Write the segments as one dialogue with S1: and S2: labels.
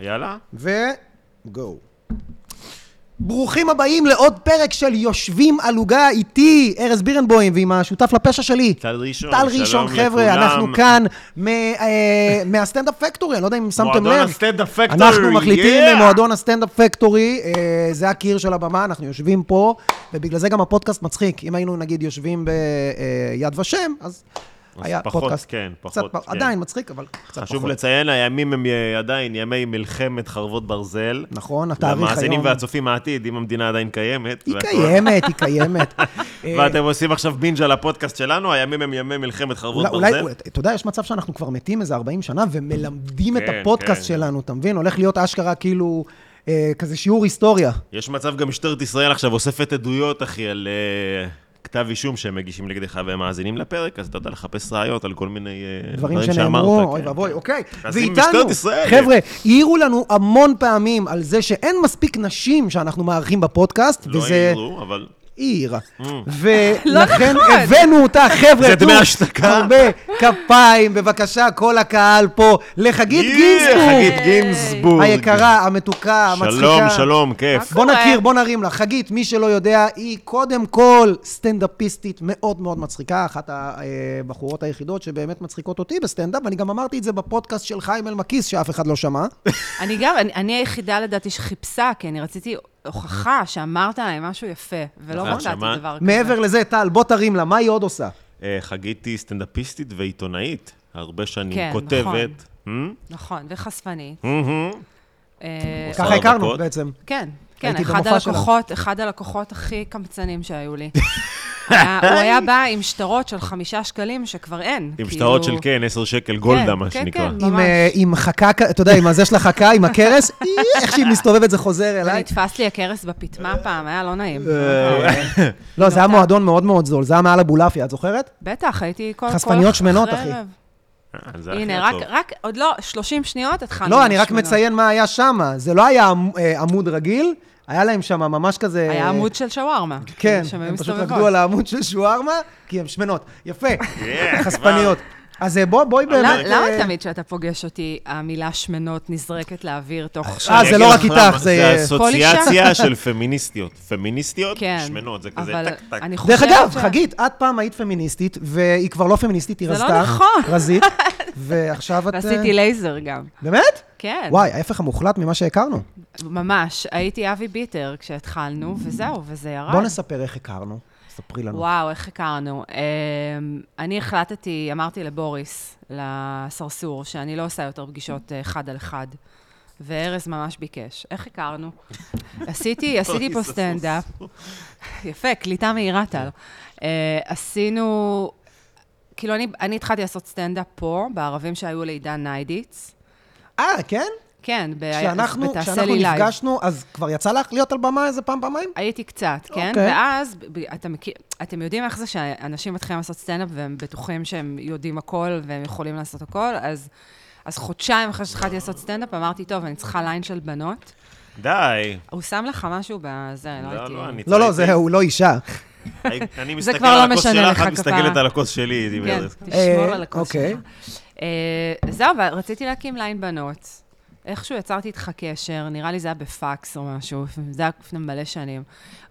S1: יאללה.
S2: וגו. ברוכים הבאים לעוד פרק של יושבים על עוגה איתי, ארז בירנבוים, ועם השותף לפשע שלי.
S1: טל ראשון,
S2: טל
S1: שלום
S2: ראשון,
S1: לכולם.
S2: חבר'ה, אנחנו כאן מ- אה, מהסטנדאפ פקטורי, אני לא יודע אם שמתם לב.
S1: מועדון הסטנדאפ פקטורי,
S2: אנחנו מקליטים
S1: yeah!
S2: במועדון הסטנדאפ פקטורי, אה, זה הקיר של הבמה, אנחנו יושבים פה, ובגלל זה גם הפודקאסט מצחיק. אם היינו נגיד יושבים ביד ושם, אז היה
S1: פחות,
S2: פודקאסט.
S1: כן, פחות,
S2: קצת פ-
S1: כן.
S2: עדיין מצחיק, אבל קצת פחות.
S1: חשוב לציין, הימים הם אה, עדיין ימי מלחמת חרבות ברזל.
S2: נכון, התאריך היום.
S1: למאזינים והצופים העתיד, אם המדינה עדיין קיימת.
S2: היא
S1: והכל.
S2: קיימת, היא קיימת. אה,
S1: ואתם עושים עכשיו בינג' על הפודקאסט שלנו, הימים הם ימי מלחמת חרבות
S2: אולי, אולי,
S1: ברזל.
S2: אתה יודע, יש מצב שאנחנו כבר מתים איזה 40 שנה ומלמדים את
S1: כן,
S2: הפודקאסט
S1: כן.
S2: שלנו, אתה מבין? הולך להיות אשכרה כאילו, אה, כזה שיעור היסטוריה.
S1: יש מצב גם משטרת ישראל עכשיו אוספת עדויות, אחי, על אה, כתב אישום שהם מגישים נגדך והם מאזינים לפרק, אז אתה יודע לחפש ראיות על כל מיני אה,
S2: דברים
S1: שאמרת,
S2: שנאמרו,
S1: כן.
S2: אוי ואבוי, אוקיי.
S1: אז אם
S2: ואיתנו,
S1: משטרת ישראל-
S2: חבר'ה, העירו לנו המון פעמים על זה שאין מספיק נשים שאנחנו מארחים בפודקאסט,
S1: לא
S2: וזה...
S1: העירו, אבל...
S2: היא העירה.
S3: לא
S2: ולכן
S3: נכון.
S2: הבאנו אותה, חבר'ה,
S1: זה דמי
S2: תנו
S1: השתקה.
S2: הרבה כפיים, בבקשה, כל הקהל פה, לחגית
S1: יא,
S2: גינזבורג,
S1: חגית גינזבורג.
S2: היקרה, המתוקה, המצחיקה.
S1: שלום, שלום, כיף.
S2: בוא
S3: קורה?
S2: נכיר, בוא נרים לה. חגית, מי שלא יודע, היא קודם כל סטנדאפיסטית מאוד מאוד מצחיקה, אחת הבחורות היחידות שבאמת מצחיקות אותי בסטנדאפ, ואני גם אמרתי את זה בפודקאסט של חיים אלמקיס, שאף אחד לא שמע.
S3: אני גם, אני, אני היחידה לדעתי שחיפשה, כי אני רציתי הוכחה שאמרת להם משהו יפה, ולא
S1: נכון,
S3: מצאתי
S1: שמעת?
S3: דבר כזה.
S2: מעבר לזה, טל, בוא תרים לה, מה היא עוד עושה?
S1: אה, חגית היא סטנדאפיסטית ועיתונאית, הרבה שנים
S3: כן,
S1: כותבת. נכון.
S3: נכון, וחשפני. אה,
S1: עושה
S2: ככה הכרנו
S1: הרפתקאות.
S2: בעצם.
S3: כן, כן,
S2: הייתי
S3: אחד
S2: במופע שלה.
S3: הלקוחות, אחד הלקוחות הכי קמצנים שהיו לי. היה- הוא היה בא עם שטרות של חמישה שקלים שכבר אין.
S1: עם
S3: כאילו-
S1: שטרות של כן, 10 שקל גולדה,
S3: כן,
S1: מה
S3: כן,
S1: שנקרא.
S3: כן.
S2: עם,
S3: ממש.
S2: אה, עם חכה, כ- אתה יודע, עם הזה של החכה, עם הכרס, אי, איך שהיא מסתובבת זה חוזר אליי.
S3: ונתפס לי הכרס בפטמה
S1: אה,
S3: פעם, היה לא נעים.
S2: אה, לא, זה היה מועדון מאוד מאוד זול, זה היה מעל אבולעפיה, את זוכרת?
S3: בטח, הייתי כל... כל-
S2: חשפניות שמנות,
S3: אחרי
S2: אחי.
S3: ערב.
S1: אה, זה הכי
S3: הנה, רק,
S1: טוב.
S3: רק, עוד לא, 30 שניות התחלנו.
S2: לא,
S3: עם
S2: אני רק
S3: השמנות.
S2: מציין מה היה שם, זה לא היה עמ- אה, עמוד רגיל, היה להם שם ממש כזה...
S3: היה עמוד של שווארמה.
S2: כן,
S3: שהם היו
S2: הם פשוט
S3: מסתובבות.
S2: רקדו על העמוד של שוארמה, כי הם שמנות. יפה,
S1: כן,
S2: חשפניות. אז אה, בוא, בואי
S3: למה-
S2: באמת... אה,
S3: למה תמיד כשאתה פוגש אותי, המילה שמנות נזרקת לאוויר תוך
S1: כבר.
S3: שעה?
S2: אה,
S1: אני
S2: זה
S1: אגיד לך
S2: לא רק
S1: למה,
S2: איתך, זה-
S1: זה אסוציאציה של פמיניסטיות. פמיניסטיות,
S3: כן.
S1: שמנות, זה כזה
S3: אבל
S1: טק טק.
S3: אני חושבת
S2: דרך אגב,
S3: ש-
S2: חגית, את פעם היית פמיניסטית, והיא כבר לא פמיניסטית, היא
S3: זה לא
S2: רזתה.
S3: נכון.
S2: רזית, ועכשיו את... אה,
S3: ועשיתי לייזר גם.
S2: באמת?
S3: כן,
S2: וואי, ההפך המוחלט ממה שהכרנו.
S3: ממש. הייתי אבי ביטר כשהתחלנו, וזהו, וזה ירד.
S2: בוא נספר איך הכרנו. ספרי לנו.
S3: וואו, איך הכרנו. אמ, אני החלטתי, אמרתי לבוריס, לסרסור, שאני לא עושה יותר פגישות אה, אחד על אחד. וארז ממש ביקש. איך הכרנו? עשיתי, עשיתי פה
S1: בוריס
S3: סטנדאפ. יפה, קליטה מהירה,
S2: כן.
S3: טל. אה, עשינו... כאילו, אני, אני התחלתי לעשות סטנדאפ פה, בערבים שהיו לעידן ניידיץ.
S2: אה, כן?
S3: כן, ב-
S2: כשאנחנו
S3: ב"תעשה
S2: כשאנחנו
S3: לי לייב".
S2: נפגשנו, אז כבר יצא לך להיות על במה איזה פעם, פעמיים?
S3: הייתי קצת, כן?
S2: אוקיי.
S3: Okay. ואז, ב- ב- אתה מכיר, אתם יודעים איך זה שאנשים מתחילים לעשות סטנדאפ והם בטוחים שהם יודעים הכל והם יכולים לעשות הכל, אז, אז חודשיים אחרי שהתחלתי לעשות סטנדאפ, אמרתי, טוב, אני צריכה ליין של בנות.
S1: די.
S3: הוא שם לך משהו בזה, לא
S1: לא,
S3: הייתי...
S1: לא, אני
S2: לא, לא,
S1: צריך-
S2: זה הוא לא אישה.
S1: אני
S3: זה
S1: מסתכל
S3: כבר
S1: על
S3: לא
S1: הכוס
S3: משנה
S1: שלך,
S3: לך
S1: את מסתכלת
S3: כפרה.
S1: על הכוס שלי, איתי
S3: כן,
S1: מארז.
S3: תשמור
S2: אה,
S3: על הכוס
S2: אוקיי.
S3: שלך. אה, זהו, אבל רציתי להקים ליין בנות. איכשהו יצרתי איתך קשר, נראה לי זה היה בפקס או משהו, זה היה לפני מלא שנים.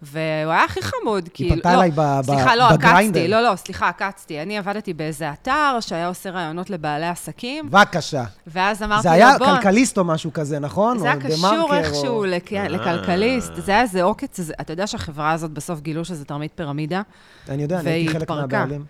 S3: והוא היה הכי חמוד, כאילו...
S2: פנתה
S3: לא,
S2: אליי ב- ב-
S3: סליחה, לא,
S2: בגריינדר.
S3: עקצתי, לא, לא, סליחה, עקצתי. אני עבדתי באיזה אתר שהיה עושה רעיונות לבעלי עסקים,
S2: בבקשה.
S3: ואז אמרתי
S2: זה
S3: לו,
S2: היה
S3: בוא...
S2: כלכליסט או משהו כזה, נכון?
S3: זה היה
S2: או
S3: קשור
S2: דה-מרקר,
S3: איכשהו
S2: או-
S3: לכ- לכלכליסט, זה היה איזה עוקץ, זה- אתה יודע שהחברה הזאת בסוף גילו שזה תרמית פירמידה?
S2: אני יודע, אני הייתי
S3: והיא
S2: חלק
S3: התפרקה.
S2: מהבעלים.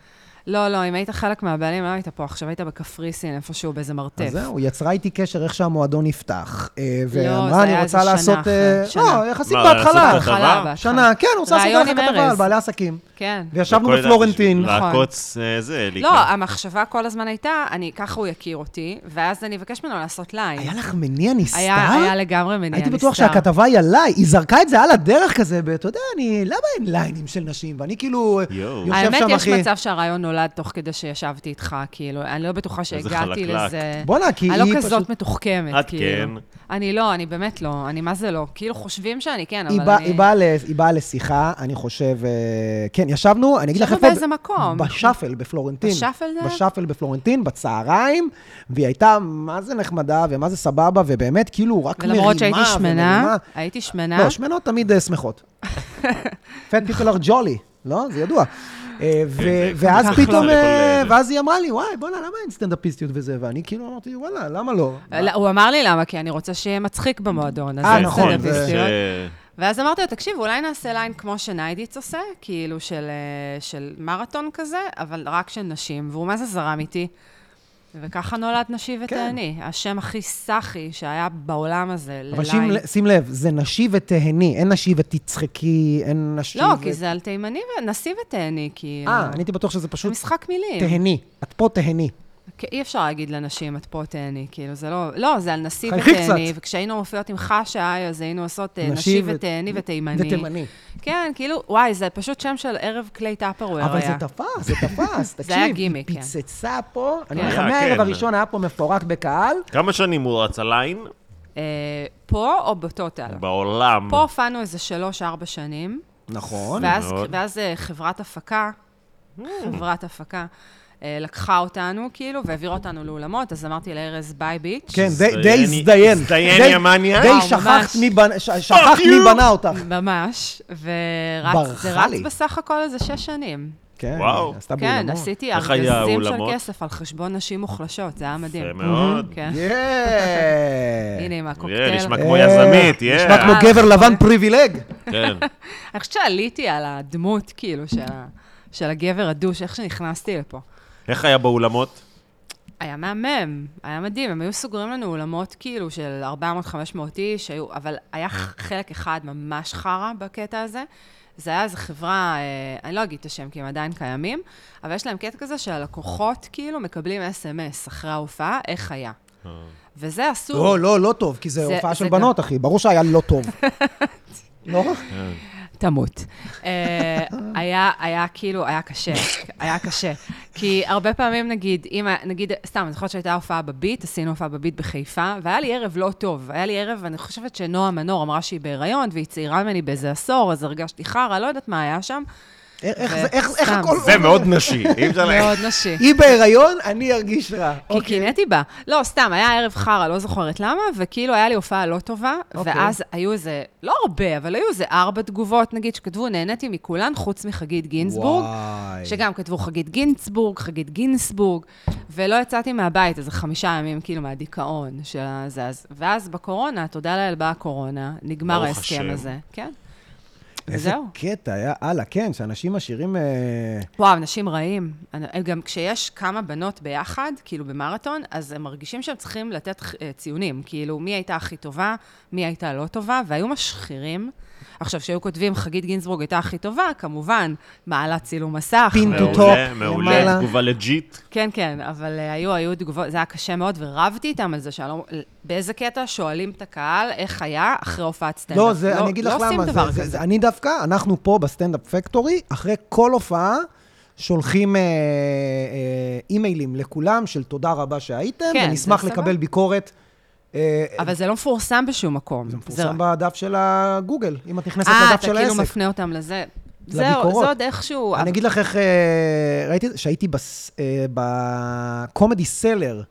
S3: לא, לא, אם היית חלק מהבעלים, לא היית פה עכשיו, היית בקפריסין איפשהו, באיזה מרתף.
S2: אז זהו, יצרה איתי קשר איך שהמועדון נפתח. אה,
S3: לא, זה
S2: ואמרה, אני
S3: היה
S2: רוצה
S3: איזה
S2: לעשות...
S3: שנה
S2: אה,
S3: אחרי, שנה.
S2: לא, יחסית
S1: מה,
S2: בהתחלה.
S1: לעשות כתבה?
S3: בהתחלה.
S2: שנה, כן, רוצה לעשות
S3: רעיון
S2: ככה
S3: עם
S2: כתבה
S3: ארז.
S2: על בעלי עסקים.
S3: כן.
S2: וישבנו
S1: וכל זה
S2: בפלורנטין.
S1: בשביל
S3: נכון.
S1: לעקוץ אה, זה,
S3: לא,
S1: לקרוא.
S3: המחשבה כל הזמן הייתה, אני, ככה הוא יכיר אותי, ואז אני אבקש ממנו לעשות ליין.
S2: היה לך מניע נסתר?
S3: היה, היה לגמרי מניע נסתר.
S2: הייתי בטוח שהכתבה היא עליי, היא זרקה את זה על הדרך כזה, אתה יודע, אני, למה אין ליינים של נשים? ואני כאילו
S1: יואו.
S2: יושב
S3: האמת,
S2: שם,
S3: יש
S2: אחי.
S3: מצב שהרעיון נולד תוך כדי שישבתי איתך, כאילו, אני לא בטוחה שהגעתי
S1: חלקלק.
S3: לזה.
S2: בואנה, כי
S3: אני לא
S2: היא
S3: כזאת
S2: פשוט-
S3: מתוחכמת,
S1: את
S3: כאילו.
S1: כן.
S3: אני לא, אני באמת לא, אני מה זה לא. כאילו חושבים שאני כן,
S2: היא
S3: אבל
S2: באה-
S3: אני...
S2: היא באה ל- היא באה לשיחה, אני חושב... אה, כן, ישבנו, אני אגיד לך
S3: ישבנו
S2: איפה...
S3: באיזה מקום.
S2: בשאפל בפלורנטין.
S3: בשאפל זה היה?
S2: בשאפל בפלורנטין, בצהריים, והיא הייתה מה זה נחמדה ומה זה סבבה, ובאמת, כאילו, רק מרימה
S3: ולמרות שהייתי שמנה,
S2: ומרימה.
S3: הייתי שמנה,
S2: לא, שמנות תמיד אה, שמחות. Fat people are jolly, לא? זה ידוע. אה, ו-
S1: כן, זה
S2: ואז
S1: ככה.
S2: פתאום,
S1: לכל,
S2: אה,
S1: אה,
S2: ואז היא אמרה לי, וואי, בוא'נה, למה אין סטנדאפיסטיות וזה? ואני כאילו אמרתי, וואלה, למה לא?
S3: לא, הוא אמר לי למה, כי אני רוצה שיהיה מצחיק במועדון. אז
S2: אה,
S3: זה
S2: נכון,
S3: בסדר,
S2: זה-
S3: בסדר.
S1: זה-
S3: ואז אמרתי לו, תקשיב, אולי נעשה ליין כמו שניידיץ עושה, כאילו של, אה, של מרתון כזה, אבל רק של נשים, והוא מה זה זרם איתי. וככה נולד נשי
S2: כן.
S3: ותעני, השם הכי סאחי שהיה בעולם הזה,
S2: אבל
S3: לליין.
S2: שים, שים לב, זה נשי ותהני, אין נשי ותצחקי, אין נשי
S3: לא,
S2: ו...
S3: כי זה על תימני ונשיא ותהני, כאילו.
S2: אה, אני הייתי בטוח שזה
S3: זה
S2: פשוט
S3: משחק מילים.
S2: תהני. את פה תהני.
S3: כי אי אפשר להגיד לנשים, את פה תהני, כאילו, זה לא... לא, זה על נשיא
S2: חייכי
S3: ותהני,
S2: קצת.
S3: וכשהיינו מופיעות עם חשה, אז היינו עושות אה,
S2: נשי
S3: נשי
S2: ו-
S3: ותהני ותימני.
S2: ותימני.
S3: כן, כאילו, וואי, זה פשוט שם של ערב כלי טאפרוויר היה.
S2: אבל זה תפס, זה תפס. תקשיב,
S3: אה. היה
S2: היא
S3: גימיק, כן.
S2: פיצצה פה. אני אומר לך,
S1: היה,
S2: מהערב
S1: כן.
S2: הראשון היה פה מפורק בקהל.
S1: כמה שנים הוא רץ הליין?
S3: אה, פה או בטוטל?
S1: כן. בעולם.
S3: פה הופענו איזה שלוש-ארבע שנים,
S2: נכון.
S3: ואז,
S1: מאוד. Mm.
S3: ואז אה, חברת הפקה, חברת הפקה, אה, לקחה אותנו, כאילו, והעבירה אותנו לאולמות, אז אמרתי לארז ביי ביץ'.
S2: כן, די- די
S1: הזדיין,
S2: הזדיין.
S1: הזדיין,
S2: די-
S1: יא מניאק.
S2: די
S3: וואו,
S2: שכחת
S3: אה, ממש.
S2: מי בנה- ש- שכחת
S1: you.
S2: מי בנה אותך.
S3: ממש, ורץ
S2: ברחה
S3: זה רץ
S2: לי.
S3: בסך הכל איזה שש שנים.
S2: כן,
S1: וואו.
S2: עשתה
S3: כן,
S2: באולמות.
S3: עשיתי
S1: איך היה
S3: ארגזים של
S1: האולמות?
S3: כסף על חשבון נשים מוחלשות, זה היה מדהים.
S1: יפה מאוד.
S3: כן.
S2: יאה.
S3: הנה עם
S1: יהיה,
S3: הקוקטייל.
S1: נשמע
S2: אה,
S1: כמו יזמית, יהיה.
S2: נשמע כמו
S3: אה,
S2: גבר
S3: נכון.
S2: לבן פריבילג.
S1: כן.
S3: אני חושבת שעליתי על הדמות, כאילו, של, ה... של הגבר הדוש, איך שנכנסתי לפה.
S1: איך היה באולמות?
S3: היה מהמם, היה מדהים, הם היו סוגרים לנו אולמות כאילו של 400-500 איש, היו, אבל היה ח- חלק אחד ממש חרא בקטע הזה. זה היה איזו חברה, אה, אני לא אגיד את השם כי הם עדיין קיימים, אבל יש להם קטע כזה שהלקוחות כאילו מקבלים אס.אם.אס אחרי ההופעה, איך היה. וזה אסור.
S2: לא, לא, לא טוב, כי זה
S3: זה-
S2: הופעה
S3: זה
S2: של
S3: גם-
S2: בנות, אחי. ברור שהיה לא טוב. לא רע.
S3: תמות. אה, היה, היה כאילו, היה קשה, היה קשה. כי הרבה פעמים, נגיד, אם, ה- נגיד, סתם, אני זוכרת שהייתה הופעה בביט, עשינו הופעה בביט בחיפה, והיה לי ערב לא טוב. היה לי ערב, אני חושבת שנועה מנור אמרה שהיא בהיריון, והיא צעירה ממני באיזה עשור, אז הרגשתי חרא, לא יודעת מה היה שם.
S2: איך- איך
S3: ו-
S2: זה- איך איך
S3: סתם.
S2: הכל...
S1: זה מאוד נשי, אי אפשר לה...
S3: מאוד נשי.
S2: היא בהיריון, אני ארגיש רע.
S3: כי
S2: אוקיי.
S3: קינאתי בה. לא, סתם, היה ערב חרא, לא זוכרת למה, וכאילו היה לי הופעה לא טובה,
S2: אוקיי.
S3: ואז היו איזה, לא הרבה, אבל היו איזה ארבע תגובות, נגיד, שכתבו, נהניתי מכולן, חוץ מחגית גינזבורג.
S2: וואי.
S3: שגם כתבו חגית גינצבורג, חגית גינסבורג, ולא יצאתי מהבית איזה חמישה ימים, כאילו, מהדיכאון של הזה. אז- ואז בקורונה, תודה לאל, באה הקורונה, נגמר
S1: ברוך
S3: ההסכם
S1: השם.
S3: הזה. כן.
S2: איזה
S3: וזהו.
S2: קטע, היה, הלאה, כן, שאנשים עשירים... אה,
S3: וואו, אנשים רעים. אני- הם גם כשיש כמה בנות ביחד, כאילו במרתון, אז הם מרגישים שהם צריכים לתת אה, ציונים. כאילו, מי הייתה הכי טובה, מי הייתה לא טובה, והיו משחירים. עכשיו, כשהיו כותבים, חגית גינזבורג הייתה הכי טובה, כמובן, מעלה צילום מסך.
S2: פינטו
S3: מעולה.
S2: טו טופ,
S1: מעולה,
S2: למעלה.
S1: מעולה, תגובה לג'יט.
S3: כן, כן, אבל אה, היו, היו תגובות, זה היה קשה מאוד, ורבתי איתם על זה, שאני לא... באיזה קטע שואלים את הקהל איך היה אחרי הופעת סטנדאפ.
S2: לא, זה, אני אגיד לך
S3: לא
S2: למה.
S3: עושים
S2: זה-
S3: דבר
S2: זה-
S3: כזה.
S2: זה- אני דווקא, אנחנו פה בסטנדאפ פקטורי, אחרי כל הופעה, שולחים אה, אה, אימיילים לכולם של תודה רבה שהייתם,
S3: כן,
S2: ונשמח
S3: זה סבבה.
S2: לקבל ביקורת. אה,
S3: אבל זה לא מפורסם בשום מקום.
S2: זה מפורסם בדף של הגוגל, אם את נכנסת
S3: אה,
S2: לדף
S3: אתה
S2: של
S3: כאילו
S2: העסק.
S3: מפנה אותם לזה. זהו,
S2: לביקורות.
S3: זה עוד איכשהו...
S2: אני אגיד לך איך... אה, ראיתי את זה, שהייתי בס- אה, בקומדי סלר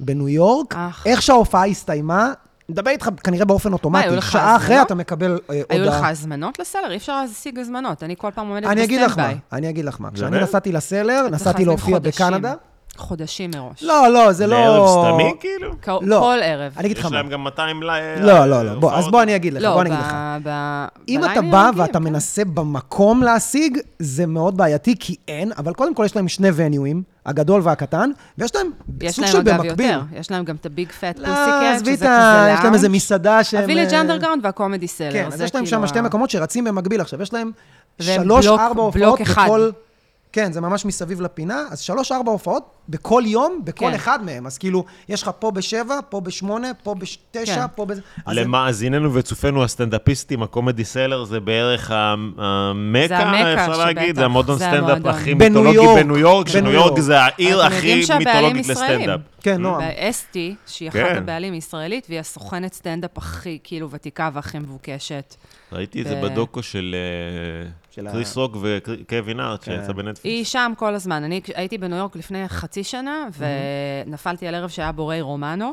S2: בניו יורק,
S3: אך.
S2: איך שההופעה הסתיימה, מדבר איתך כנראה באופן
S3: היו
S2: אוטומטי,
S3: לך
S2: שעה אחרי
S3: הזמנות?
S2: אתה מקבל אה,
S3: היו לך
S2: הודעה.
S3: הזמנות לסלר? אי אפשר להשיג הזמנות. אני כל פעם עומדת
S2: אני אגיד לך מה,
S3: בסטנדביי.
S2: אני אגיד לך מה. כשאני
S1: באמת?
S2: נסעתי לסלר,
S3: צריך
S2: נסעתי
S3: להזמין
S2: להופיע
S3: חודשים.
S2: בקנדה.
S3: חודשים מראש.
S2: לא, לא, זה לא...
S1: לערב סתמי, כאילו?
S3: כל-
S2: לא.
S3: כל ערב.
S2: אני אגיד לך
S1: יש
S2: מה.
S1: להם גם אה, 200 ל...
S2: לא, לא, לא. בוא, אז בוא אני אגיד לך,
S3: לא,
S2: בוא
S3: ב...
S2: אני אגיד לך.
S3: ב-
S2: אם
S3: בלילה
S2: אתה
S3: הם
S2: בא
S3: מגיעים,
S2: ואתה
S3: כן.
S2: מנסה במקום להשיג, זה מאוד בעייתי, כי אין, אבל קודם כל יש להם שני וניואים, הגדול והקטן, ויש להם
S3: יש
S2: סוג
S3: להם
S2: של
S3: אגב
S2: במקביל.
S3: יותר, יש להם גם את הביג פאט
S2: לא,
S3: פוסיקט,
S2: עזבי
S3: כן, שזה
S2: את
S3: כזה
S2: ה...
S3: לאונג'.
S2: יש להם איזה מסעדה שהם...
S3: הווילג'
S2: אה,
S3: אנדרגראונד והקומדי סלר.
S2: כן, אז
S3: זה
S2: יש להם
S3: כאילו
S2: שם שתי
S3: ה-
S2: מקומות שרצים במקביל. עכשיו, יש להם
S3: והם
S2: שלוש,
S3: בלוק-
S2: ארבע
S3: בלוק
S2: הופעות
S3: אחד.
S2: בכל... כן, זה ממש מסביב לפינה. אז שלוש-ארבע הופעות בכל יום, בכל
S3: כן.
S2: אחד מהם. אז כאילו, יש לך פה בשבע, פה בשמונה, פה בתשע,
S3: כן.
S2: פה ב... אז זה-
S1: למאזיננו וצופינו הסטנדאפיסטים, הקומדי סלר זה בערך ה-
S3: זה
S1: המכה,
S3: המכה
S1: אפשר להגיד,
S3: שבטח,
S1: זה המועדון
S3: זה
S1: סטנדאפ
S3: המועדון.
S1: הכי
S2: בניו
S1: מיתולוגי
S2: יורק,
S1: בניו יורק,
S2: בניו
S1: שניו יורק
S2: יורק.
S1: זה העיר
S3: אתם יודעים
S1: הכי
S3: שהבעלים
S1: מיתולוגית
S3: ישראלים.
S1: לסטנדאפ.
S2: כן, נועם.
S3: אסתי, שהיא אחת
S1: כן.
S3: הבעלים היא ישראלית, והיא הסוכנת סטנדאפ הכי, כאילו, ותיקה והכי מבוקשת.
S1: ראיתי את זה
S3: ב-
S1: בדוקו של אה,
S2: של ה-
S1: קריס רוק וקווין ארט,
S2: כן.
S1: שיצא
S3: היא
S1: בנטפליקס.
S3: שם כל הזמן. אני כש- הייתי בניו יורק לפני חצי שנה,
S2: Mhm.
S3: ונפלתי על ערב שהיה בורי רומנו,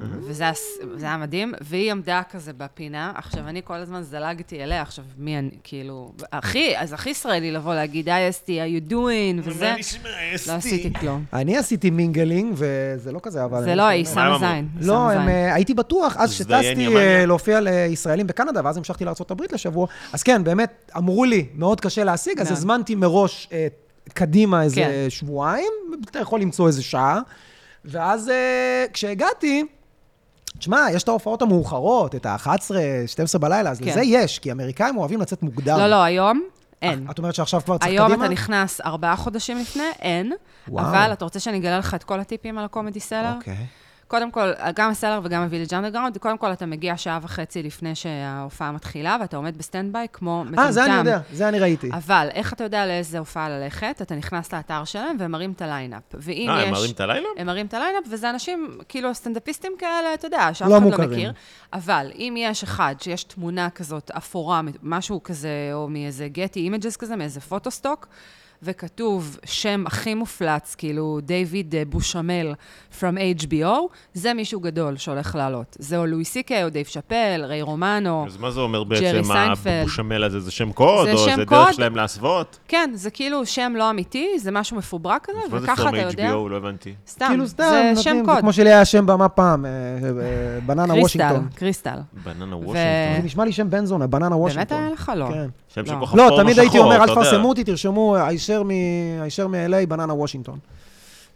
S3: וזה היה ס- זה היה מדהים, והיא עמדה כזה בפינה. עכשיו, אני כל הזמן זלגתי אליה, עכשיו, מי אני, כאילו... הכי, אז הכי ישראלי לבוא להגיד, היי אסתי, how you doing, וזה. לא עשיתי כלום.
S2: אני עשיתי מינגלינג, וזה לא כזה, אבל...
S3: זה
S2: אני
S3: לא, היא
S1: מה
S3: שמה
S1: הם
S3: זין. היא
S2: לא,
S3: שמה
S2: הם,
S3: זין.
S2: אה, הייתי בטוח, אז
S1: זה
S2: שטסתי
S1: יעניין.
S2: אה, להופיע לישראלים בקנדה, ואז המשכתי לארה"ב לשבוע. אז כן, באמת, אמרו לי, מאוד קשה להשיג, אז
S3: מאוד.
S2: הזמנתי מראש אה, קדימה
S3: כן.
S2: איזה שבועיים, אתה יכול למצוא איזה שעה. ואז אה, כשהגעתי, תשמע, יש את ההופעות המאוחרות, את ה-11, 12 בלילה, אז
S3: כן.
S2: לזה יש, כי אמריקאים אוהבים לצאת מוקדם. אה,
S3: לא, לא, היום אין.
S2: את אומרת שעכשיו כבר צריך קדימה?
S3: היום אתה נכנס ארבעה חודשים לפני, אין.
S2: וואו.
S3: אבל אתה רוצה שאני אגלה לך את כל הטיפים על הקומדי סלר?
S2: אוקיי.
S3: קודם כל, גם הסלר וגם הוויליג' אנדרגראונד, קודם כל אתה מגיע שעה וחצי לפני שההופעה מתחילה, ואתה עומד בסטנדביי כמו מטומטם.
S2: אה, זה אני יודע, זה אני ראיתי.
S3: אבל איך אתה יודע לאיזה הופעה ללכת? אתה נכנס לאתר שלהם והם מראים את הליינאפ. ואם
S1: אה,
S3: יש...
S1: הם מראים את הלילה?
S3: הם מרים את הליינאפ, וזה אנשים, כאילו, סטנדאפיסטים כאלה, אתה יודע, שאף
S2: לא
S3: אחד לא
S2: מוכרים.
S3: מכיר. אבל אם יש אחד שיש תמונה כזאת אפורה, משהו כזה, או מאיזה גטי אימג'ס כזה, מאיזה פוטוסטוק, וכתוב שם הכי מופלץ, כאילו, דיוויד אה, בושמל from HBO, זה מישהו גדול שהולך לעלות. זה או לואי סי קיי, או דייב שאפל, ריי רומנו.
S1: אז מה זה אומר
S3: נכון. ג'רי
S1: בעצם,
S3: סיינפלד.
S1: הבושמל הזה? זה שם קוד?
S3: זה
S1: או
S3: שם
S1: זה
S3: קוד.
S1: דרך שלהם להסוות?
S3: כן, זה כאילו שם לא אמיתי, זה משהו מפוברק כזה,
S1: אז מה זה
S3: לא, וככה אתה
S1: פורם
S3: יודע...
S1: HBO? לא הבנתי.
S3: סתם,
S2: כאילו סתם,
S3: זה שם
S2: נותנים, זה
S3: קוד.
S2: כמו שלי היה שם במה פעם, אה, אה, בננה
S3: קריסטל,
S2: וושינגטון.
S3: קריסטל.
S1: בננה וושינגטון.
S2: זה נשמע לי שם בן זונה, בננה
S3: באמת
S2: וושינגטון.
S3: היה לך לא.
S2: כן.
S1: שם
S3: לא.
S1: שכל כך
S2: לא,
S1: אפור
S2: תמיד הייתי
S1: משחור,
S2: אומר, אל
S1: אתה יודע.
S2: תפרסמו אותי, תרשמו, הישר מ- הישר מ-LA, בננה וושינגטון.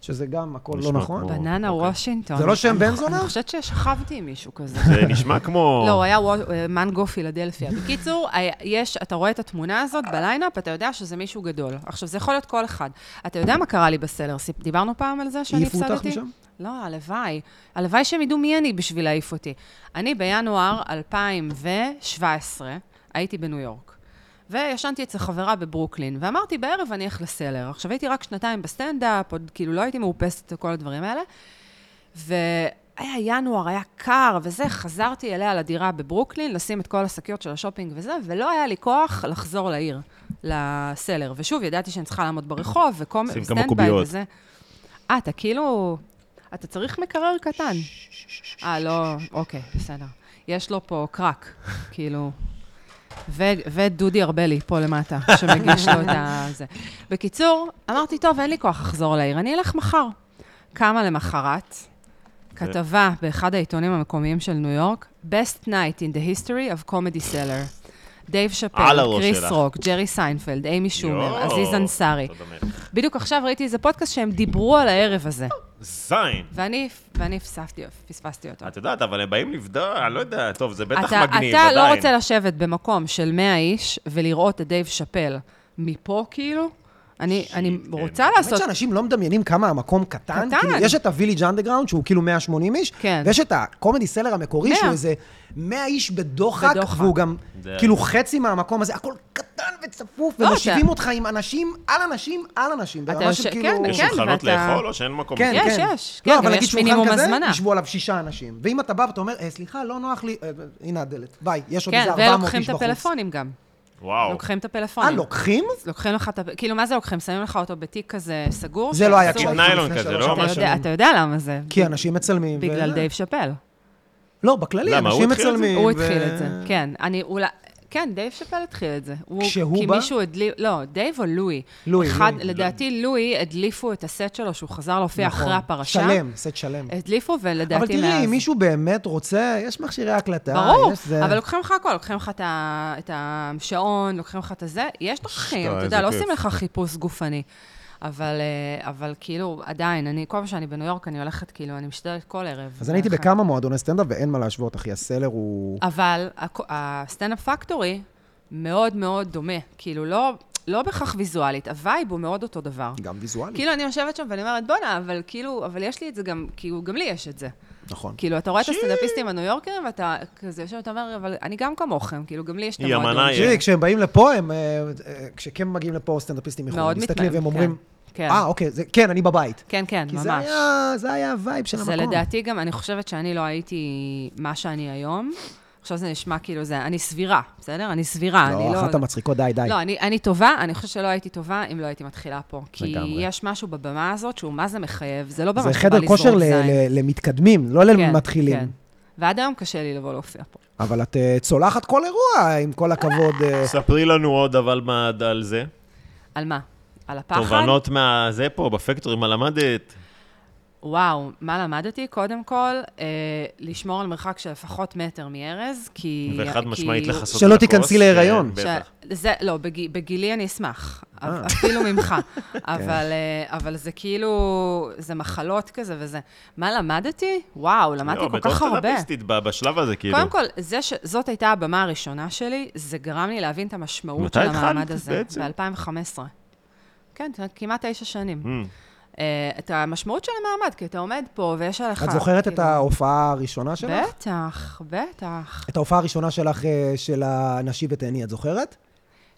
S2: שזה גם הכל לא
S1: נשמע
S2: נכון.
S1: כמו-
S3: בננה
S1: אוקיי.
S3: וושינגטון.
S2: זה לא שם
S3: אני-
S2: בן זונה?
S3: אני חושבת ששכבתי עם מישהו כזה.
S1: זה נשמע כמו...
S3: לא, הוא היה וו- אה, מנגו פילדלפיה. בקיצור, היה- יש, אתה רואה את התמונה הזאת בליינאפ, אתה יודע שזה מישהו גדול. עכשיו, זה יכול להיות כל אחד. אתה יודע מה קרה לי בסלר? סיפ- דיברנו פעם על זה שאני
S2: העיפו
S3: הפסדתי?
S2: אותך משם?
S3: לא, הלוואי. הלוואי שהם ידעו מי אני בשביל להעיף אותי. אני בינואר 2017 הייתי בניו יורק. וישנתי אצל חברה בברוקלין, ואמרתי, בערב אני אלך לסלר. עכשיו, הייתי רק שנתיים בסטנדאפ, עוד כאילו לא הייתי מאופסת לכל הדברים האלה. והיה ינואר, היה קר וזה, חזרתי אליה לדירה בברוקלין, לשים את כל השקיות של השופינג וזה, ולא היה לי כוח לחזור לעיר, לסלר. ושוב, ידעתי שאני צריכה לעמוד ברחוב, וקום...
S1: שים כמה
S3: וסטנדביי
S1: קוביות.
S3: וזה. אה, אתה כאילו... אתה צריך מקרר קטן. אה, לא, אוקיי, בסדר. יש לו פה קרק, כאילו... ו- ודודי ארבלי פה למטה, שמגיש לו את הזה. בקיצור, אמרתי, טוב, אין לי כוח לחזור לעיר, אני אלך מחר. קמה למחרת, כתבה באחד העיתונים המקומיים של ניו יורק, Best Night in the History of Comedy Seller. דייב
S1: על
S3: שאפל,
S1: הראש
S3: קריס
S1: שלך.
S3: רוק, ג'רי סיינפלד, אימי שומר,
S1: יואו,
S3: עזיז אנסארי.
S1: תודה מלך.
S3: בדיוק עכשיו ראיתי איזה פודקאסט שהם דיברו על הערב הזה,
S1: זין.
S3: ואני, ואני הפספתי, פספסתי אותו.
S1: את יודעת, אבל הם באים לבדוק, אני לא יודע, טוב, זה בטח
S3: אתה,
S1: מגניב,
S3: אתה
S1: עדיין.
S3: לא רוצה לשבת במקום של 100 איש ולראות את דייב שאפל מפה, כאילו? אני, אני
S1: כן.
S3: רוצה
S2: האמת
S3: לעשות...
S2: שאנשים לא מדמיינים כמה המקום קטן.
S3: קטן.
S2: כאילו, יש את הוויליג' אנדרגראונד, שהוא כאילו 180 איש,
S3: כן.
S2: ויש את הקומדי סלר המקורי, שהוא
S3: מאה.
S2: איזה 100 איש בדוחק,
S3: בדוחק.
S2: והוא גם
S1: זה-
S2: כאילו חצי מהמקום הזה, הכל קטן וצפוף,
S3: לא,
S2: ומושיבים
S3: אתה-
S2: אותך עם אנשים על אנשים על אנשים.
S3: אתה
S2: ברמה של
S3: יושב-
S2: כאילו-
S1: יש
S3: כן,
S1: שולחנות
S3: ואתה-
S1: לאכול או שאין מקום?
S2: כן,
S3: יש,
S2: כן.
S3: יש.
S2: לא,
S3: כן,
S2: אבל
S3: גם
S2: נגיד
S3: יש
S2: שולחן
S3: מינימום
S2: כזה,
S3: הזמנה.
S2: ישבו עליו שישה אנשים. ואם אתה בא ואתה אומר, "אה, סליחה, לא נוח לי, אה, הנה הדלת, ביי, יש עוד
S3: כן,
S2: איזה 400
S3: ולוקחים
S2: איש
S3: את
S2: בחוץ.
S3: הפלאפונים גם.
S1: וואו.
S3: כן. לוקחים את
S2: אה,
S3: הפלאפונים.
S2: לוקחים?
S3: לוקחים לך את ה... כאילו, מה זה לוקחים? שמים לך אותו בתיק כזה סגור?
S2: זה לא היה
S3: שאסור-
S1: שקית
S2: כשהייתי
S1: ניילון
S2: לפני
S1: כזה,
S2: שלוש
S1: לא?
S2: שנים.
S3: אתה
S1: ממש
S3: יודע- אתה יודע למה זה.
S2: כי אנשים מצלמים.
S3: בגלל
S2: כן, ו-
S3: דייב שאפל.
S2: לא, בכללי,
S1: למה, הוא
S2: אנשים
S1: התחיל את זה?
S2: מצלמים.
S3: הוא
S2: ו-
S3: התחיל את זה, כן. אני אולי... כן, דייב שאפל התחיל את זה. הוא-
S2: כשהוא
S3: כי
S2: בא?
S3: מישהו הדליף... לא, דייב או לואי?
S2: לואי,
S3: אחד,
S2: לואי.
S3: לדעתי לואי הדליפו את הסט שלו שהוא חזר להופיע
S2: נכון.
S3: אחרי הפרשה.
S2: שלם, סט שלם.
S3: הדליפו, ולדעתי מאז...
S2: אבל תראי, אם מישהו באמת רוצה, יש מכשירי הקלטה.
S3: ברור,
S2: יש זה-
S3: אבל לוקחים לך הכל, לוקחים לך את ה- את השעון, לוקחים לך את הזה, יש דרכים,
S1: שטה,
S3: אתה יודע,
S1: איזה
S3: לא
S1: כיף.
S3: עושים לך חיפוש גופני. אבל, אה, אבל כאילו, עדיין, אני, כל פעם שאני בניו יורק, אני הולכת, כאילו, אני משתדלת כל ערב.
S2: אז אני הייתי
S3: הולכת.
S2: בכמה מועדוני סטנדאפ, ואין מה להשוות, אחי, הסלר הוא...
S3: אבל הכ- הסטנדאפ פקטורי מאוד מאוד דומה. כאילו, לא, לא בהכרח ויזואלית, הווייב הוא מאוד אותו דבר.
S2: גם ויזואלית.
S3: כאילו, אני יושבת שם ואני אומרת, בואנה, אבל כאילו, אבל יש לי את זה גם, כאילו, גם לי יש את זה.
S2: נכון.
S3: כאילו, אתה רואה את הסטנדאפיסטים הניו יורקרים, ואתה כזה יושב ואתה אומר, אבל אני גם כמוכם, כאילו, גם לי יש את
S1: היא
S3: המועדון.
S1: אמנה, היא-
S2: תראי, כשהם באים לפה, הם... אה, אה, כשכן מגיעים לפה סטנדאפיסטים
S3: מאוד
S2: מחו"ל, מסתכלים
S3: מתלהם,
S2: והם אומרים,
S3: כן, כן.
S2: אה, אוקיי, זה- כן, אני בבית.
S3: כן, כן,
S2: כי
S3: ממש.
S2: זה היה, זה היה הווייב של
S3: זה
S2: המקום.
S3: לדעתי גם, אני חושבת שאני לא הייתי מה שאני היום. עכשיו זה נשמע כאילו זה, אני סבירה, בסדר? אני סבירה, אני לא...
S2: לא, אחת המצחיקות, די, די.
S3: לא, אני, אני טובה, אני חושבת שלא הייתי טובה אם לא הייתי מתחילה פה. כי
S2: לגמרי.
S3: יש משהו בבמה הזאת שהוא מה זה מחייב, זה לא במה
S2: זה
S3: שבא
S2: חדר
S3: לזרוק
S2: כושר ל-
S3: זין.
S2: ל- למתקדמים, לא
S3: כן,
S2: למתחילים.
S3: כן. ועד היום קשה לי לבוא להופיע פה.
S2: אבל את אה, צולחת כל אירוע, עם כל הכבוד. אה,
S1: ספרי לנו עוד אבל מה עד על זה.
S3: על מה? על הפחד?
S1: תובנות מהזה פה, בפקטורי, מה למדת?
S3: וואו, מה למדתי? קודם כל, אה, לשמור על מרחק של לפחות מטר מארז, כי...
S1: וחד
S3: כי-
S1: משמעית לכסות
S2: שלא
S1: על הכוס,
S2: תיכנסי להיריון.
S1: כן,
S3: ש-
S1: בטח. אה.
S3: זה, לא, בג, בגילי אני אשמח, אפ- אפילו ממך.
S1: כן.
S3: אבל, אה, אבל זה כאילו, זה מחלות כזה וזה. מה למדתי? וואו, למדתי
S1: לא,
S3: כל
S1: בתור
S3: כך הרבה.
S1: תרפיסטית ב- בשלב הזה, כאילו.
S3: קודם כל, זה ש... זאת הייתה הבמה הראשונה שלי, זה גרם לי להבין את המשמעות
S1: מתי
S3: של
S1: התחלת
S3: המעמד הזה.
S1: בעצם?
S3: ב-2015. כן, ת- כמעט תשע שנים.
S1: Mm.
S3: אה, את המשמעות של המעמד, כי אתה עומד פה ויש עליך...
S2: את זוכרת את
S3: כאילו-
S2: ההופעה הראשונה שלך?
S3: בטח, בטח.
S2: את ההופעה הראשונה שלך, אה, של הנשי ותהני, את זוכרת?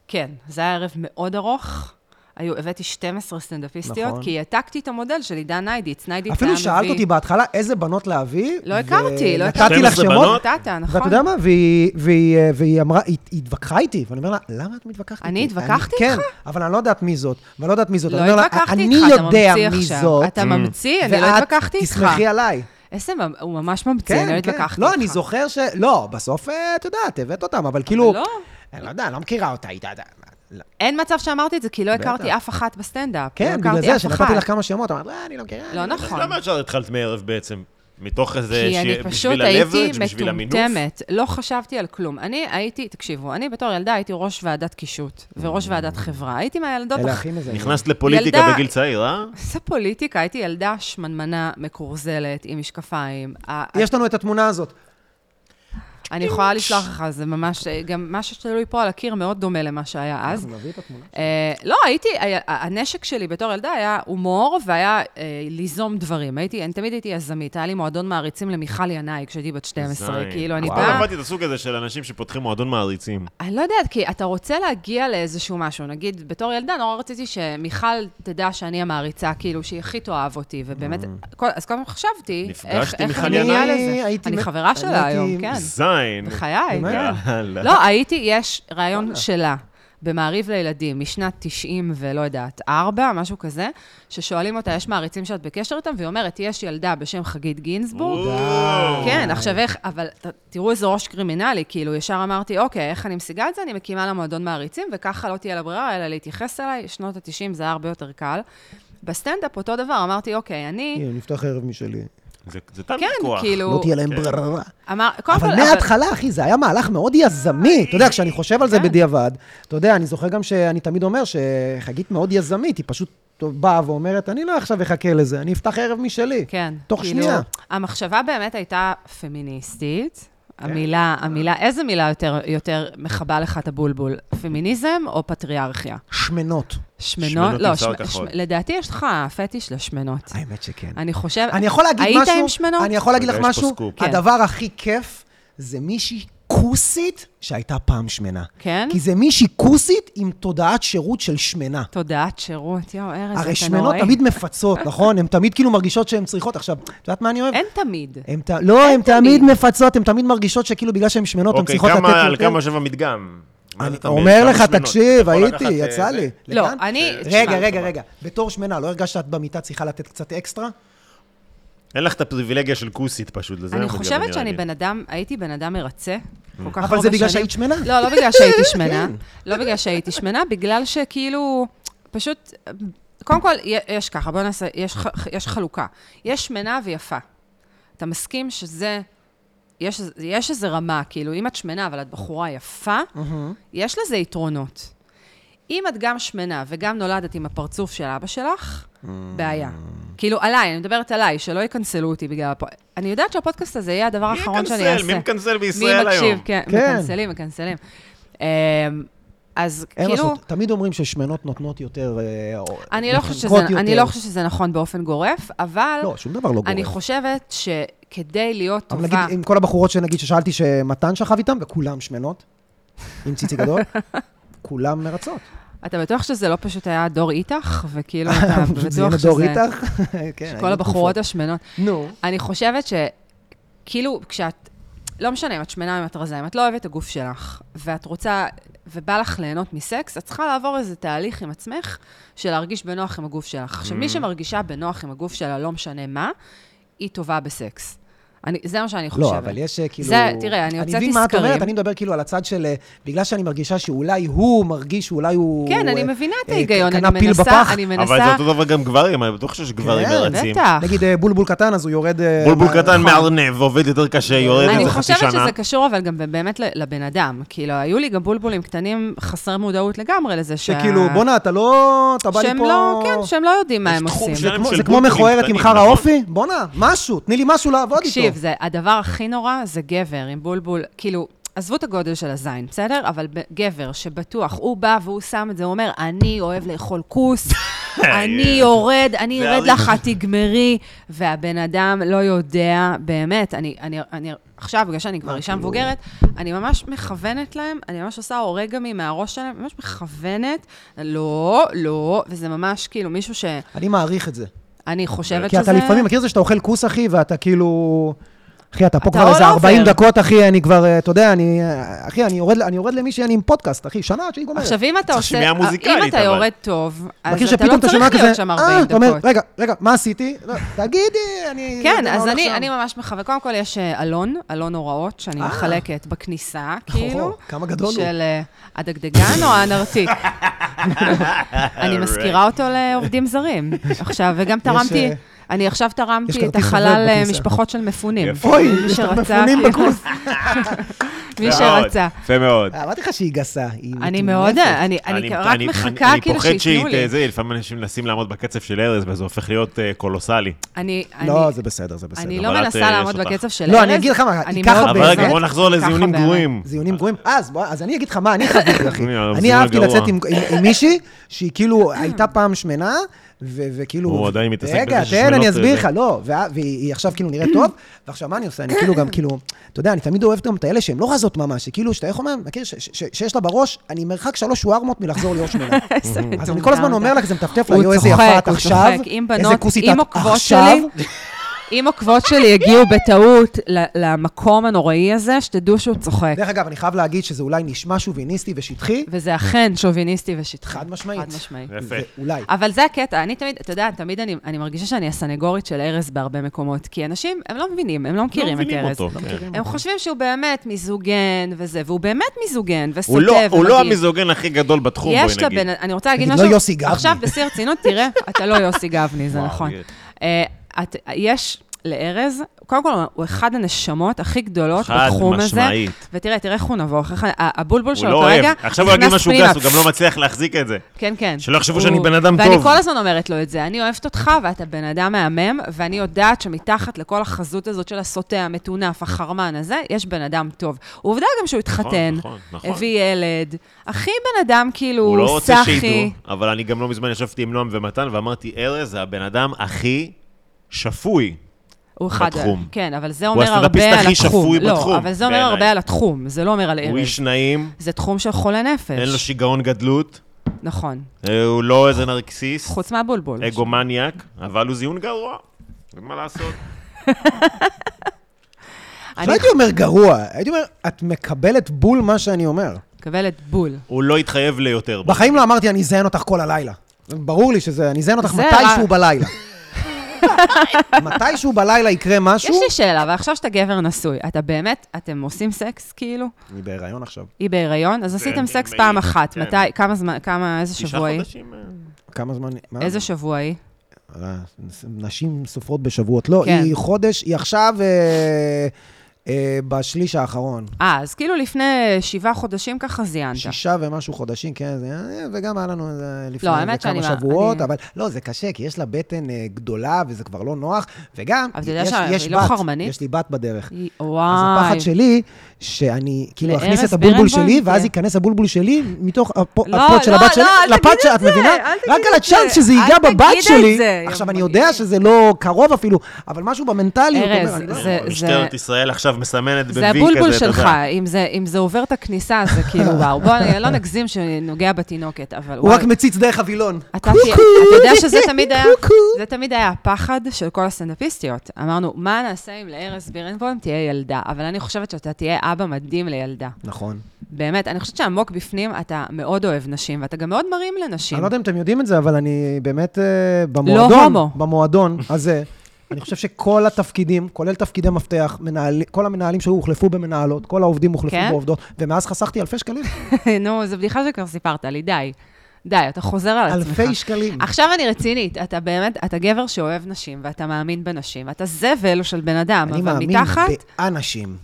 S3: כן, זה היה ערב מאוד ארוך. היו, הבאתי 12 סטנדאפיסטיות,
S2: נכון.
S3: נכון. כי העתקתי את המודל של עידן ניידיץ. ניידיץ
S2: אפילו
S3: היה
S2: שאלת
S3: מביא-
S2: אותי בהתחלה איזה בנות להביא.
S3: לא הכרתי, לא הכרתי.
S2: ונתתי לך
S1: 12
S2: שמות,
S1: בנות?
S3: נתת, נכון.
S2: ואתה יודע מה? והיא- והיא אה, והיא אמרה, היא היא התווכחה איתי, ואני אומר לה, למה את מתווכחת איתי?
S3: אני התווכחתי
S2: כן,
S3: איתך?
S2: אבל אני לא יודעת מי זאת, ואני לא יודעת מי זאת.
S3: לא
S2: אני אומר לה,
S3: התווכחתי
S2: אני
S3: איתך, אתה
S2: יודע
S3: ממציא
S2: מי
S3: עכשיו.
S2: זאת,
S1: Mm.
S3: אתה ממציא, אני לא
S2: ואת
S3: התווכחתי איתך.
S2: תסמכי עליי.
S3: איזה, ממ- הוא ממש ממציא, אני לא
S2: כן, כן.
S3: התווכחתי איתך.
S2: לא, אני זוכר ש... לא, בסוף, אה, את יודעת, הבאת אותם, אבל כאילו...
S3: לא.
S2: אני לא יודע, אני לא מכירה אותה, היא יודעת... לא.
S3: אין מצב שאמרתי את זה, כי לא
S2: בטח.
S3: הכרתי אף אחת בסטנדאפ. לא
S2: כן, בגלל
S3: הכרתי
S2: זה,
S3: אף
S2: שנתתי
S3: אחת.
S2: לך כמה שמות, אמרת, לא, אני לא מכירה.
S3: לא
S2: אני לא
S1: אז
S3: נכון.
S1: למה ישר התחלת מערב בעצם? מתוך איזה...
S3: כי אני
S1: ש-
S3: פשוט
S1: בשביל
S3: הייתי
S1: ה-leverage, בשביל המינוף?
S3: מטומטמת, לא חשבתי על כלום. אני הייתי, תקשיבו, אני בתור ילדה הייתי ראש ועדת קישוט וראש ועדת חברה. הייתי מהילדות...
S2: אלה
S3: הכ-
S2: הכי מזהים.
S1: נכנסת לפוליטיקה
S3: ילדה-
S1: בגיל צעיר, אה?
S3: זה פוליטיקה, הייתי ילדה שמנמנה, מקורזלת, עם משקפיים. ה-
S2: יש לנו את התמונה הזאת.
S3: אני יכולה לשלוח לך, זה ממש, גם מה שתלוי פה על הקיר מאוד דומה למה שהיה אז.
S2: אנחנו נביא את התמונה.
S3: אה, לא, הייתי, היה- הנשק שלי בתור ילדה היה הומור והיה אה, ליזום דברים. הייתי, אני תמיד הייתי יזמית, היה לי מועדון מעריצים למיכל ינאי כשהייתי בת 12,
S1: זין.
S3: כאילו, אני
S1: אף
S2: באה-
S1: פעם לא הבנתי את הסוג הזה של אנשים שפותחים מועדון מעריצים.
S3: אני לא יודעת, כי אתה רוצה להגיע לאיזשהו משהו. נגיד, בתור ילדה נורא רציתי שמיכל תדע שאני המעריצה, כאילו, שהיא הכי תאהב אותי, ובאמת, כל, אז כל הזמן חשבתי,
S1: נפגשת
S3: איך,
S1: אה. עם
S3: איך
S1: מיכל
S3: אני מגיעה
S2: ינאי?
S3: לזה.
S2: הייתי
S3: אני
S2: מ-
S3: חברה שלה
S2: הייתי-
S3: היום, כן.
S1: זין.
S3: בחיי,
S2: באמת?
S3: כן.
S1: יאללה.
S3: לא, הייתי, יש ראיון שלה במעריב לילדים משנת 90 ולא יודעת, 4, משהו כזה, ששואלים אותה, יש מעריצים שאת בקשר איתם? והיא אומרת, יש ילדה בשם חגית גינזבורג.
S1: וואו.
S3: כן, עכשיו איך, אבל ת- תראו איזה ראש קרימינלי, כאילו, ישר אמרתי, אוקיי, איך אני משיגה את זה? אני מקימה לה מועדון מעריצים, וככה לא תהיה לה ברירה, אלא להתייחס אליי, שנות ה-90 זה היה הרבה יותר קל. בסטנדאפ אותו דבר, אמרתי, אוקיי, אני...
S2: הנה, נפתח ערב משלי.
S1: זה- זה תמיד
S3: כן,
S1: כוח.
S3: כאילו...
S2: לא תהיה להם ברירה.
S3: אמר, קודם
S2: אבל
S3: כל,
S2: מההתחלה, אחי, זה היה מהלך מאוד יזמי. אתה יודע, כשאני חושב על זה
S3: כן.
S2: בדיעבד, אתה יודע, אני זוכר גם שאני תמיד אומר שחגית מאוד יזמית, היא פשוט באה ואומרת, אני לא עכשיו אחכה לזה, אני אפתח ערב משלי.
S3: כן.
S2: תוך שנייה.
S3: המחשבה באמת הייתה פמיניסטית.
S2: כן.
S3: המילה, המילה, איזה מילה יותר, יותר מכבה לך את הבולבול? פמיניזם או פטריארכיה?
S2: שמנות.
S3: שמנות?
S1: שמנות עם
S3: לא,
S1: שיער כחול.
S3: לדעתי יש לך פטיש לשמנות.
S2: האמת שכן.
S3: אני חושב...
S2: אני יכול להגיד
S3: היית
S2: משהו,
S3: היית עם שמנות?
S2: אני יכול להגיד לך
S1: רגע, יש פה
S2: משהו,
S1: סקופ.
S3: כן.
S2: הדבר הכי כיף זה מישהי כוסית שהייתה פעם שמנה.
S3: כן?
S2: כי זה מישהי כוסית עם תודעת שירות של שמנה.
S3: תודעת שירות, יואו, ארז, אתה נוראי.
S2: הרי שמנות תמיד מפצות, נכון? הן תמיד כאילו מרגישות שהן צריכות. עכשיו, את יודעת מה אני אוהב?
S3: אין תמיד.
S2: הם ת... לא, הן תמיד
S3: תמיד.
S2: מפצות, הן תמיד מרגישות שכאילו בגלל שהן שמנות, הן
S1: אוקיי,
S2: צריכות לתת יותר.
S1: כמה, על כמה יושב המדגם? מה
S2: אני
S1: זה תמיד?
S2: אומר
S1: כמה
S2: לך,
S1: שמנות? אתה
S2: תקשיב,
S1: יכול
S2: הייתי,
S1: לקחת,
S2: יצא
S1: אה,
S2: לי.
S3: לא,
S2: לכאן?
S3: אני...
S2: רגע,
S3: תשמע,
S2: רגע, רגע. בתור שמנה, לא הרגשת שאת במיטה צריכה לתת קצת אקסטרה?
S1: אין לך את הפריבילגיה של כוסית פשוט, לזה
S3: אני
S1: המדגם,
S3: חושבת
S1: נראה
S3: שאני
S1: לי.
S3: בן אדם, הייתי בן אדם מרצה. כל כך
S2: אבל
S3: הרבה
S2: זה בגלל
S3: שנים.
S2: שהיית שמנה.
S3: לא, לא בגלל שהייתי שמנה.
S2: כן.
S3: לא בגלל שהייתי שמנה, בגלל שכאילו, פשוט, קודם כל, י- יש ככה, בוא נעשה, יש, ח- יש חלוקה. יש שמנה ויפה. אתה מסכים שזה... יש, יש איזו רמה, כאילו, אם את שמנה, אבל את בחורה יפה,
S1: Mm-hmm.
S3: יש לזה יתרונות. אם את גם שמנה וגם נולדת עם הפרצוף של אבא שלך,
S1: Mm.
S3: בעיה. כאילו, עליי, אני מדברת עליי, שלא יקנסלו אותי בגלל... הפ... אני יודעת שהפודקאסט הזה יהיה הדבר האחרון שאני
S1: מי
S3: אעשה.
S1: מקנסל? מי מקנסל בישראל היום?
S3: מי מקשיב, כן,
S2: כן.
S3: מקנסלים, מקנסלים. אמ, אז
S2: אין מה
S3: כאילו,
S2: לעשות, תמיד אומרים ששמנות נותנות יותר... אה, או-
S3: אני לא, חושבת
S2: מחנכות
S3: שזה, אני
S2: יותר.
S3: לא חושבת שזה נכון באופן גורף, אבל
S2: לא, שום דבר לא גורף.
S3: אני חושבת שכדי להיות
S2: אבל
S3: טובה...
S2: נגיד, עם כל הבחורות שנגיד ששאלתי שמתן שכב איתם, וכולם שמנות, עם ציצי גדול, כולם מרצות.
S3: אתה בטוח שזה לא פשוט היה דור איתך? וכאילו, אתה
S2: זה ילד
S3: אה, בטוח
S2: דור
S3: שזה...
S2: איתך? כן,
S3: כל
S2: היו
S3: הבחורות השמנות.
S2: תקופות. נו.
S3: אני חושבת שכאילו, כשאת... לא משנה אם את שמנה או אם את רזה, אם את לא אוהבת את הגוף שלך, ואת רוצה, ובא לך ליהנות מסקס, את צריכה לעבור איזה תהליך עם עצמך של להרגיש בנוח עם הגוף שלך. עכשיו, מי
S2: Mm.
S3: שמרגישה בנוח עם הגוף שלה, לא משנה מה, היא טובה בסקס. אני, זה מה שאני חושבת.
S2: לא, אבל יש אה, כאילו...
S3: זה, תראה, אני הוצאתי
S2: אני מבין מה את אומרת,
S3: סקרים.
S2: אני מדבר כאילו על הצד של... אה, בגלל שאני מרגישה שאולי הוא מרגיש שאולי הוא...
S3: כן, אני
S2: אה,
S3: מבינה את
S2: אה,
S3: ההיגיון,
S2: קנה
S3: אני
S2: פיל
S3: מנסה,
S2: בפח.
S3: אני מנסה...
S1: אבל זה אותו דבר גם גברים, אני בטוח שיש גברים
S2: כן,
S1: מרצים.
S3: בטח.
S2: נגיד אה, בולבול קטן, אז הוא יורד... אה,
S1: בולבול
S2: מה-
S1: קטן מארנב, עובד יותר קשה, יורד
S3: נכון. אני
S1: איזה חצי
S3: חושבת
S1: שנה.
S3: שזה קשור, אבל גם באמת ל- לבן אדם. כאילו, היו לי גם בולבולים קטנים חסרי מודעות לגמרי לזה שה-
S2: שכאילו, כאילו, בואנה, אתה לא... אתה בא לי פה...
S3: אה. שהם לא, כן, שהם לא יודעים מה
S1: יש
S3: הם
S1: תחום
S3: עושים.
S1: של-
S2: זה כמו-
S1: של
S2: זה כמו
S1: בולבולים
S2: מכוערת עם
S1: קטנים,
S2: חרא
S1: נכון?
S2: אופי? בואנה, משהו, תני לי משהו לעבוד איתו.
S3: תקשיב, זה- הדבר הכי נורא זה גבר עם בולבול, כאילו... עזבו את הגודל של הזין, בסדר? אבל ב- גבר שבטוח, הוא בא והוא שם את זה, הוא אומר, אני אוהב לאכול כוס, אני
S2: אה,
S3: יורד, אני
S1: זה
S3: ארד
S1: הריב.
S3: לך, את תגמרי. והבן אדם לא יודע, באמת, אני, אני, אני עכשיו, בגלל שאני כבר
S2: כאילו?
S3: אישה מבוגרת, אני ממש מכוונת להם, אני ממש עושה אורגמי מהראש שלהם, ממש מכוונת, לא, לא, וזה ממש כאילו מישהו שאני
S2: אני מעריך את זה.
S3: חושבת
S2: כי
S3: שזה...
S2: אתה לפעמים מכיר את זה שאתה אוכל כוס, אחי, ואתה כאילו... אחי, אתה פה
S3: אתה לא
S2: כבר
S3: all
S2: איזה 40
S3: over.
S2: דקות, אחי, אני כבר, אה, אתה יודע, אני... אה, אחי, אני יורד- אני יורד למישהי, אני עם פודקאסט, אחי, שנה עד שהיא גומרת.
S3: עכשיו, אם אתה
S1: אה, צריך
S3: עושה, אה,
S1: שמיעה מוזיקלית,
S3: אם אתה
S1: אבל.
S3: יורד טוב,
S2: מכיר
S3: אז אתה
S2: שפתאום
S3: לא
S2: אתה שומע
S3: צריך
S2: כזה,
S3: להיות שם 40
S2: אה, אתה אומר,
S3: דקות.
S2: רגע, רגע, מה עשיתי? לא, תגידי, אני...
S3: כן,
S2: יודע מה
S3: אז
S2: הולך
S3: אני,
S2: שם."
S3: אני ממש מכוונת. קודם כל, יש אה, אלון, אלון הוראות, שאני
S2: אה.
S3: מחלקת בכניסה,
S2: אוהו,
S3: כאילו.
S2: כמה גדול הוא.
S3: של אה, הדגדגן או הנרתיק. אני מזכירה אותו לעובדים זרים. עכשיו, וגם תרמתי,
S2: אה,
S3: אני עכשיו
S2: יש
S3: תרמתי את
S2: כרטיס
S3: החלל
S2: חובב
S3: אה,
S2: בכניסה.
S3: משפחות של מפונים.
S1: יפה.
S2: אוי,
S3: מי
S2: יש לך
S3: שרצה,
S2: מפונים
S3: כאילו.
S2: בקורס.
S3: מי
S1: מאוד,
S3: שרצה.
S1: יפה מאוד.
S2: אה, אמרתי לך שהיא גסה, היא מטונפת.
S3: אני מאוד, אה, אני אני רק
S1: אני-
S3: מחכה כאילו
S1: אני פוחד
S3: שייתנו
S1: שהיא,
S3: לי.
S1: ת- זה, לפעמים אנשים מנסים לעמוד בקצב של ארז, וזה הופך להיות אה, קולוסלי.
S3: אני,
S2: לא,
S3: אני-
S2: זה בסדר, זה בסדר.
S3: אני לא
S1: אבל את,
S3: מנסה
S1: אה,
S3: לעמוד
S1: יש אותך.
S3: בקצב של ארז.
S2: לא, אני אגיד לך מה, היא
S3: אני
S2: ככה
S3: מאוד
S1: אבל רגע,
S3: לא, באמת-
S2: באמת?
S1: בואו נחזור לזיונים
S3: ככה באמת.
S1: גרועים.
S2: זיונים גרועים. אז, בוא, אז אני אגיד לך מה אני חוויתי, אחי.
S1: אני, הזיון
S2: אני אהבתי
S1: הגרוע.
S2: לצאת עם, עם, עם מישהי שהיא כאילו הייתה פעם שמנה, ו, וכאילו...
S1: הוא עדיין מתעסק
S2: רגע,
S1: בזה ששמנות אה,
S2: תן, אני
S1: זה-
S2: אסביר לך, לא. וה- והיא עכשיו כאילו נראית טוב, ועכשיו מה אני עושה? אני כאילו גם כאילו... אתה יודע, אני תמיד אוהב גם את האלה שהן לא רזות ממש, שכאילו, שאתה איך אומר, מכיר, ש- ש- ש- שיש לה בראש, אני מרחק שלוש ווארמות מלחזור להיות שמנה.
S3: איזה
S2: אז אני
S3: מטומטם
S2: כל הזמן
S3: אתה.
S2: אומר לך, זה מטפטף לה,
S3: הוא
S2: יואו, איזה
S3: צוחק,
S2: יפה את
S3: הוא
S2: עכשיו,
S3: צוחק. אם
S2: איזה
S3: בנות,
S2: כוסית
S3: אם
S2: את
S3: עוקבות
S2: עכשיו.
S3: שלי, אם עוקבות שלי הגיעו בטעות ל- למקום הנוראי הזה, שתדעו שהוא צוחק.
S2: דרך אגב, אני חייב להגיד שזה אולי נשמע שוביניסטי ושטחי,
S3: וזה אכן שוביניסטי ושטחי.
S2: חד משמעית.
S3: חד משמעית.
S1: יפה.
S2: זה אולי.
S3: אבל זה הקטע, אני תמיד, אתה יודע, תמיד אני, אני מרגישה שאני הסנגורית של ארז בהרבה מקומות, כי אנשים, הם לא מבינים, הם לא מכירים
S1: לא
S3: את
S1: מבינים
S3: ארז.
S1: אותו, כן.
S3: הם חושבים שהוא באמת מיזוגן וזה, והוא באמת מיזוגן וסוטה
S1: הוא לא-
S3: ומגעיל.
S1: הוא לא המזוגן הכי גדול בתחום, בואי
S3: יש
S1: נגיד.
S3: לבן, אני רוצה להגיד
S2: תגיד,
S3: משהו.
S2: לא יוסי גבני.
S3: עכשיו, בשיא הרצינות, תראה, אתה לא יוסי גבני, זה
S1: וואו,
S3: נכון.
S1: יש.
S3: אה, את- יש לארז, קודם כל, הוא אחד הנשמות הכי גדולות
S1: חד
S3: בתחום הזה.
S1: משמעית.
S3: ותראה, תראה איך הוא נבוך, איך ה- הבולבול
S1: הוא
S3: שלו
S1: לא
S3: כרגע
S1: אוהב. עכשיו הוא יגיד
S3: נכנס
S1: משהו
S3: פנימה.
S1: גס, הוא גם לא מצליח להחזיק את זה.
S3: כן, כן.
S1: שלא יחשבו
S3: הוא-
S1: שאני בן אדם
S3: ואני
S1: טוב.
S3: כל הזמן אומרת לו את זה. אני אוהבת אותך, ואתה בן אדם מהמם, ואני יודעת שמתחת לכל החזות הזאת של הסוטה, המטונף, החרמן הזה, יש בן אדם טוב. עובדה גם שהוא התחתן,
S1: נכון, נכון.
S3: הביא ילד. הכי בן אדם, כאילו,
S1: הוא לא רוצה
S3: סאחי.
S1: שידעו, אבל אני גם לא מזמן ישבתי עם נועם ומתן ואמרתי, ארז זה הבן אדם הכי שפוי.
S3: הוא אחד...
S1: בתחום.
S3: כן, אבל זה
S1: הוא
S3: אומר הרבה על התחום.
S1: הסטנדאפיסט הכי שפוי בתחום,
S3: לא, אבל זה אומר
S1: בעיניי.
S3: הרבה על התחום, זה לא אומר על
S1: הוא
S3: ארז.
S1: איש נעים,
S3: זה תחום של חולה נפש.
S1: אין לו שיגעון גדלות,
S3: נכון.
S1: אה, הוא לא איזה נרקסיסט,
S3: חוץ מהבולבול.
S1: אגומניאק, אבל הוא זיון גרוע. אין מה לעשות.
S2: לא
S3: אני
S2: הייתי אומר גרוע, הייתי אומר, את מקבלת בול מה שאני אומר.
S3: מקבלת בול.
S1: הוא לא התחייב ליותר.
S2: בחיים לא אמרתי, אני אזיין אותך כל הלילה. ברור לי שזה, אני אזיין אותך
S3: זה
S2: מתישהו
S3: רק-
S2: בלילה. מתישהו בלילה יקרה
S3: יש
S2: משהו...
S3: לי שאלה, ועכשיו שאתה גבר נשוי, אתה באמת, אתם עושים סקס, כאילו?
S2: אני בהיריון עכשיו.
S3: היא בהיריון? אז עשיתם
S1: עם-
S3: סקס
S1: עם-
S3: פעם אחת.
S1: כן.
S3: מתי, כמה זמן, כמה, איזה שבוע היא?
S1: חודשים. אה.
S2: כמה זמן... מה?
S3: איזה שבוע היא?
S2: אה, נשים סופרות בשבועות. לא,
S3: כן.
S2: היא חודש, היא עכשיו אה, אה, בשליש האחרון.
S3: אה, אז כאילו לפני שבעה חודשים ככה זיינת.
S2: שישה ומשהו חודשים, כן, זה, אה, וגם היה לנו איזה לפני
S3: לא,
S2: איזה
S3: האמת
S2: כמה
S3: שאני מה-
S2: שבועות,
S3: אני-
S2: אבל לא, זה קשה, כי יש לה בטן אה, גדולה וזה כבר לא נוח, וגם,
S3: אבל אתה יודע
S2: יש,
S3: שהיא
S2: יש
S3: לא
S2: בת,
S3: חרמנית?
S2: יש לי בת בדרך.
S3: היא-
S2: אז
S3: וואי.
S2: הפחד שלי, שאני כאילו
S3: לארז
S2: אכניס את הבולבול
S3: בירנבוים?
S2: שלי,
S3: כן.
S2: ואז ייכנס הבולבול שלי מתוך הפו-
S3: לא,
S2: הפוט של
S3: לא,
S2: הבת שלי,
S3: לא, אל
S2: לפת
S3: תגיד
S2: שאת
S3: את זה,
S2: מבינה?
S3: אל תגיד
S2: רק על
S3: את
S2: הצ'אנס
S3: זה,
S2: שזה
S3: אל
S2: ייגע
S3: תגיד
S2: בבת
S3: את
S2: שלי.
S3: זה, יא
S2: עכשיו, אני
S3: מגעיל.
S2: יודע שזה לא קרוב אפילו, אבל משהו במנטליות.
S3: ארז,
S2: אומר, אני לא-
S3: זה-
S1: אה, משטרת
S3: זה-
S1: ישראל עכשיו מסמנת ב-V כזה,
S3: זה
S1: אתה יודע.
S3: הבולבול שלך, אם זה, אם זה עובר את הכניסה, זה כאילו וואו. בוא, אני לא נגזים שנוגע בתינוקת, אבל
S2: הוא רק
S3: וואי.
S2: מציץ דרך הווילון.
S3: אתה תהיה- אתה יודע שזה תמיד היה, זה תמיד היה הפחד של כל הסטנדאפיסטיות. אמרנו, מה נעשה אם לארז בירנבוים תהיה ילדה? אבל אני חושבת שאתה תהיה אבא מדהים לילדה.
S2: נכון.
S3: באמת, אני חושבת שעמוק בפנים אתה מאוד אוהב נשים, ואתה גם מאוד מרים לנשים.
S2: אני לא יודע אם אתם יודעים את זה, אבל אני באמת אה, במועדון,
S3: לא הומו.
S2: במועדון הזה, אני חושב שכל התפקידים, כולל תפקידי מפתח, מנהל, כל המנהלים שהיו הוחלפו במנהלות, כל העובדים הוחלפו
S3: כן?
S2: בעובדות, ומאז חסכתי אלפי שקלים.
S3: נו, זו בדיחה שכבר סיפרת לי, די. די, אתה חוזר על עצמך.
S2: אלפי שקלים.
S3: עכשיו אני רצינית, אתה באמת, אתה גבר שאוהב נשים, ואתה מאמין בנשים, אתה זבל של בן אדם,
S2: אני
S3: אבל
S2: מאמין
S3: מתחת,
S2: באנשים.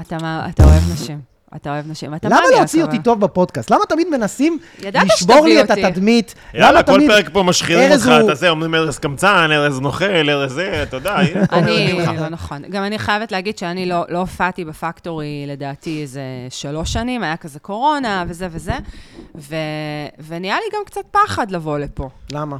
S3: אתה מה- אתה אוהב נשים. אתה אוהב נשים. אתה
S2: למה
S3: מאמין,
S2: להוציא
S3: אתה
S2: אותי
S3: אוהב.
S2: טוב בפודקאסט? למה תמיד מנסים
S3: ידעת
S2: לשבור
S3: שתביא
S2: לי את
S3: אותי.
S2: התדמית?
S1: יאללה,
S2: למה
S1: כל
S2: תמיד-
S1: פרק פה משחירים
S2: ארז
S1: אותך,
S2: הוא-
S1: אתה זה, אומרים ארז קמצן, ארז נוכל, ארז זה, אתה יודע, הנה, פה מלמדים
S3: אני,
S1: לך.
S3: לא נכון. גם אני חייבת להגיד שאני לא לא הופעתי בפקטורי, לדעתי, איזה שלוש שנים, היה כזה קורונה וזה וזה, ו- ונהיה לי גם קצת פחד לבוא לפה.
S2: למה?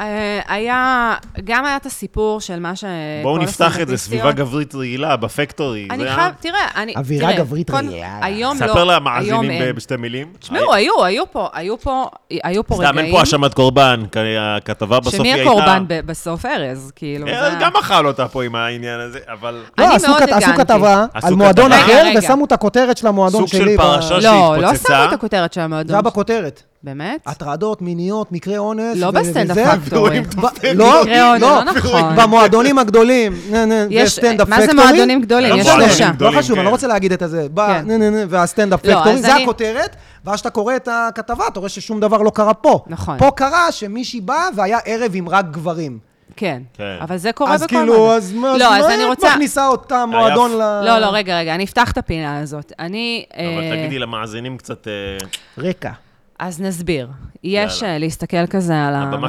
S3: אה, היה, גם היה את הסיפור של מה ש...
S1: בואו
S3: אה, כל
S1: נפתח את זה,
S3: הסטנדאפיסטיות-
S1: סביבה גברית רעילה, בפקטורי.
S3: אני
S1: זה ה-
S3: חייב, תראה, אני...
S2: אווירה
S3: תראה,
S2: גברית
S3: קודם-
S2: רעילה.
S3: היום לא,
S1: ספר
S3: היום
S1: למאזינים
S3: אין.
S1: ב- בשתי מילים.
S3: תשמעו, היו, היו פה, היו פה, היו פה רגעים.
S1: סתם, אין פה האשמת קורבן, כי הכתבה בסוף היא
S3: שמי
S1: הייתה...
S3: הקורבן ב- בסוף ארז, כאילו.
S1: ארז
S3: זה- אה,
S1: גם אכל אותה פה עם העניין הזה, אבל...
S3: אני
S2: לא, עשו
S3: מאוד
S2: כת- עשו
S3: הגנתי.
S2: כתבה
S1: עשו
S2: על מועדון
S1: כתבה.
S2: אחר,
S3: רגע, רגע.
S2: ושמו את הכותרת של המועדון
S1: סוג
S2: שלי.
S1: של
S2: ב-
S1: פרשה ש-
S3: לא, לא
S1: שהתפוצצה.
S3: שמו את הכותרת של
S2: זה היה
S3: המועדון.
S2: בכותרת.
S3: באמת?
S2: הטרדות מיניות, מקרי אונס.
S3: לא
S2: ו-
S3: בסטנדאפ
S2: וזה.
S3: פקטורי.
S1: ב-
S2: ב-
S3: מקרה
S2: לא,
S3: אונס,
S2: לא,
S3: לא נכון.
S2: במועדונים הגדולים, נה, נה,
S3: יש-
S2: וסטנדאפ
S3: מה זה
S2: פקטורי.
S3: מועדונים גדולים?
S1: יש
S2: לא
S1: שלושה.
S2: משנה, לא
S1: גדולים,
S2: חשוב, אני
S1: כן.
S2: לא רוצה להגיד את הזה. בא,
S3: כן.
S2: נה, נה, נה, והסטנדאפ
S3: לא,
S2: פקטורי,
S3: אז
S2: זה
S3: אני-
S2: הכותרת, ואז כשאתה קורא את הכתבה, אתה רואה ששום דבר לא קרה פה.
S3: נכון.
S2: פה קרה שמישהי באה והיה ערב עם רק גברים.
S3: כן.
S1: כן.
S3: אבל זה קורה בכל
S2: אז כאילו,
S3: מועדון.
S2: אז מה,
S3: לא, אז
S2: אז
S3: אני
S2: מה את
S3: רוצה...
S2: מכניסה אותה מועדון
S1: היה-
S2: ל...
S3: לא, לא, רגע, רגע, אני אפתח את הפינה הזאת. אני... אה,
S1: אבל תגידי למאזינים קצת... אה,
S2: רקע.
S3: אז נסביר. יש
S1: יאללה.
S3: אה, להסתכל כזה על
S1: הבמה
S3: המצלמה,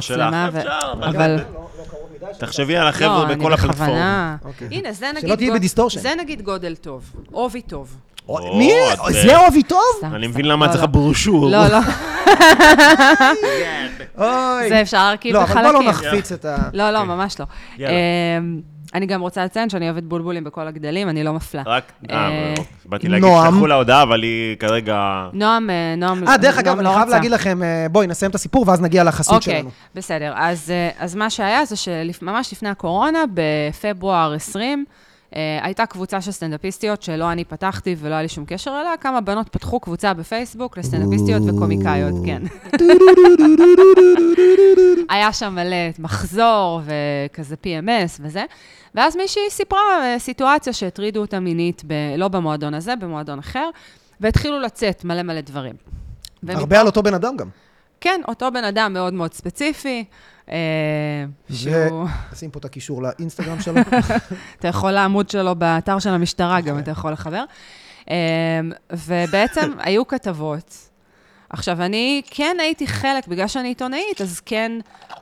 S1: שלך, אפשר, אבל-
S3: אבל...
S1: תחשבי על
S3: לא,
S1: החבר'ה
S3: אני
S1: בכל הפלטפורמות.
S3: בכוונה...
S2: אוקיי.
S3: הנה, זה נגיד...
S2: שלא תהיי
S3: גוד-
S2: בדיסטורשן.
S3: זה נגיד גודל טוב, עובי טוב.
S1: או,
S2: מי?
S1: את-
S2: זה אוהבי טוב?
S3: סתם,
S1: אני
S3: סתם.
S1: מבין למה את
S3: לא,
S1: צריכה
S3: לא.
S1: ברושור.
S3: לא, לא,
S2: אוי.
S3: זה אפשר להרכיב
S2: לא,
S3: בחלקים.
S2: אבל בוא לא נחפיץ את ה...
S3: לא, לא, ממש לא.
S1: כן. יאללה.
S3: אמ, אני גם רוצה לציין שאני אוהבת בולבולים בכל הגדלים, אני לא מפלה.
S1: רק,
S3: אה,
S1: אה, לא, באתי להגיד,
S2: נועם.
S1: שלחו לה הודעה, אבל היא כרגע...
S3: נועם, אה, נועם,
S2: אה, דרך אגב,
S3: נועם
S2: אני
S3: לא
S2: חייב
S3: רצה.
S2: להגיד לכם, אה, בואי, נסיים את הסיפור ואז נגיע לחסות
S3: אוקיי,
S2: שלנו.
S3: בסדר. אז, אה, אז מה שהיה זה שממש לפני הקורונה, בפברואר 20, אה, הייתה קבוצה של סטנדאפיסטיות שלא אני פתחתי ולא היה לי שום קשר אליה, כמה בנות פתחו קבוצה בפייסבוק לסטנדאפיסטיות וקומיקאיות, כן. היה שם מלא מחזור וכזה PMS וזה, ואז מישהי סיפרה אה, סיטואציה שהטרידו אותה מינית, ב, לא במועדון הזה, במועדון אחר, והתחילו לצאת מלא מלא דברים.
S2: הרבה על אותו בן אדם גם.
S3: כן, אותו בן אדם מאוד מאוד ספציפי, אה, שהוא...
S2: נשים פה את הקישור לאינסטגרם שלו.
S3: אתה יכול לעמוד שלו באתר של המשטרה, גם אתה יכול לחבר. אה, ובעצם היו כתבות. עכשיו, אני כן הייתי חלק, בגלל שאני עיתונאית, אז כן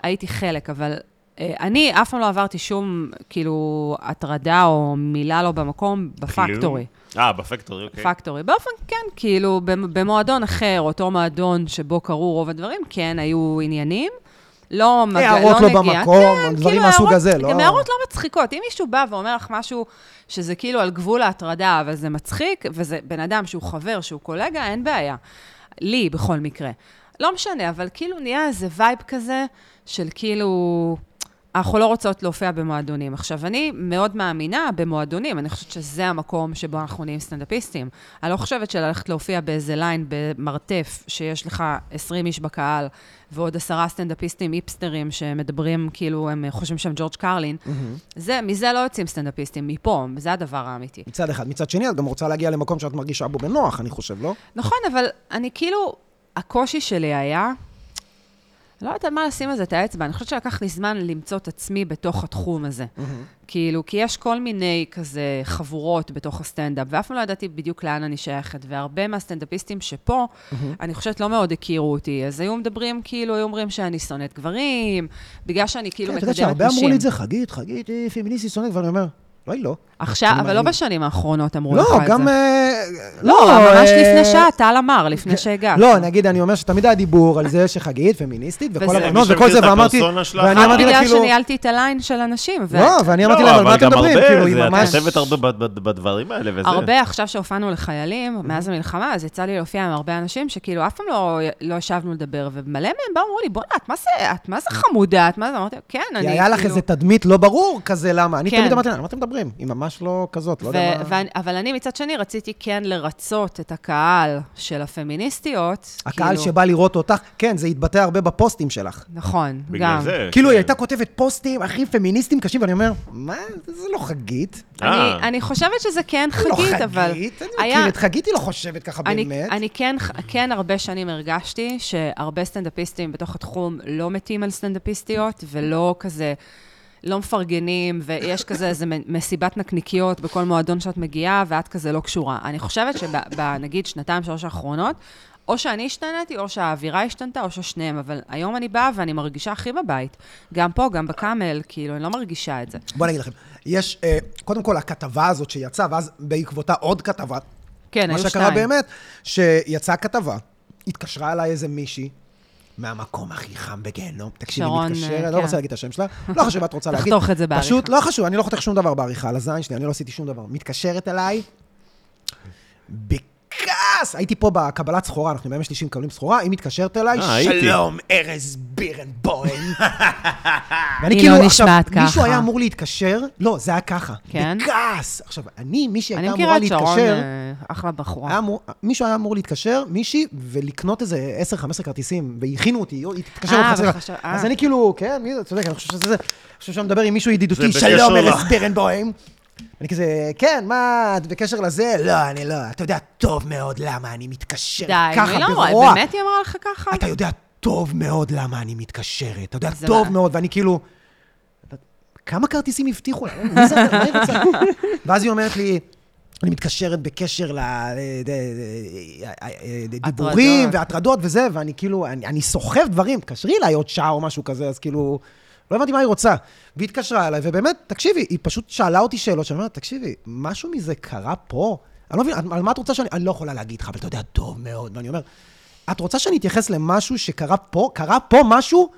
S3: הייתי חלק, אבל אה, אני אף פעם לא עברתי שום, כאילו, הטרדה או מילה לא במקום בפקטורי.
S1: אה, בפקטורי, אוקיי.
S3: פקטורי. באופן, כן, כאילו, במ- במועדון אחר, אותו מועדון שבו קרו רוב הדברים, כן, היו עניינים. לא מגע, לא נגיעה.
S2: הערות לא במקום,
S3: כן,
S2: דברים
S3: כאילו,
S2: מהסוג
S3: הערות-
S2: הזה, לא-
S3: גם הערות לא מצחיקות. אם מישהו בא ואומר לך משהו שזה כאילו על גבול ההטרדה, אבל זה מצחיק, וזה בן אדם שהוא חבר, שהוא קולגה, אין בעיה. לי, בכל מקרה. לא משנה, אבל כאילו נהיה איזה וייב כזה של כאילו... אנחנו לא רוצות להופיע במועדונים. עכשיו, אני מאוד מאמינה במועדונים, אני חושבת שזה המקום שבו אנחנו נהיים סטנדאפיסטים. אני לא חושבת שללכת להופיע באיזה ליין במרתף, שיש לך 20 איש בקהל, ועוד עשרה סטנדאפיסטים היפסטרים שמדברים, כאילו, הם חושבים שהם ג'ורג' קרלין. זה, מזה לא יוצאים סטנדאפיסטים, מפה, זה הדבר האמיתי.
S2: מצד אחד. מצד שני, את גם רוצה להגיע למקום שאת מרגישה בו בנוח, אני חושב, לא?
S3: נכון, אבל אני כאילו, הקושי שלי היה, לא יודעת על מה לשים על זה את האצבע, אני חושבת שלקח לי זמן למצוא את עצמי בתוך התחום הזה.
S2: Mm-hmm.
S3: כאילו, כי יש כל מיני כזה חבורות בתוך הסטנדאפ, ואף פעם לא ידעתי בדיוק לאן אני שייכת, והרבה מהסטנדאפיסטים שפה,
S2: Mm-hmm.
S3: אני חושבת לא מאוד הכירו אותי, אז היו מדברים, כאילו, היו אומרים שאני שונאת גברים, בגלל שאני כאילו
S2: כן,
S3: מקדמת
S2: אתה
S3: נשים.
S2: יודע שהרבה אמרו לי את זה, חגית, חגית, אה, פמיניסטית שונאת, ואני אומר, אולי לא.
S3: עכשיו,
S2: אני
S3: אבל לא
S2: מאמין.
S3: בשנים האחרונות אמרו
S2: לא,
S3: לך את זה.
S2: גם... אה,
S3: לא, ממש
S2: אה,
S3: לפני שעה, טל אמר, לפני שהגעת.
S2: לא, נגיד, אני אומר שתמיד היה דיבור על זה שחגית, פמיניסטית, וכל
S3: וזה-
S2: הבנות
S1: מי
S2: וכל
S1: שמכיר
S2: זה,
S1: לא, את
S2: ואמרתי...
S1: הפרסונה שלך,
S2: ואני
S1: אה,
S2: אמרתי לה,
S3: בגלל
S2: כאילו...
S3: שניהלתי את הליין של אנשים,
S2: לא, ואני אמרתי
S1: לא,
S2: לה, על מה
S1: אבל
S2: אתם
S1: גם
S2: מדברים?
S1: הרבה,
S2: כאילו, היא
S1: זה-
S2: ממש...
S1: את כותבת הרבה ב- ב- בדברים האלה וזה.
S3: הרבה עכשיו שהופענו לחיילים, מאז המלחמה, אז יצא לי להופיע עם הרבה אנשים שכאילו אף פעם לא, לא ישבנו לדבר, ומלא מהם באו, אמרו לי, בוא'נה, את מה זה, את מה זה חמודה, את מה זה, אמרתי, כן, אני
S2: כי
S3: כאילו...
S2: היה לך איזה תדמית לא ברור כזה, למה? אני
S3: כן.
S2: תמיד אמרתי לה, על מה אתם מדברים? היא ממש לא כזאת, לא יודע
S3: ו-
S2: מה...
S3: ואני- אבל אני מצד שני רציתי כן לרצות את הקהל של הפמיניסטיות.
S2: הקהל
S3: כאילו-
S2: שבא לראות אותך, כן, זה התבטא הרבה בפוסטים שלך.
S3: נכון,
S1: בגלל
S3: גם.
S1: זה.
S2: כאילו, היא
S1: כן.
S2: הייתה כותבת פוסטים הכי פמיניסטים קשים, ואני אומר, מה? זה לא חגית.
S1: אה.
S3: אני, אני חושבת שזה כן
S2: לא
S3: חגית,
S2: חגית,
S3: אבל...
S2: אני
S3: היה-
S2: מכיר את חגית, היא לא חושבת ככה
S3: אני,
S2: באמת.
S3: אני כן, כן הרבה שנים הרגשתי שהרבה סטנדאפיסטים בתוך התחום לא מתים על סטנדאפיסטיות, ולא כזה, לא מפרגנים, ויש כזה איזה מ- מסיבת נקניקיות בכל מועדון שאת מגיעה, ואת כזה לא קשורה. אני חושבת שבנגיד שנתיים, שלוש האחרונות, או שאני השתנתי, או שהאווירה השתנתה, או ששניהם, אבל היום אני באה ואני מרגישה הכי בבית. גם פה, גם בקאמל, כאילו, אני לא מרגישה את זה.
S2: בוא נגיד לכם, יש, אה, קודם כל, הכתבה הזאת שיצאה, ואז בעקבותה עוד כתבה.
S3: כן, היו
S2: מה שקרה
S3: שתיים.
S2: באמת, שיצאה כתבה, התקשרה אליי איזה מישהי. מהמקום הכי חם בגיהנום. תקשיבי,
S3: שרון,
S2: מתקשרת,
S3: אה,
S2: לא
S3: כן.
S2: רוצה להגיד את השם שלה, לא חשוב מה את רוצה להגיד.
S3: תחתוך את זה בעריכה.
S2: פשוט, לא חשוב, אני לא חותך שום דבר בעריכה, על הזין שלי, אני לא עשיתי שום דבר. מתקשרת אליי, בכעס! הייתי פה בקבלת סחורה, אנחנו בימי שלישי מקבלים סחורה, היא מתקשרת אליי,
S1: אה, הייתי.
S2: שלום, ארז בירנבוים. ואני
S3: היא
S2: כאילו,
S3: לא
S2: עכשיו,
S3: נשמעת
S2: מישהו
S3: ככה.
S2: היה אמור להתקשר, לא, זה היה ככה.
S3: כן?
S2: בכעס. עכשיו, אני, מי
S3: אני
S2: שהייתה
S3: מכירה
S2: אמורה
S3: את שרון,
S2: להתקשר,
S3: אה, אחלה בחורה.
S2: היה אמור- מישהו היה אמור להתקשר, מישהי, ולקנות איזה 10-15 כרטיסים, והכינו אותי, היא התקשרה
S3: אה,
S2: עוד חצי דקה.
S3: וחשב- אה.
S2: אז אני כאילו, כן, מי זה, צודק, אני חושב שזה זה. אני חושב שאני מדבר עם מישהו
S1: זה
S2: ידידותי,
S1: בקשר
S2: שלום,
S1: ל-
S2: ארז בירנבוים. אני כזה, כן, מה, את בקשר לזה? לא, אני לא, אתה יודע טוב מאוד למה אני מתקשרת
S3: די,
S2: ככה,
S3: מי לא
S2: ברוע.
S3: רואה? באמת היא אמרה לך ככה?
S2: אתה יודע טוב מאוד למה אני מתקשרת, אתה יודע
S3: זה לא-
S2: טוב
S3: מה-
S2: מאוד, ואני כאילו... כמה כרטיסים הבטיחו לה? מי זה? מה היא רוצה? ואז היא אומרת לי, אני מתקשרת בקשר לדיבורים
S3: הטרדות.
S2: והטרדות וזה, ואני כאילו, אני אני סוחב דברים, תקשרי אליי עוד שעה או משהו כזה, אז כאילו, לא הבנתי מה היא רוצה. והיא התקשרה אליי, ובאמת, תקשיבי, היא פשוט שאלה אותי שאלות, שאני אומר, תקשיבי, משהו מזה קרה פה? אני לא מבין, על- על מה את רוצה שאני... אני לא יכולה להגיד לך, אבל אתה יודע טוב מאוד, ואני אומר, את רוצה שאני אתייחס למשהו שקרה פה? קרה פה משהו?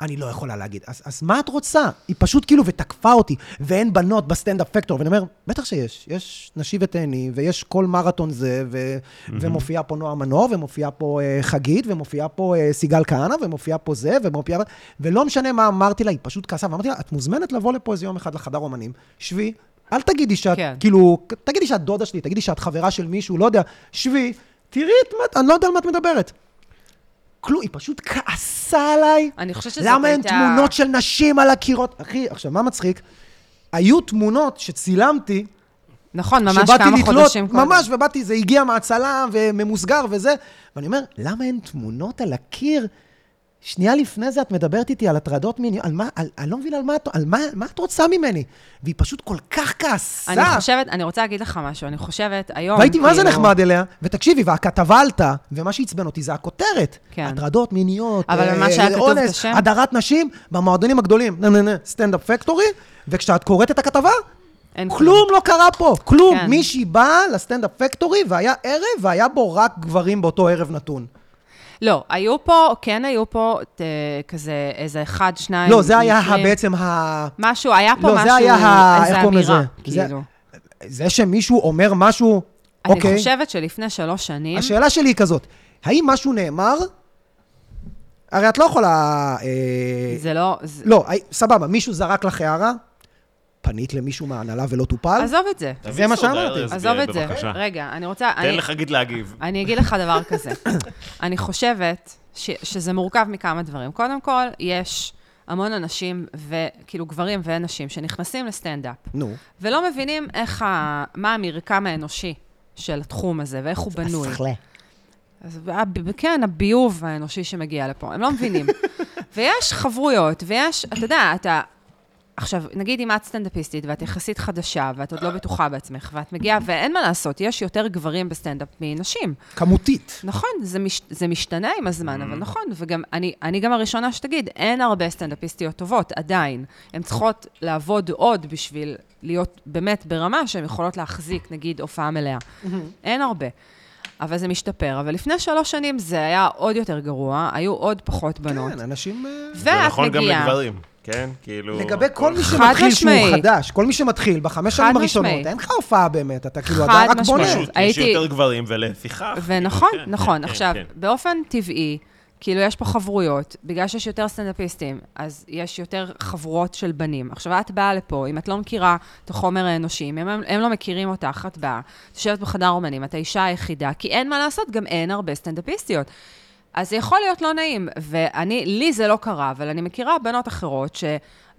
S2: אני לא יכולה להגיד. אז, אז מה את רוצה? היא פשוט כאילו, ותקפה אותי, ואין בנות בסטנדאפ פקטור, ואני אומר, בטח שיש. יש נשי ותהני, ויש כל מרתון זה, ו, mm-hmm. ומופיעה פה נועה מנור, ומופיעה פה אה, חגית, ומופיעה פה אה, סיגל כהנא, ומופיעה פה זה, ומופיעה... ולא משנה מה אמרתי לה, היא פשוט כעסה, ואמרתי לה, את מוזמנת לבוא לפה איזה יום אחד לחדר אומנים, שבי, אל תגידי שאת, כן.
S3: כן.
S2: כאילו, תגידי שאת דודה שלי, תגידי שאת חברה של מישהו, לא יודע, שבי, תראי את מה, אני לא יודע על מה את מדברת. כלום, היא פשוט כעסה עליי.
S3: אני חושבת שזאת
S2: למה אין
S3: הייתה-
S2: תמונות של נשים על הקירות? אחי, עכשיו, מה מצחיק? היו תמונות שצילמתי,
S3: נכון, ממש
S2: שבאתי
S3: כמה
S2: לתלות,
S3: חודשים קודם.
S2: ממש, ובאתי, זה הגיע מהצלם וממוסגר וזה, ואני אומר, למה אין תמונות על הקיר? שנייה לפני זה את מדברת איתי על הטרדות מיניות, על מה, על, אני לא מבין על מה, את- על מה, מה את רוצה ממני? והיא פשוט כל כך כעסה.
S3: אני חושבת, אני רוצה להגיד לך משהו, אני חושבת היום...
S2: והייתי מה זה
S3: כאילו-
S2: נחמד אליה, ותקשיבי, והכתבה עלתה, ומה שעצבן אותי זה הכותרת.
S3: כן.
S2: הטרדות מיניות,
S3: אבל
S2: אה,
S3: מה שהיה כתוב את
S2: אונס,
S3: השם?
S2: הדרת נשים במועדונים הגדולים, נה נה נה, סטנדאפ פקטורי, וכשאת קוראת את הכתבה,
S3: אין
S2: כלום לא קרה פה, כלום.
S3: כן.
S2: מישהי באה לסטנדאפ פקטורי, והיה ערב, והיה בו רק גברים באותו ערב נתון.
S3: לא, היו פה, כן היו פה ת, כזה איזה אחד, שניים...
S2: לא, זה היה ה-
S3: מקרים.
S2: בעצם ה...
S3: משהו, היה פה
S2: לא,
S3: משהו,
S2: זה היה ה...
S3: איזה
S2: איך קוראים
S3: אמירה,
S2: לזה? זה-
S3: כאילו.
S2: זה שמישהו אומר משהו,
S3: אני
S2: אוקיי.
S3: חושבת שלפני שלוש שנים...
S2: השאלה שלי היא כזאת, האם משהו נאמר? הרי את לא יכולה... אה,
S3: זה לא... זה...
S2: לא, הי- סבבה, מישהו זרק לך הערה, פנית למישהו מההנהלה ולא טופל?
S3: עזוב את זה.
S1: תביא
S2: זה מה
S1: סודה,
S2: שאמרתי.
S1: ארז,
S3: עזוב את זה.
S1: בבקשה.
S3: רגע, אני רוצה...
S1: תן
S3: אני,
S1: לחגית להגיב.
S3: אני אגיד לך דבר כזה. אני חושבת ש, שזה מורכב מכמה דברים. קודם כל, יש המון אנשים, וכאילו גברים ונשים, שנכנסים לסטנדאפ.
S2: נו.
S3: ולא מבינים איך ה... מה המרקם האנושי של התחום הזה, ואיך הוא בנוי.
S2: הסחלה.
S3: אז הב- כן, הביוב האנושי שמגיע לפה, הם לא מבינים. ויש חברויות, ויש, אתה יודע, אתה... עכשיו, נגיד אם את סטנדאפיסטית ואת יחסית חדשה, ואת עוד לא בטוחה בעצמך, ואת מגיעה, ואין מה לעשות, יש יותר גברים בסטנדאפ מנשים.
S2: כמותית.
S3: נכון, זה, מש, זה משתנה עם הזמן, אבל נכון, וגם אני, אני גם הראשונה שתגיד, אין הרבה סטנדאפיסטיות טובות, עדיין. הן צריכות לעבוד עוד בשביל להיות באמת ברמה שהן יכולות להחזיק, נגיד, הופעה מלאה. אין הרבה. אבל זה משתפר. אבל לפני שלוש שנים זה היה עוד יותר גרוע, היו עוד פחות בנות.
S2: כן, אנשים... אה,
S3: ואת
S1: זה
S3: מגיעה...
S1: נכון גם לגברים, כן? כאילו...
S2: לגבי כל מי
S3: חד
S2: שמתחיל שהוא
S3: משמעית.
S2: חדש, כל מי שמתחיל בחמש שנים
S3: חד
S2: הראשונות,
S3: משמעית.
S2: אין לך הופעה באמת, אתה כאילו,
S3: חד
S2: אתה רק בונה.
S3: משמעית.
S1: פשוט, יש
S3: הייתי-
S1: יותר גברים, ולפיכך...
S3: ונכון,
S1: כן,
S3: נכון.
S1: כן,
S3: עכשיו,
S1: כן.
S3: באופן טבעי, כאילו, יש פה חברויות, בגלל שיש יותר סטנדאפיסטים, אז יש יותר חבורות של בנים. עכשיו, את באה לפה, אם את לא מכירה את החומר האנושי, אם הם, הם לא מכירים אותך, את באה, את יושבת בחדר אומנים, את האישה היחידה, כי אין מה לעשות, גם אין הרבה סטנדאפיסטיות. אז זה יכול להיות לא נעים, ואני, לי זה לא קרה, אבל אני מכירה בנות אחרות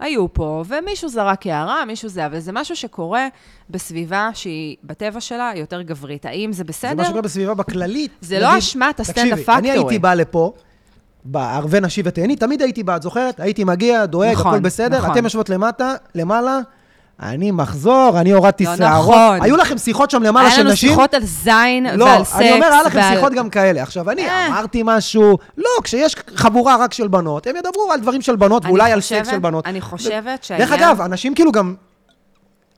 S3: שהיו פה, ומישהו זרק הערה, מישהו זה, אבל זה משהו שקורה בסביבה שהיא, בטבע שלה, יותר גברית. האם זה בסדר?
S2: זה מה שקורה בסביבה בכללית.
S3: זה לא
S2: נגיד,
S3: אשמת הסטנד
S2: תקשיבי, אני
S3: הפקטורי.
S2: הייתי בא לפה, בערבי נשי ותהני, תמיד הייתי בא, את זוכרת? הייתי מגיע, דואג,
S3: נכון,
S2: הכל בסדר,
S3: נכון.
S2: אתם יושבות למטה, למעלה. אני מחזור, אני הורדתי
S3: לא
S2: שערות.
S3: נכון.
S2: היו לכם שיחות שם למעלה
S3: היה
S2: של
S3: לנו
S2: נשים?
S3: שיחות על זין
S2: לא,
S3: ועל סקס.
S2: אני אומר, היה לכם
S3: ועל-
S2: שיחות גם כאלה. עכשיו, אני
S3: אה.
S2: אמרתי משהו, לא, כשיש חבורה רק של בנות, הם ידברו על דברים של בנות,
S3: אני
S2: ואולי על
S3: חושבת-
S2: סקס של בנות.
S3: אני חושבת
S2: דרך
S3: שהעניין...
S2: אגב, אנשים כאילו גם...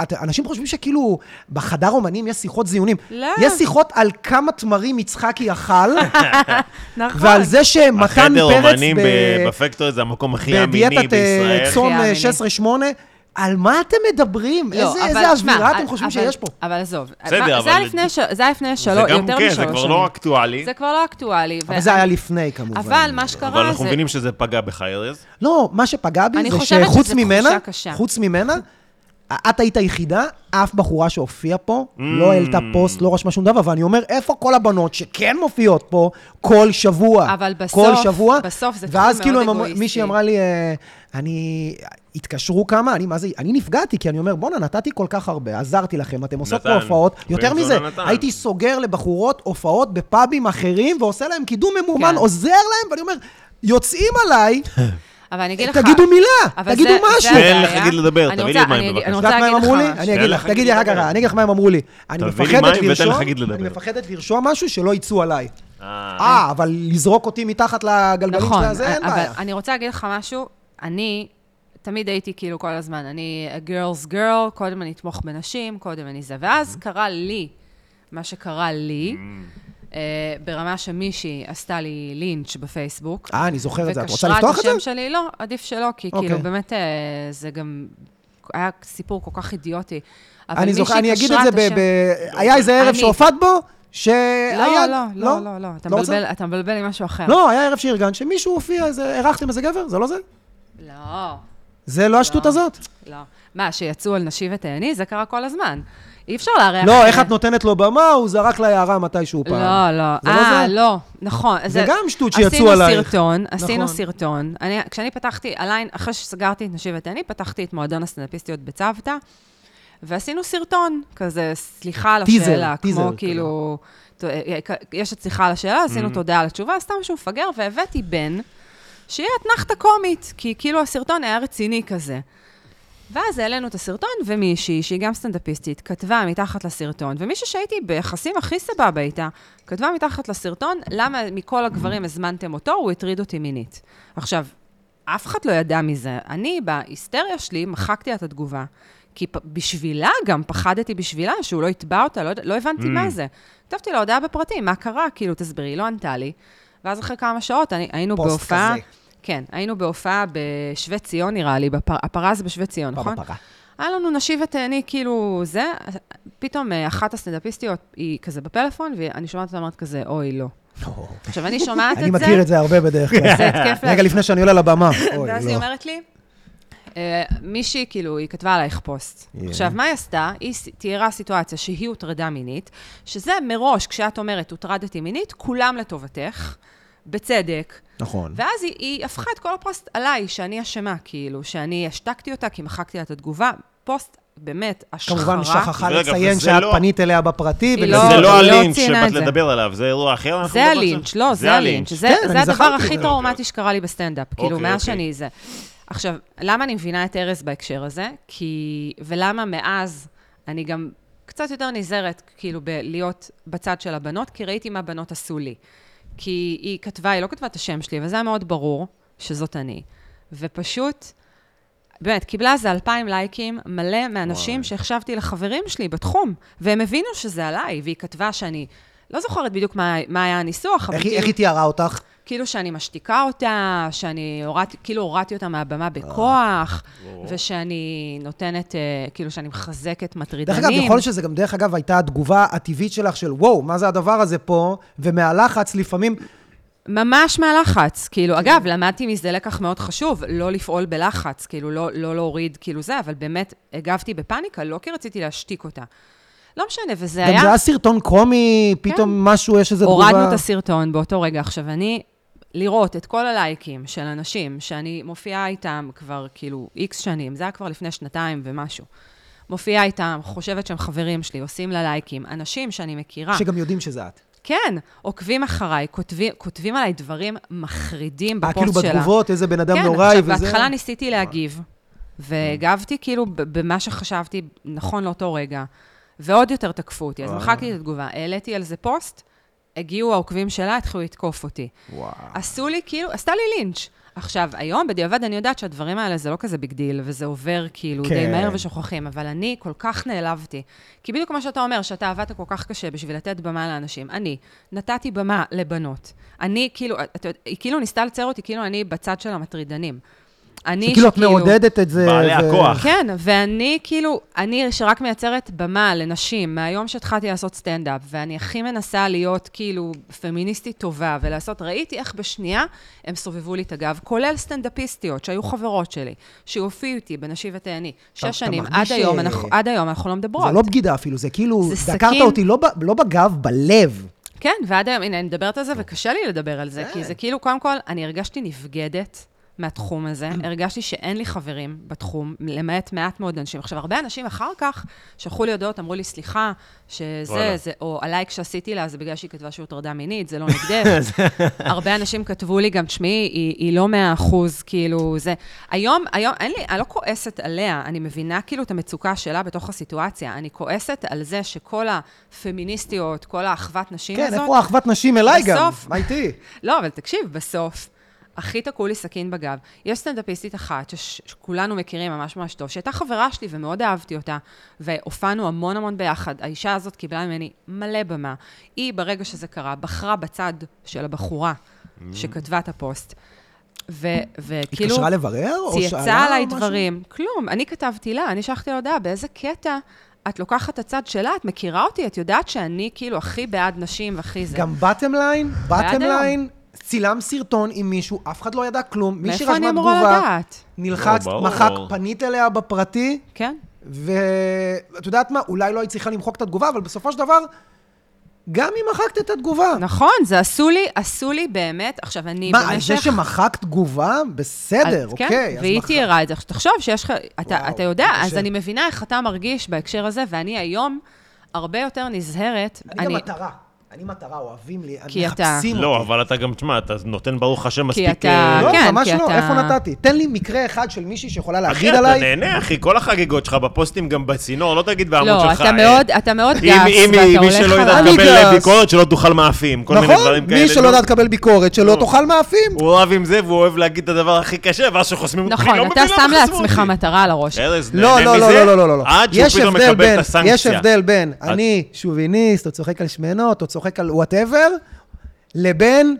S2: את- אנשים חושבים שכאילו בחדר אומנים יש שיחות זיונים.
S3: לא.
S2: יש שיחות על כמה תמרים יצחקי אכל,
S3: נכון.
S2: ועל זה שמתן
S1: החדר
S2: פרץ
S1: אומנים
S2: ב-
S1: ב- בפקטורי זה המקום הכי אמיני
S2: בדיאטת אה,
S1: בישראל.
S2: צום
S3: הכי
S2: אה,
S3: אמיני.
S2: 16-8, על מה אתם מדברים?
S3: לא,
S2: איזה
S3: אבל
S2: איזה
S3: שמע,
S2: אווירה אתם
S3: אבל-
S2: חושבים
S3: אבל-
S2: שיש פה?
S3: אבל עזוב.
S1: בסדר,
S3: מה- זה
S1: אבל-
S3: היה לפני ש- זה היה לפני
S1: זה
S3: שלוש, יותר
S1: גם
S3: משלוש
S1: כן,
S3: שנים.
S1: זה כבר לא אקטואלי,
S3: זה כבר לא אקטואלי.
S2: אבל
S3: ו-
S2: זה היה לפני כמובן.
S3: אבל מה שקרה זה...
S1: אבל אנחנו מבינים שזה פגע בך, ארז.
S2: לא, מה שפגע בי
S3: אני
S2: זה
S3: חושבת
S2: שחוץ
S3: שזו
S2: ממנה,
S3: תחושה קשה.
S2: חוץ ממנה, את היית היחידה, אף בחורה שהופיעה פה,
S1: Mm.
S2: לא העלתה פוסט, לא רשמה שום דבר, ואני אומר, איפה כל הבנות שכן מופיעות פה כל שבוע?
S3: אבל בסוף-
S2: כל שבוע,
S3: בסוף זה כאילו
S2: ואז
S3: מאוד
S2: כאילו הם אמרו-
S3: אגואיסטי.
S2: מישהי אמרה לי, אה, אני... התקשרו כמה, אני, מה זה, אני נפגעתי, כי אני אומר, בואנה, נתתי כל כך הרבה, עזרתי לכם, אתם עושות פה
S1: נתן.
S2: הופעות. יותר
S1: בן זונה
S2: מזה,
S1: נתן.
S2: הייתי סוגר לבחורות הופעות בפאבים אחרים, ועושה להם קידום ממומן,
S3: כן.
S2: עוזר להם, ואני אומר, יוצאים עליי,
S3: אבל אני אגיד לך...
S2: תגידו מילה,
S3: אבל
S2: תגידו
S3: זה-
S2: משהו.
S3: זה
S1: תן
S3: הבעיה.
S1: לחגית לדבר,
S3: אני
S1: תביא לי
S3: רוצה-
S1: מים
S3: אני-
S1: בבקשה.
S3: אני
S2: את
S3: רוצה
S2: יודעת מה
S3: להגיד
S2: הם
S3: לך
S2: אמרו לי?
S3: משהו.
S2: אני אגיד לך,
S1: תן
S2: תגידי
S1: לחגית
S2: אחר כך,
S1: לדבר.
S2: אני אגיד לך מה הם אמרו לי. אני
S1: תביא לי
S2: מפחדת
S1: מים ותן
S2: לרשום,
S1: לחגית לדבר.
S2: אני מפחדת לרשום משהו שלא יצאו עליי.
S1: אה,
S2: אה, אבל לזרוק אותי מתחת לגלגלים
S3: נכון,
S2: של הזה, אין
S3: אבל
S2: בעיה.
S3: אני רוצה להגיד לך משהו, אני תמיד הייתי כאילו כל הזמן, אני a girl's girl, קודם אני אתמוך בנשים, קודם אני זה, ואז
S2: Mm-hmm.
S3: קרה לי מה שקרה לי,
S2: Mm-hmm.
S3: אה, ברמה שמישהי עשתה לי לינץ' בפייסבוק.
S2: אה, אני זוכר את זה. את רוצה
S3: וקשרה
S2: לפתוח את זה?
S3: השם שלי, לא, עדיף שלא, כי
S2: אוקיי.
S3: כאילו באמת אה, זה גם, היה סיפור כל כך אידיוטי. אבל
S2: אני זוכר,
S3: מישהי
S2: אני אגיד את
S3: קשרה
S2: זה ב...
S3: השם-
S2: ב- היה איזה ערב
S3: אני-
S2: שהופעת בו, שהיה...
S3: לא, לא, לא, לא, לא, אתה
S2: רוצה?
S3: מבלבל- אתה מבלבל עם משהו אחר.
S2: לא, היה ערב שארגן, שמישהו הופיע, איזה- אירחתם איזה גבר? זה לא זה?
S3: לא.
S2: זה לא השטות הזאת.
S3: לא. מה, שיצאו על נשי ותהני? זה קרה כל הזמן. אי אפשר לארח...
S2: לא, איך את נותנת לו במה, הוא זרק לה הערה מתישהו פעם.
S3: לא, לא.
S2: זה לא
S3: אה,
S2: זה?
S3: לא, נכון.
S2: זה גם שטות שיצאו עלייך.
S3: עשינו סרטון, עשינו
S2: נכון.
S3: סרטון. אני- כשאני פתחתי, עליין, אחרי שסגרתי את נשי ותהני, פתחתי את מועדון הסטנדאפיסטיות בצוותא, ועשינו סרטון, כזה, סליחה על
S2: טיזר,
S3: השאלה.
S2: טיזר
S3: כמו
S2: כזה.
S3: כאילו, ת- אה, כ- יש את סליחה על השאלה,
S2: Mm.
S3: עשינו תודה על התשובה, סתם שהוא מפגר, והבאתי בן, שיהיה אתנחתה קומית, כי כאילו הסרטון היה רציני כזה. ואז העלינו את הסרטון, ומישהי, שהיא גם סטנדאפיסטית, כתבה מתחת לסרטון, ומישהי שהייתי ביחסים הכי סבבה איתה, כתבה מתחת לסרטון, למה מכל הגברים הזמנתם אותו, הוא הטריד אותי מינית. עכשיו, אף אחד לא ידע מזה. אני, בהיסטריה שלי, מחקתי לה את התגובה. כי פ- בשבילה גם, פחדתי בשבילה, שהוא לא יתבע אותה, לא, יודע- לא הבנתי mm. מה זה. כתבתי לה הודעה בפרטים, מה קרה? כאילו, תסבירי, היא לא ענתה לי. ואז אחרי כמה שעות אני, היינו
S2: פוסט
S3: בהופעה...
S2: כזה.
S3: כן, היינו בהופעה בשווה ציון, נראה לי, בפר... הפרה זה בשווה ציון, נכון?
S2: בפרה.
S3: היה לנו נשי ותהני, כאילו, זה, פתאום אה, אחת הסטנדאפיסטיות היא כזה בפלאפון, ואני שומעת אותה אומרת כזה, אוי, לא. עכשיו, אני שומעת את זה.
S2: אני מכיר את זה הרבה בדרך כלל.
S3: זה התקף לב.
S2: רגע לפני שאני עולה לבמה. אוי,
S3: ואז
S2: לא.
S3: היא אומרת לי, אה, מישהי, כאילו, היא כתבה עלייך פוסט.
S2: Yeah.
S3: עכשיו, מה היא עשתה? היא ס- תיארה סיטואציה שהיא הוטרדה מינית, שזה מראש, כשאת אומרת, הוטרדתי מינית, כולם לטובתך, בצדק.
S2: נכון.
S3: ואז היא, היא הפכה את כל הפוסט עליי, שאני אשמה, כאילו, שאני השתקתי אותה כי מחקתי לה את התגובה. פוסט, באמת, השחרה.
S2: כמובן שכחה
S1: רגע,
S2: לציין
S1: וזה
S2: שאת
S1: לא-
S2: פנית אליה בפרטי.
S3: היא
S2: וגם-
S1: זה
S3: לא-
S1: לא
S3: היא לא
S1: הלינץ'
S3: ציינה את
S1: שבאת
S3: זה.
S1: לדבר עליו, זה אירוע אחר. אנחנו
S3: זה
S1: מדברים
S3: הלינץ',
S1: עכשיו?
S3: לא, זה הלינץ'. זה,
S2: כן,
S3: זה
S2: אני
S3: הדבר
S2: זכרתי.
S3: הכי טראומטי שקרה לי בסטנדאפ. כאילו,
S1: אוקיי,
S3: מאז
S1: אוקיי.
S3: שאני זה. עכשיו, למה אני מבינה את ארז בהקשר הזה? כי... ולמה מאז אני גם קצת יותר נזהרת, כאילו, בלהיות בצד של הבנות, כי ראיתי מה בנות עשו לי. כי היא כתבה, היא לא כתבה את השם שלי, וזה היה מאוד ברור שזאת אני. ופשוט... באמת, קיבלה איזה 2,000 לייקים, מלא מאנשים
S1: וואי.
S3: שהחשבתי לחברים שלי בתחום, והם הבינו שזה עליי, והיא כתבה שאני... לא זוכרת בדיוק מה, מה היה הניסוח, אבל
S2: איך
S3: כאילו...
S2: היא- איך היא תיארה אותך?
S3: כאילו שאני משתיקה אותה, שאני הורדתי, כאילו הורדתי אותה
S2: אה,
S3: מהבמה בכוח, ושאני נותנת, אה, כאילו שאני מחזקת
S2: דרך
S3: מטרידנים.
S2: אגב, יכול להיות שזה גם, דרך אגב, הייתה התגובה הטבעית שלך של, וואו, מה זה הדבר הזה פה? ומהלחץ לפעמים,
S3: ממש מהלחץ,
S2: כן.
S3: כאילו, אגב, למדתי מזה לקח מאוד חשוב, לא לפעול בלחץ, כאילו, לא, לא להוריד, כאילו זה, אבל באמת הגבתי בפאניקה, לא כי רציתי להשתיק אותה. לא משנה, וזה
S2: גם
S3: היה... כן.
S2: זה היה סרטון קומי, פתאום משהו, יש איזו תגובה...
S3: הורדנו את הסרטון באותו רגע. עכשיו, אני, לראות את כל הלייקים של אנשים שאני מופיעה איתם כבר כאילו איקס שנים, זה היה כבר לפני שנתיים ומשהו. מופיעה איתם, חושבת שהם חברים שלי, עושים לה לייקים, אנשים שאני מכירה.
S2: שגם יודעים שזה את.
S3: כן, עוקבים אחריי, כותבים, כותבים עליי דברים מחרידים
S2: אה,
S3: בפוסט
S2: כאילו
S3: שלה.
S2: בתגובות, איזה בן אדם
S3: כן,
S2: נוראי וזה. אה.
S3: עכשיו, בהתחלה ניסיתי להגיב, והגבתי כאילו ב- במה שחשבתי נכון לאותו רגע, ועוד יותר תקפו אותי,
S2: אה.
S3: אז מחקתי את התגובה, העליתי על זה פוסט, הגיעו העוקבים שלה, התחילו לתקוף אותי.
S2: וואו.
S3: עשו לי כאילו, עשתה לי לינץ'. עכשיו, היום בדיעבד אני יודעת שהדברים האלה זה לא כזה ביג דיל, וזה עובר כאילו
S2: כן.
S3: די מהר ושוכחים, אבל אני כל כך נעלבתי. כי בדיוק כמו שאתה אומר, שאתה עבדת כל כך קשה בשביל לתת במה לאנשים, אני נתתי במה לבנות. אני כאילו, אתה יודע, היא כאילו ניסתה לצייר אותי כאילו אני בצד של המטרידנים. אני כאילו-
S2: שכאילו כאילו את מעודדת את זה.
S1: בעלי
S2: ו-
S1: הכוח.
S3: כן, ואני כאילו, אני שרק מייצרת במה לנשים, מהיום שהתחלתי לעשות סטנדאפ, ואני הכי מנסה להיות כאילו פמיניסטית טובה ולעשות, ראיתי איך בשנייה הם סובבו לי את הגב, כולל סטנדאפיסטיות שהיו חברות שלי, שהופיעו איתי בנשי ותהני,
S2: אתה
S3: שש שנים, עד
S2: מרגיש ש-
S3: היום, אנחנו- עד היום אנחנו לא מדברות.
S2: זה לא בגידה אפילו, זה כאילו,
S3: זה
S2: דקרת
S3: סכין.
S2: אותי לא ב- לא בגב, בלב.
S3: כן, ועד היום, הנה, אני מדברת על זה, וקשה לי לדבר על זה, כי זה כאילו, קודם כל, אני הרגשתי נבגדת מהתחום הזה, הרגשתי שאין לי חברים בתחום, למעט מעט מאוד אנשים. עכשיו, הרבה אנשים אחר כך שלחו לי הודעות, אמרו לי, סליחה, שזה,
S1: וואלה.
S3: זה, או הלייק שעשיתי לה, זה בגלל שהיא כתבה שהיא הוטרדה מינית, זה לא נגדך. הרבה אנשים כתבו לי גם, תשמעי, היא, היא לא מאה אחוז, כאילו, זה... היום, היום, אין לי, אני לא כועסת עליה, אני מבינה כאילו את המצוקה שלה בתוך הסיטואציה. אני כועסת על זה שכל הפמיניסטיות, כל האחוות נשים
S2: כן,
S3: הזאת...
S2: איפה אחוות נשים אליי גם?
S3: בסוף-
S2: מה איתי?
S3: לא, אבל תקשיב, בסוף, הכי תקעו לי סכין בגב. יש סטנדאפיסטית אחת שש- שכולנו מכירים ממש ממש טוב, שהייתה חברה שלי ומאוד אהבתי אותה, והופענו המון המון ביחד. האישה הזאת קיבלה ממני מלא במה. היא, ברגע שזה קרה, בחרה בצד של הבחורה שכתבה את הפוסט. ו-
S2: היא
S3: וכאילו...
S2: התקשרה לברר? או
S3: כאילו, צייצה
S2: שאלה
S3: עליי
S2: משהו?
S3: דברים. כלום. אני כתבתי לה, אני שלחתי לה הודעה, באיזה קטע את לוקחת את הצד שלה, את מכירה אותי, את יודעת שאני כאילו הכי בעד נשים והכי זה.
S2: גם בטם ליין, בטם
S3: ועד היום.
S2: ליין, צילם סרטון עם מישהו, אף אחד לא ידע כלום, מי
S3: מאיפה
S2: שרשמה
S3: אני אמורה
S2: תגובה,
S3: לדעת?
S2: נלחץ,
S1: לא, ברור.
S2: מחק, פנית אליה בפרטי,
S3: כן.
S2: ואת יודעת מה, אולי לא היית צריכה למחוק את התגובה, אבל בסופו של דבר, גם אם מחקת את התגובה.
S3: נכון, זה עשו לי, עשו לי באמת, עכשיו אני
S2: מה, על
S3: במשך...
S2: זה שמחקת תגובה? בסדר,
S3: אז-
S2: אוקיי.
S3: כן,
S2: אז
S3: והיא
S2: מחק-
S3: תיארה את זה. עכשיו, תחשוב שיש לך, אתה,
S2: וואו,
S3: אתה יודע,
S2: זה
S3: אז
S2: קשה.
S3: אני מבינה איך אתה מרגיש בהקשר הזה, ואני היום הרבה יותר נזהרת.
S2: אני גם מטרה. אני מטרה, אוהבים לי,
S3: כי
S2: אני
S3: אתה-
S2: מחפשים אותי.
S1: לא, אבל אתה גם, תשמע, אתה נותן ברוך השם מספיק...
S3: אתה-
S1: אה,
S2: לא,
S3: כן,
S2: ממש
S3: כי
S2: לא,
S3: אתה-
S2: איפה נתתי? תן לי מקרה אחד של מישהי שיכולה
S1: אחי,
S2: להגיד
S1: אתה
S2: עליי.
S1: נהנה, אחי, כל החגיגות שלך בפוסטים גם בצינור, לא תגיד בעמוד
S3: לא,
S1: שלך.
S3: אתה
S1: אה,
S3: מאוד, אתה מאוד
S1: אם-
S3: גס, ואתה
S1: אם
S3: הולך
S1: מי שלא יודעת
S2: אני
S1: לקבל
S2: גס.
S1: אה, ביקורת, שלא תאכל מאפים, כל מיני
S2: נכון,
S1: דברים כאלה.
S2: מי שלא
S1: נו.
S2: יודעת לקבל ביקורת, שלא
S1: נו.
S2: תאכל מאפים.
S1: הוא אוהב עם זה, והוא אוהב להגיד את הדבר הכי קשה, ואז שחוסמים אותך,
S3: נכון,
S1: "אחי, לא
S3: אתה
S1: מבין למה
S3: שם
S1: חסמו
S3: לעצמך
S1: אותי".
S3: מטרה על הראש.
S1: ארז,
S2: לא,
S1: נהנה
S2: לא, לא,
S1: מזה,
S2: לא, לא, לא, לא.
S1: עד
S2: יש
S1: שהוא פתאום
S2: הבדל
S1: מקבל
S2: בין-
S1: את הסנקציה.
S2: יש הבדל בין אני שוביניסט, או צוחק על שמנות, או צוחק על וואטאבר, לבין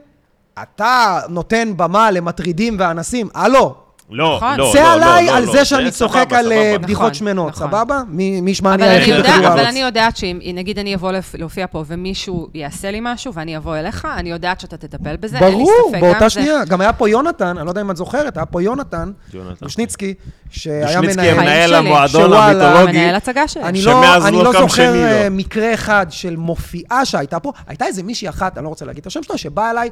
S2: אתה נותן במה למטרידים ואנסים. הלו,
S1: לא,
S3: נכון.
S1: לא,
S2: זה
S1: לא, לא,
S2: עליי
S1: לא,
S2: על
S1: לא,
S2: זה שאני
S1: סבבה,
S2: צוחק על אה,
S1: סבבה.
S2: בדיחות
S3: נכון,
S2: שמנות,
S3: נכון.
S2: סבבה? מי מי ישמע אני
S3: אבל אני
S1: היחיד
S3: יודע-
S1: בכדור
S3: אבל
S1: הארץ.
S3: אני יודעת שאם, נגיד אני אבוא לפ- להופיע פה ומישהו יעשה לי משהו ואני אבוא אליך, אני יודעת שאתה תטפל בזה, אין לי
S2: ברור,
S3: ספק. גם
S2: באותה
S3: זה-
S2: שנייה. גם היה פה יונתן, אני לא יודע אם את זוכרת, היה פה יונתן,
S1: יונתן.
S2: דושניצקי, שהיה
S1: דושניצקי
S2: מנהל...
S1: המנהל
S3: שלי.
S1: המועדון
S2: שוואלה,
S1: המיתולוגי.
S3: מנהל הצגה שלי.
S2: אני
S1: שמאז
S2: לא, אני
S1: לא
S2: לא
S1: קם
S2: זוכר
S1: שני, לא.
S2: אה, מקרה אחד של מופיעה שהייתה פה, הייתה איזה מישהי אחת, אני לא רוצה להגיד את השם שלה, שבאה אליי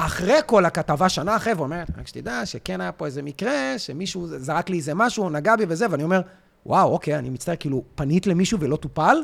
S2: אחרי כל הכתבה, שנה אחרי, ואומרת, רק שתדע שכן היה פה איזה מקרה, שמישהו זרק לי איזה משהו, נגע בי וזה, ואני אומר, וואו, אוקיי, אני מצטער, כאילו, פנית למישהו ולא טופל?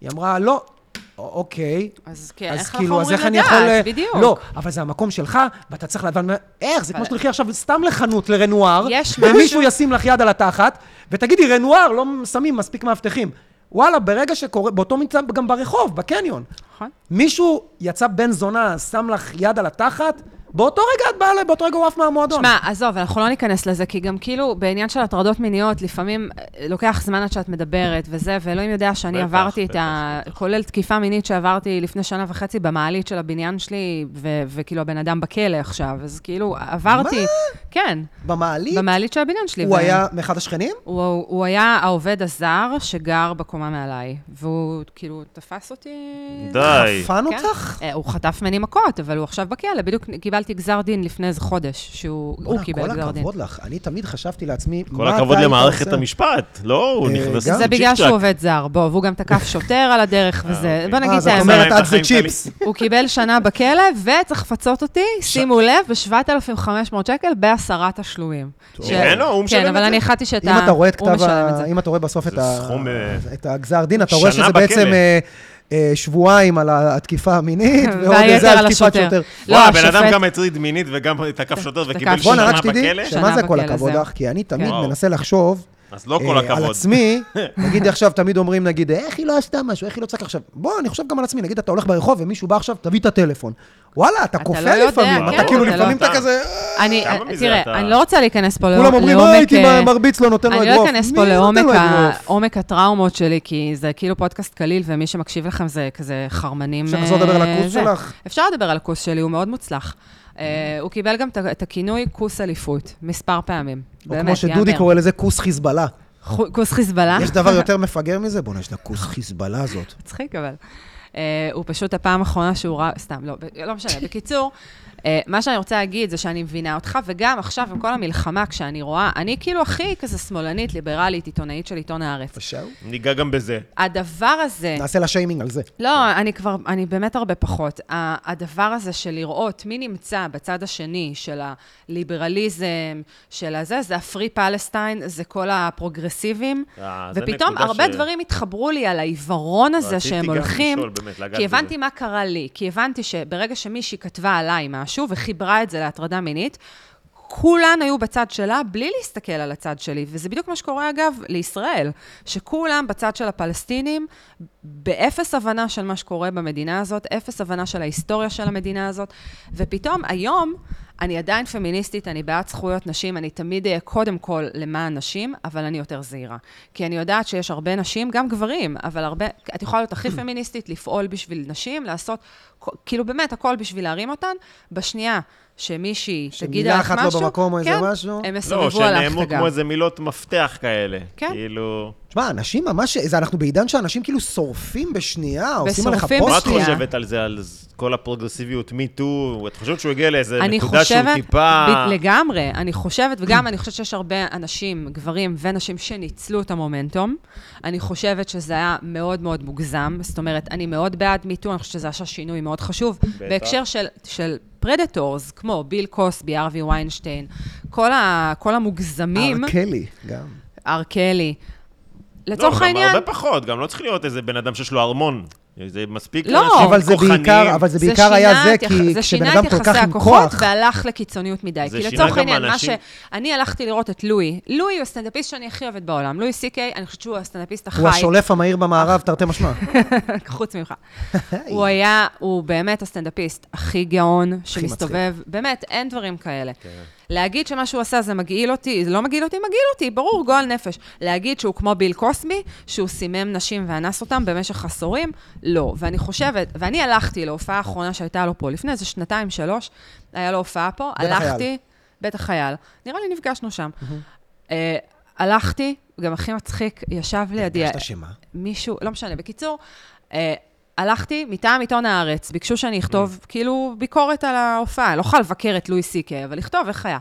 S2: היא אמרה, לא. "א- אוקיי.
S3: אז כן, איך אנחנו
S2: כאילו, אז
S3: אמורים
S2: איך אני
S3: לדעת?
S2: יכול... אה,
S3: בדיוק.
S2: לא, אבל זה המקום שלך, ואתה צריך לדעת... איך? זה כמו
S3: אבל-
S2: שתלכי עכשיו סתם לחנות לרנואר,
S3: יש
S2: ומישהו ישים לך יד על התחת, ותגידי, רנואר, לא שמים מספיק מאבטחים. וואלה, ברגע שקורה, באותו מצב גם ברחוב, בקניון.
S3: נכון.
S2: מישהו יצא בן זונה, שם לך יד על התחת, באותו רגע את באה, ל- באותו רגע הוא עף מהמועדון.
S3: שמע, עזוב, אנחנו לא ניכנס לזה, כי גם כאילו, בעניין של הטרדות מיניות, לפעמים אה, לוקח זמן עד שאת מדברת וזה, ואלוהים יודע שאני
S1: בטח,
S3: עברתי את
S1: בטח,
S3: ה...
S1: בטח.
S3: כולל תקיפה מינית שעברתי לפני שנה וחצי במעלית של הבניין שלי, ו- וכאילו הבן אדם בכלא עכשיו, אז כאילו, עברתי... מה? כן,
S2: במעלית,
S3: במעלית של הבניין שלי.
S2: הוא
S3: ו-
S2: היה מאחד השכנים?
S3: הוא, הוא היה העובד הזר שגר בקומה מעליי, והוא כאילו תפס אותי...
S1: די.
S2: חפן
S3: כן.
S2: אותך?
S3: אה, הוא חטף ממני מכות, אבל הוא עכשיו בכלא. בדיוק קיבלתי גזר דין לפני איזה חודש, שהוא הוא
S2: בואנה,
S3: קיבל
S2: כל
S3: גזר דין.
S2: הכבוד לך. אני תמיד חשבתי לעצמי,
S1: כל
S2: מה אתה
S1: הכבוד
S2: היית
S1: למערכת
S2: עושה?
S1: המשפט, לא? הוא
S2: אה,
S1: נכנס
S2: גם-
S3: זה בגלל שהוא
S1: צ'יק-צ'אק.
S3: עובד זר, בוא, והוא גם תקף שוטר על הדרך וזה.
S1: אוקיי.
S3: בוא נגיד
S2: אה,
S3: את
S2: זאת
S3: האמת,
S1: עשה
S2: אומרת, את
S1: להם
S2: זה
S1: את החיים
S2: צ'יפס.
S3: הוא קיבל שנה בכלא, וצריך לפצות אותי, שימו לב, ב-7,500 שקל בעשרה תשלומים.
S1: טוב.
S3: ש-
S1: ממנו? הוא משלם
S3: כן,
S1: את
S3: אבל
S1: זה?
S3: אני החלטתי שאת ה...
S2: אם אתה רואה את
S3: הוא
S2: כתב
S3: משלם את
S2: ה...
S3: זה.
S2: אם אתה רואה בסוף את,
S1: זה
S2: ה...
S1: סכום, אה,
S2: את הגזר דין, אתה רואה
S1: שנה
S2: שזה בעצם
S1: בכלא.
S2: אה, אה, שבועיים על התקיפה המינית, ועוד
S3: והיתר
S2: איזה על
S3: על
S2: תקיפת
S3: השוטר.
S2: שוטר.
S3: לא,
S1: וואי, הבן אדם
S3: השופט-
S1: גם הטריד מינית וגם תקף שוטר וקיבל
S3: תקף.
S2: בואנה,
S1: שנה
S2: רק שתדעי,
S1: בכלא?
S2: שמה זה
S3: שנה
S2: כל
S3: בכלא,
S2: הכבוד
S3: זהו. כן.
S2: לך? כי אני תמיד
S1: וואו.
S2: מנסה לחשוב
S1: אז לא כל
S2: אה, על
S1: הכבוד.
S2: עצמי, נגיד עכשיו, תמיד אומרים, נגיד, איך היא לא עשתה משהו, איך היא לא צעקה עכשיו. בוא, אני חושב גם על עצמי, נגיד, אתה הולך ברחוב ומישהו בא עכשיו, תביא את הטלפון. וואלה, אתה
S3: אתה
S2: כופה
S3: לא יודע,
S2: לפעמים,
S1: כן,
S2: אתה כאילו
S1: אתה לא
S2: לפעמים אתה
S1: יודע.
S2: כזה... אה,
S3: אני,
S1: כמה מזה אתה-
S3: תראה, אני לא רוצה להיכנס פה לעומק...
S2: כולם אומרים, מה הייתי
S3: אה,
S2: מרביץ לו, נותן לו
S3: אני
S2: אגרוף.
S3: לא אכנס פה
S2: מי נותן
S3: לעומק
S2: לו
S3: ה-
S2: אגרוף?
S3: עומק הטראומות שלי, כי זה כאילו פודקאסט קליל, ומי שמקשיב לכם זה כזה חרמנים...
S2: אפשר לחזור לא לדבר על
S3: אה,
S2: הכוס
S3: זה.
S2: שלך?
S3: אפשר לדבר על הכוס שלי, הוא מאוד מוצלח. אה, הוא קיבל גם את ה- את הכינוי כוס אליפות, מספר פעמים.
S2: או
S3: באמת,
S2: לא כמו שדודי
S3: יאמר. אה?
S2: קורא לזה, כוס חיזבאללה.
S3: חו- כוס חיזבאללה.
S2: יש דבר יותר מפגר מזה? בוא'נה, יש לה
S3: אה.
S2: כוס חיזבאללה הזאת.
S3: מצחיק, אבל... Uh, הוא פשוט הפעם האחרונה שהוא ראה, סתם, לא, ב- לא משנה. בקיצור, uh, מה שאני רוצה להגיד זה שאני מבינה אותך, וגם עכשיו, עם כל המלחמה, כשאני רואה, אני כאילו הכי כזה שמאלנית, ליברלית, עיתונאית של עיתון הארץ.
S2: פשעו?
S1: ניגע גם בזה.
S3: הדבר הזה...
S2: נעשה לה שיימינג על זה.
S3: לא, אני כבר, אני באמת הרבה פחות. ה- הדבר הזה של לראות מי נמצא בצד השני של הליברליזם, של הזה, זה הפרי פלסטיין, זה כל הפרוגרסיבים.
S1: אה, זה
S3: ופתאום
S1: נקודה
S3: הרבה
S1: ש-
S3: דברים התחברו לי על העיוורון הזה
S1: רציתי
S3: שהם
S1: גם
S3: הולכים.
S1: לשאול, באמת, לגעת
S3: כי הבנתי
S1: בזה.
S3: מה קרה לי, כי הבנתי שברגע שמישהי כתבה עליי משהו וחיברה את זה להטרדה מינית, כולן היו בצד שלה בלי להסתכל על הצד שלי, וזה בדיוק מה שקורה אגב לישראל, שכולם בצד של הפלסטינים, באפס הבנה של מה שקורה במדינה הזאת, אפס הבנה של ההיסטוריה של המדינה הזאת, ופתאום היום אני עדיין פמיניסטית, אני בעד זכויות נשים, אני תמיד אהיה קודם כל למען נשים, אבל אני יותר זהירה. כי אני יודעת שיש הרבה נשים, גם גברים, אבל הרבה, את יכולה להיות הכי פמיניסטית, לפעול בשביל נשים, לעשות, כאילו באמת, הכל בשביל להרים אותן, בשנייה שמישהי תגיד
S2: שמילה
S3: עליך משהו,
S2: אחת לא במקום או איזה
S3: כן,
S2: משהו?
S3: הם
S1: לא,
S3: יסובבו עליך
S1: שנאמרו
S3: את הגב.
S1: כמו איזה מילות מפתח כאלה.
S3: כן.
S1: כאילו...
S2: שמע, אנשים ממש, זה אנחנו בעידן שאנשים כאילו שורפים בשנייה, עושים עליך
S3: ושורפים
S1: מה
S2: פוסט.
S1: את
S3: שנייה.
S1: חושבת על זה, על ז- כל הפרוגרסיביות, מי טו? את חושבת שהוא הגיע לאיזה
S3: אני
S1: נקודה שהוא
S3: חושבת,
S1: טיפה...
S3: ב- לגמרי, אני חושבת, וגם אני חושבת שיש הרבה אנשים, גברים ונשים, שניצלו את המומנטום. אני חושבת שזה היה מאוד מאוד מוגזם, זאת אומרת, אני מאוד בעד מיטו, אני חושבת שזה עשה שינוי מאוד חשוב.
S1: בטח.
S3: בהקשר של, של פרדטורס, כמו ביל קוסבי, ארווי ויינשטיין, כל, ה, כל המוגזמים,
S2: הר קלי, גם.
S3: הר קלי.
S1: לא,
S3: לצורך
S1: גם
S3: העניין,
S1: הרבה פחות, גם לא צריך להיות איזה בן אדם שיש לו ארמון. זה מספיק
S3: לא.
S1: אנשים
S2: אבל זה בעיקר, אבל זה בעיקר
S3: שינה
S2: היה זה,
S3: את יח-
S2: כי
S3: זה
S2: כשבן
S3: שינה
S2: אדם
S3: את
S2: כל כך
S3: יחסי
S2: עם
S3: הכוחות
S2: כוח,
S3: והלך לקיצוניות מדי.
S1: זה
S3: כי
S1: שינה
S3: לצורך
S1: גם
S3: העניין, מה ש...
S1: אנשים-
S3: אני הלכתי לראות את לואי. לואי הוא הסטנדאפיסט שאני הכי אוהבת בעולם. לואי סי-קיי, אני חושבת שהוא הסטנדאפיסט החי.
S2: הוא השולף המהיר במערב, תרתי משמע.
S3: חוץ ממך. הוא היה, הוא באמת הסטנדאפיסט הכי גאון
S2: מצחיק. כן.
S3: שמסתובב, באמת, אין דברים כאלה. להגיד שמה שהוא עשה זה מגעיל אותי, זה לא מגעיל אותי, מגעיל אותי, ברור, גועל נפש. להגיד שהוא כמו ביל קוסמי, שהוא סימם נשים ואנס אותם במשך עשורים, לא. ואני חושבת, ואני הלכתי להופעה האחרונה שהייתה לו פה, לפני איזה שנתיים, שלוש, היה לו הופעה פה,
S2: בית החייל.
S3: הלכתי... בית החייל. נראה לי נפגשנו שם. אה, הלכתי, גם הכי מצחיק, ישב לידי...
S2: הרגשת שמה?
S3: מישהו, לא משנה. בקיצור, אה, הלכתי מטעם עיתון הארץ, ביקשו שאני אכתוב כאילו ביקורת על ההופעה, אני לא יכולה לבקר את לואי סי-קיי, אבל לכתוב איך היה.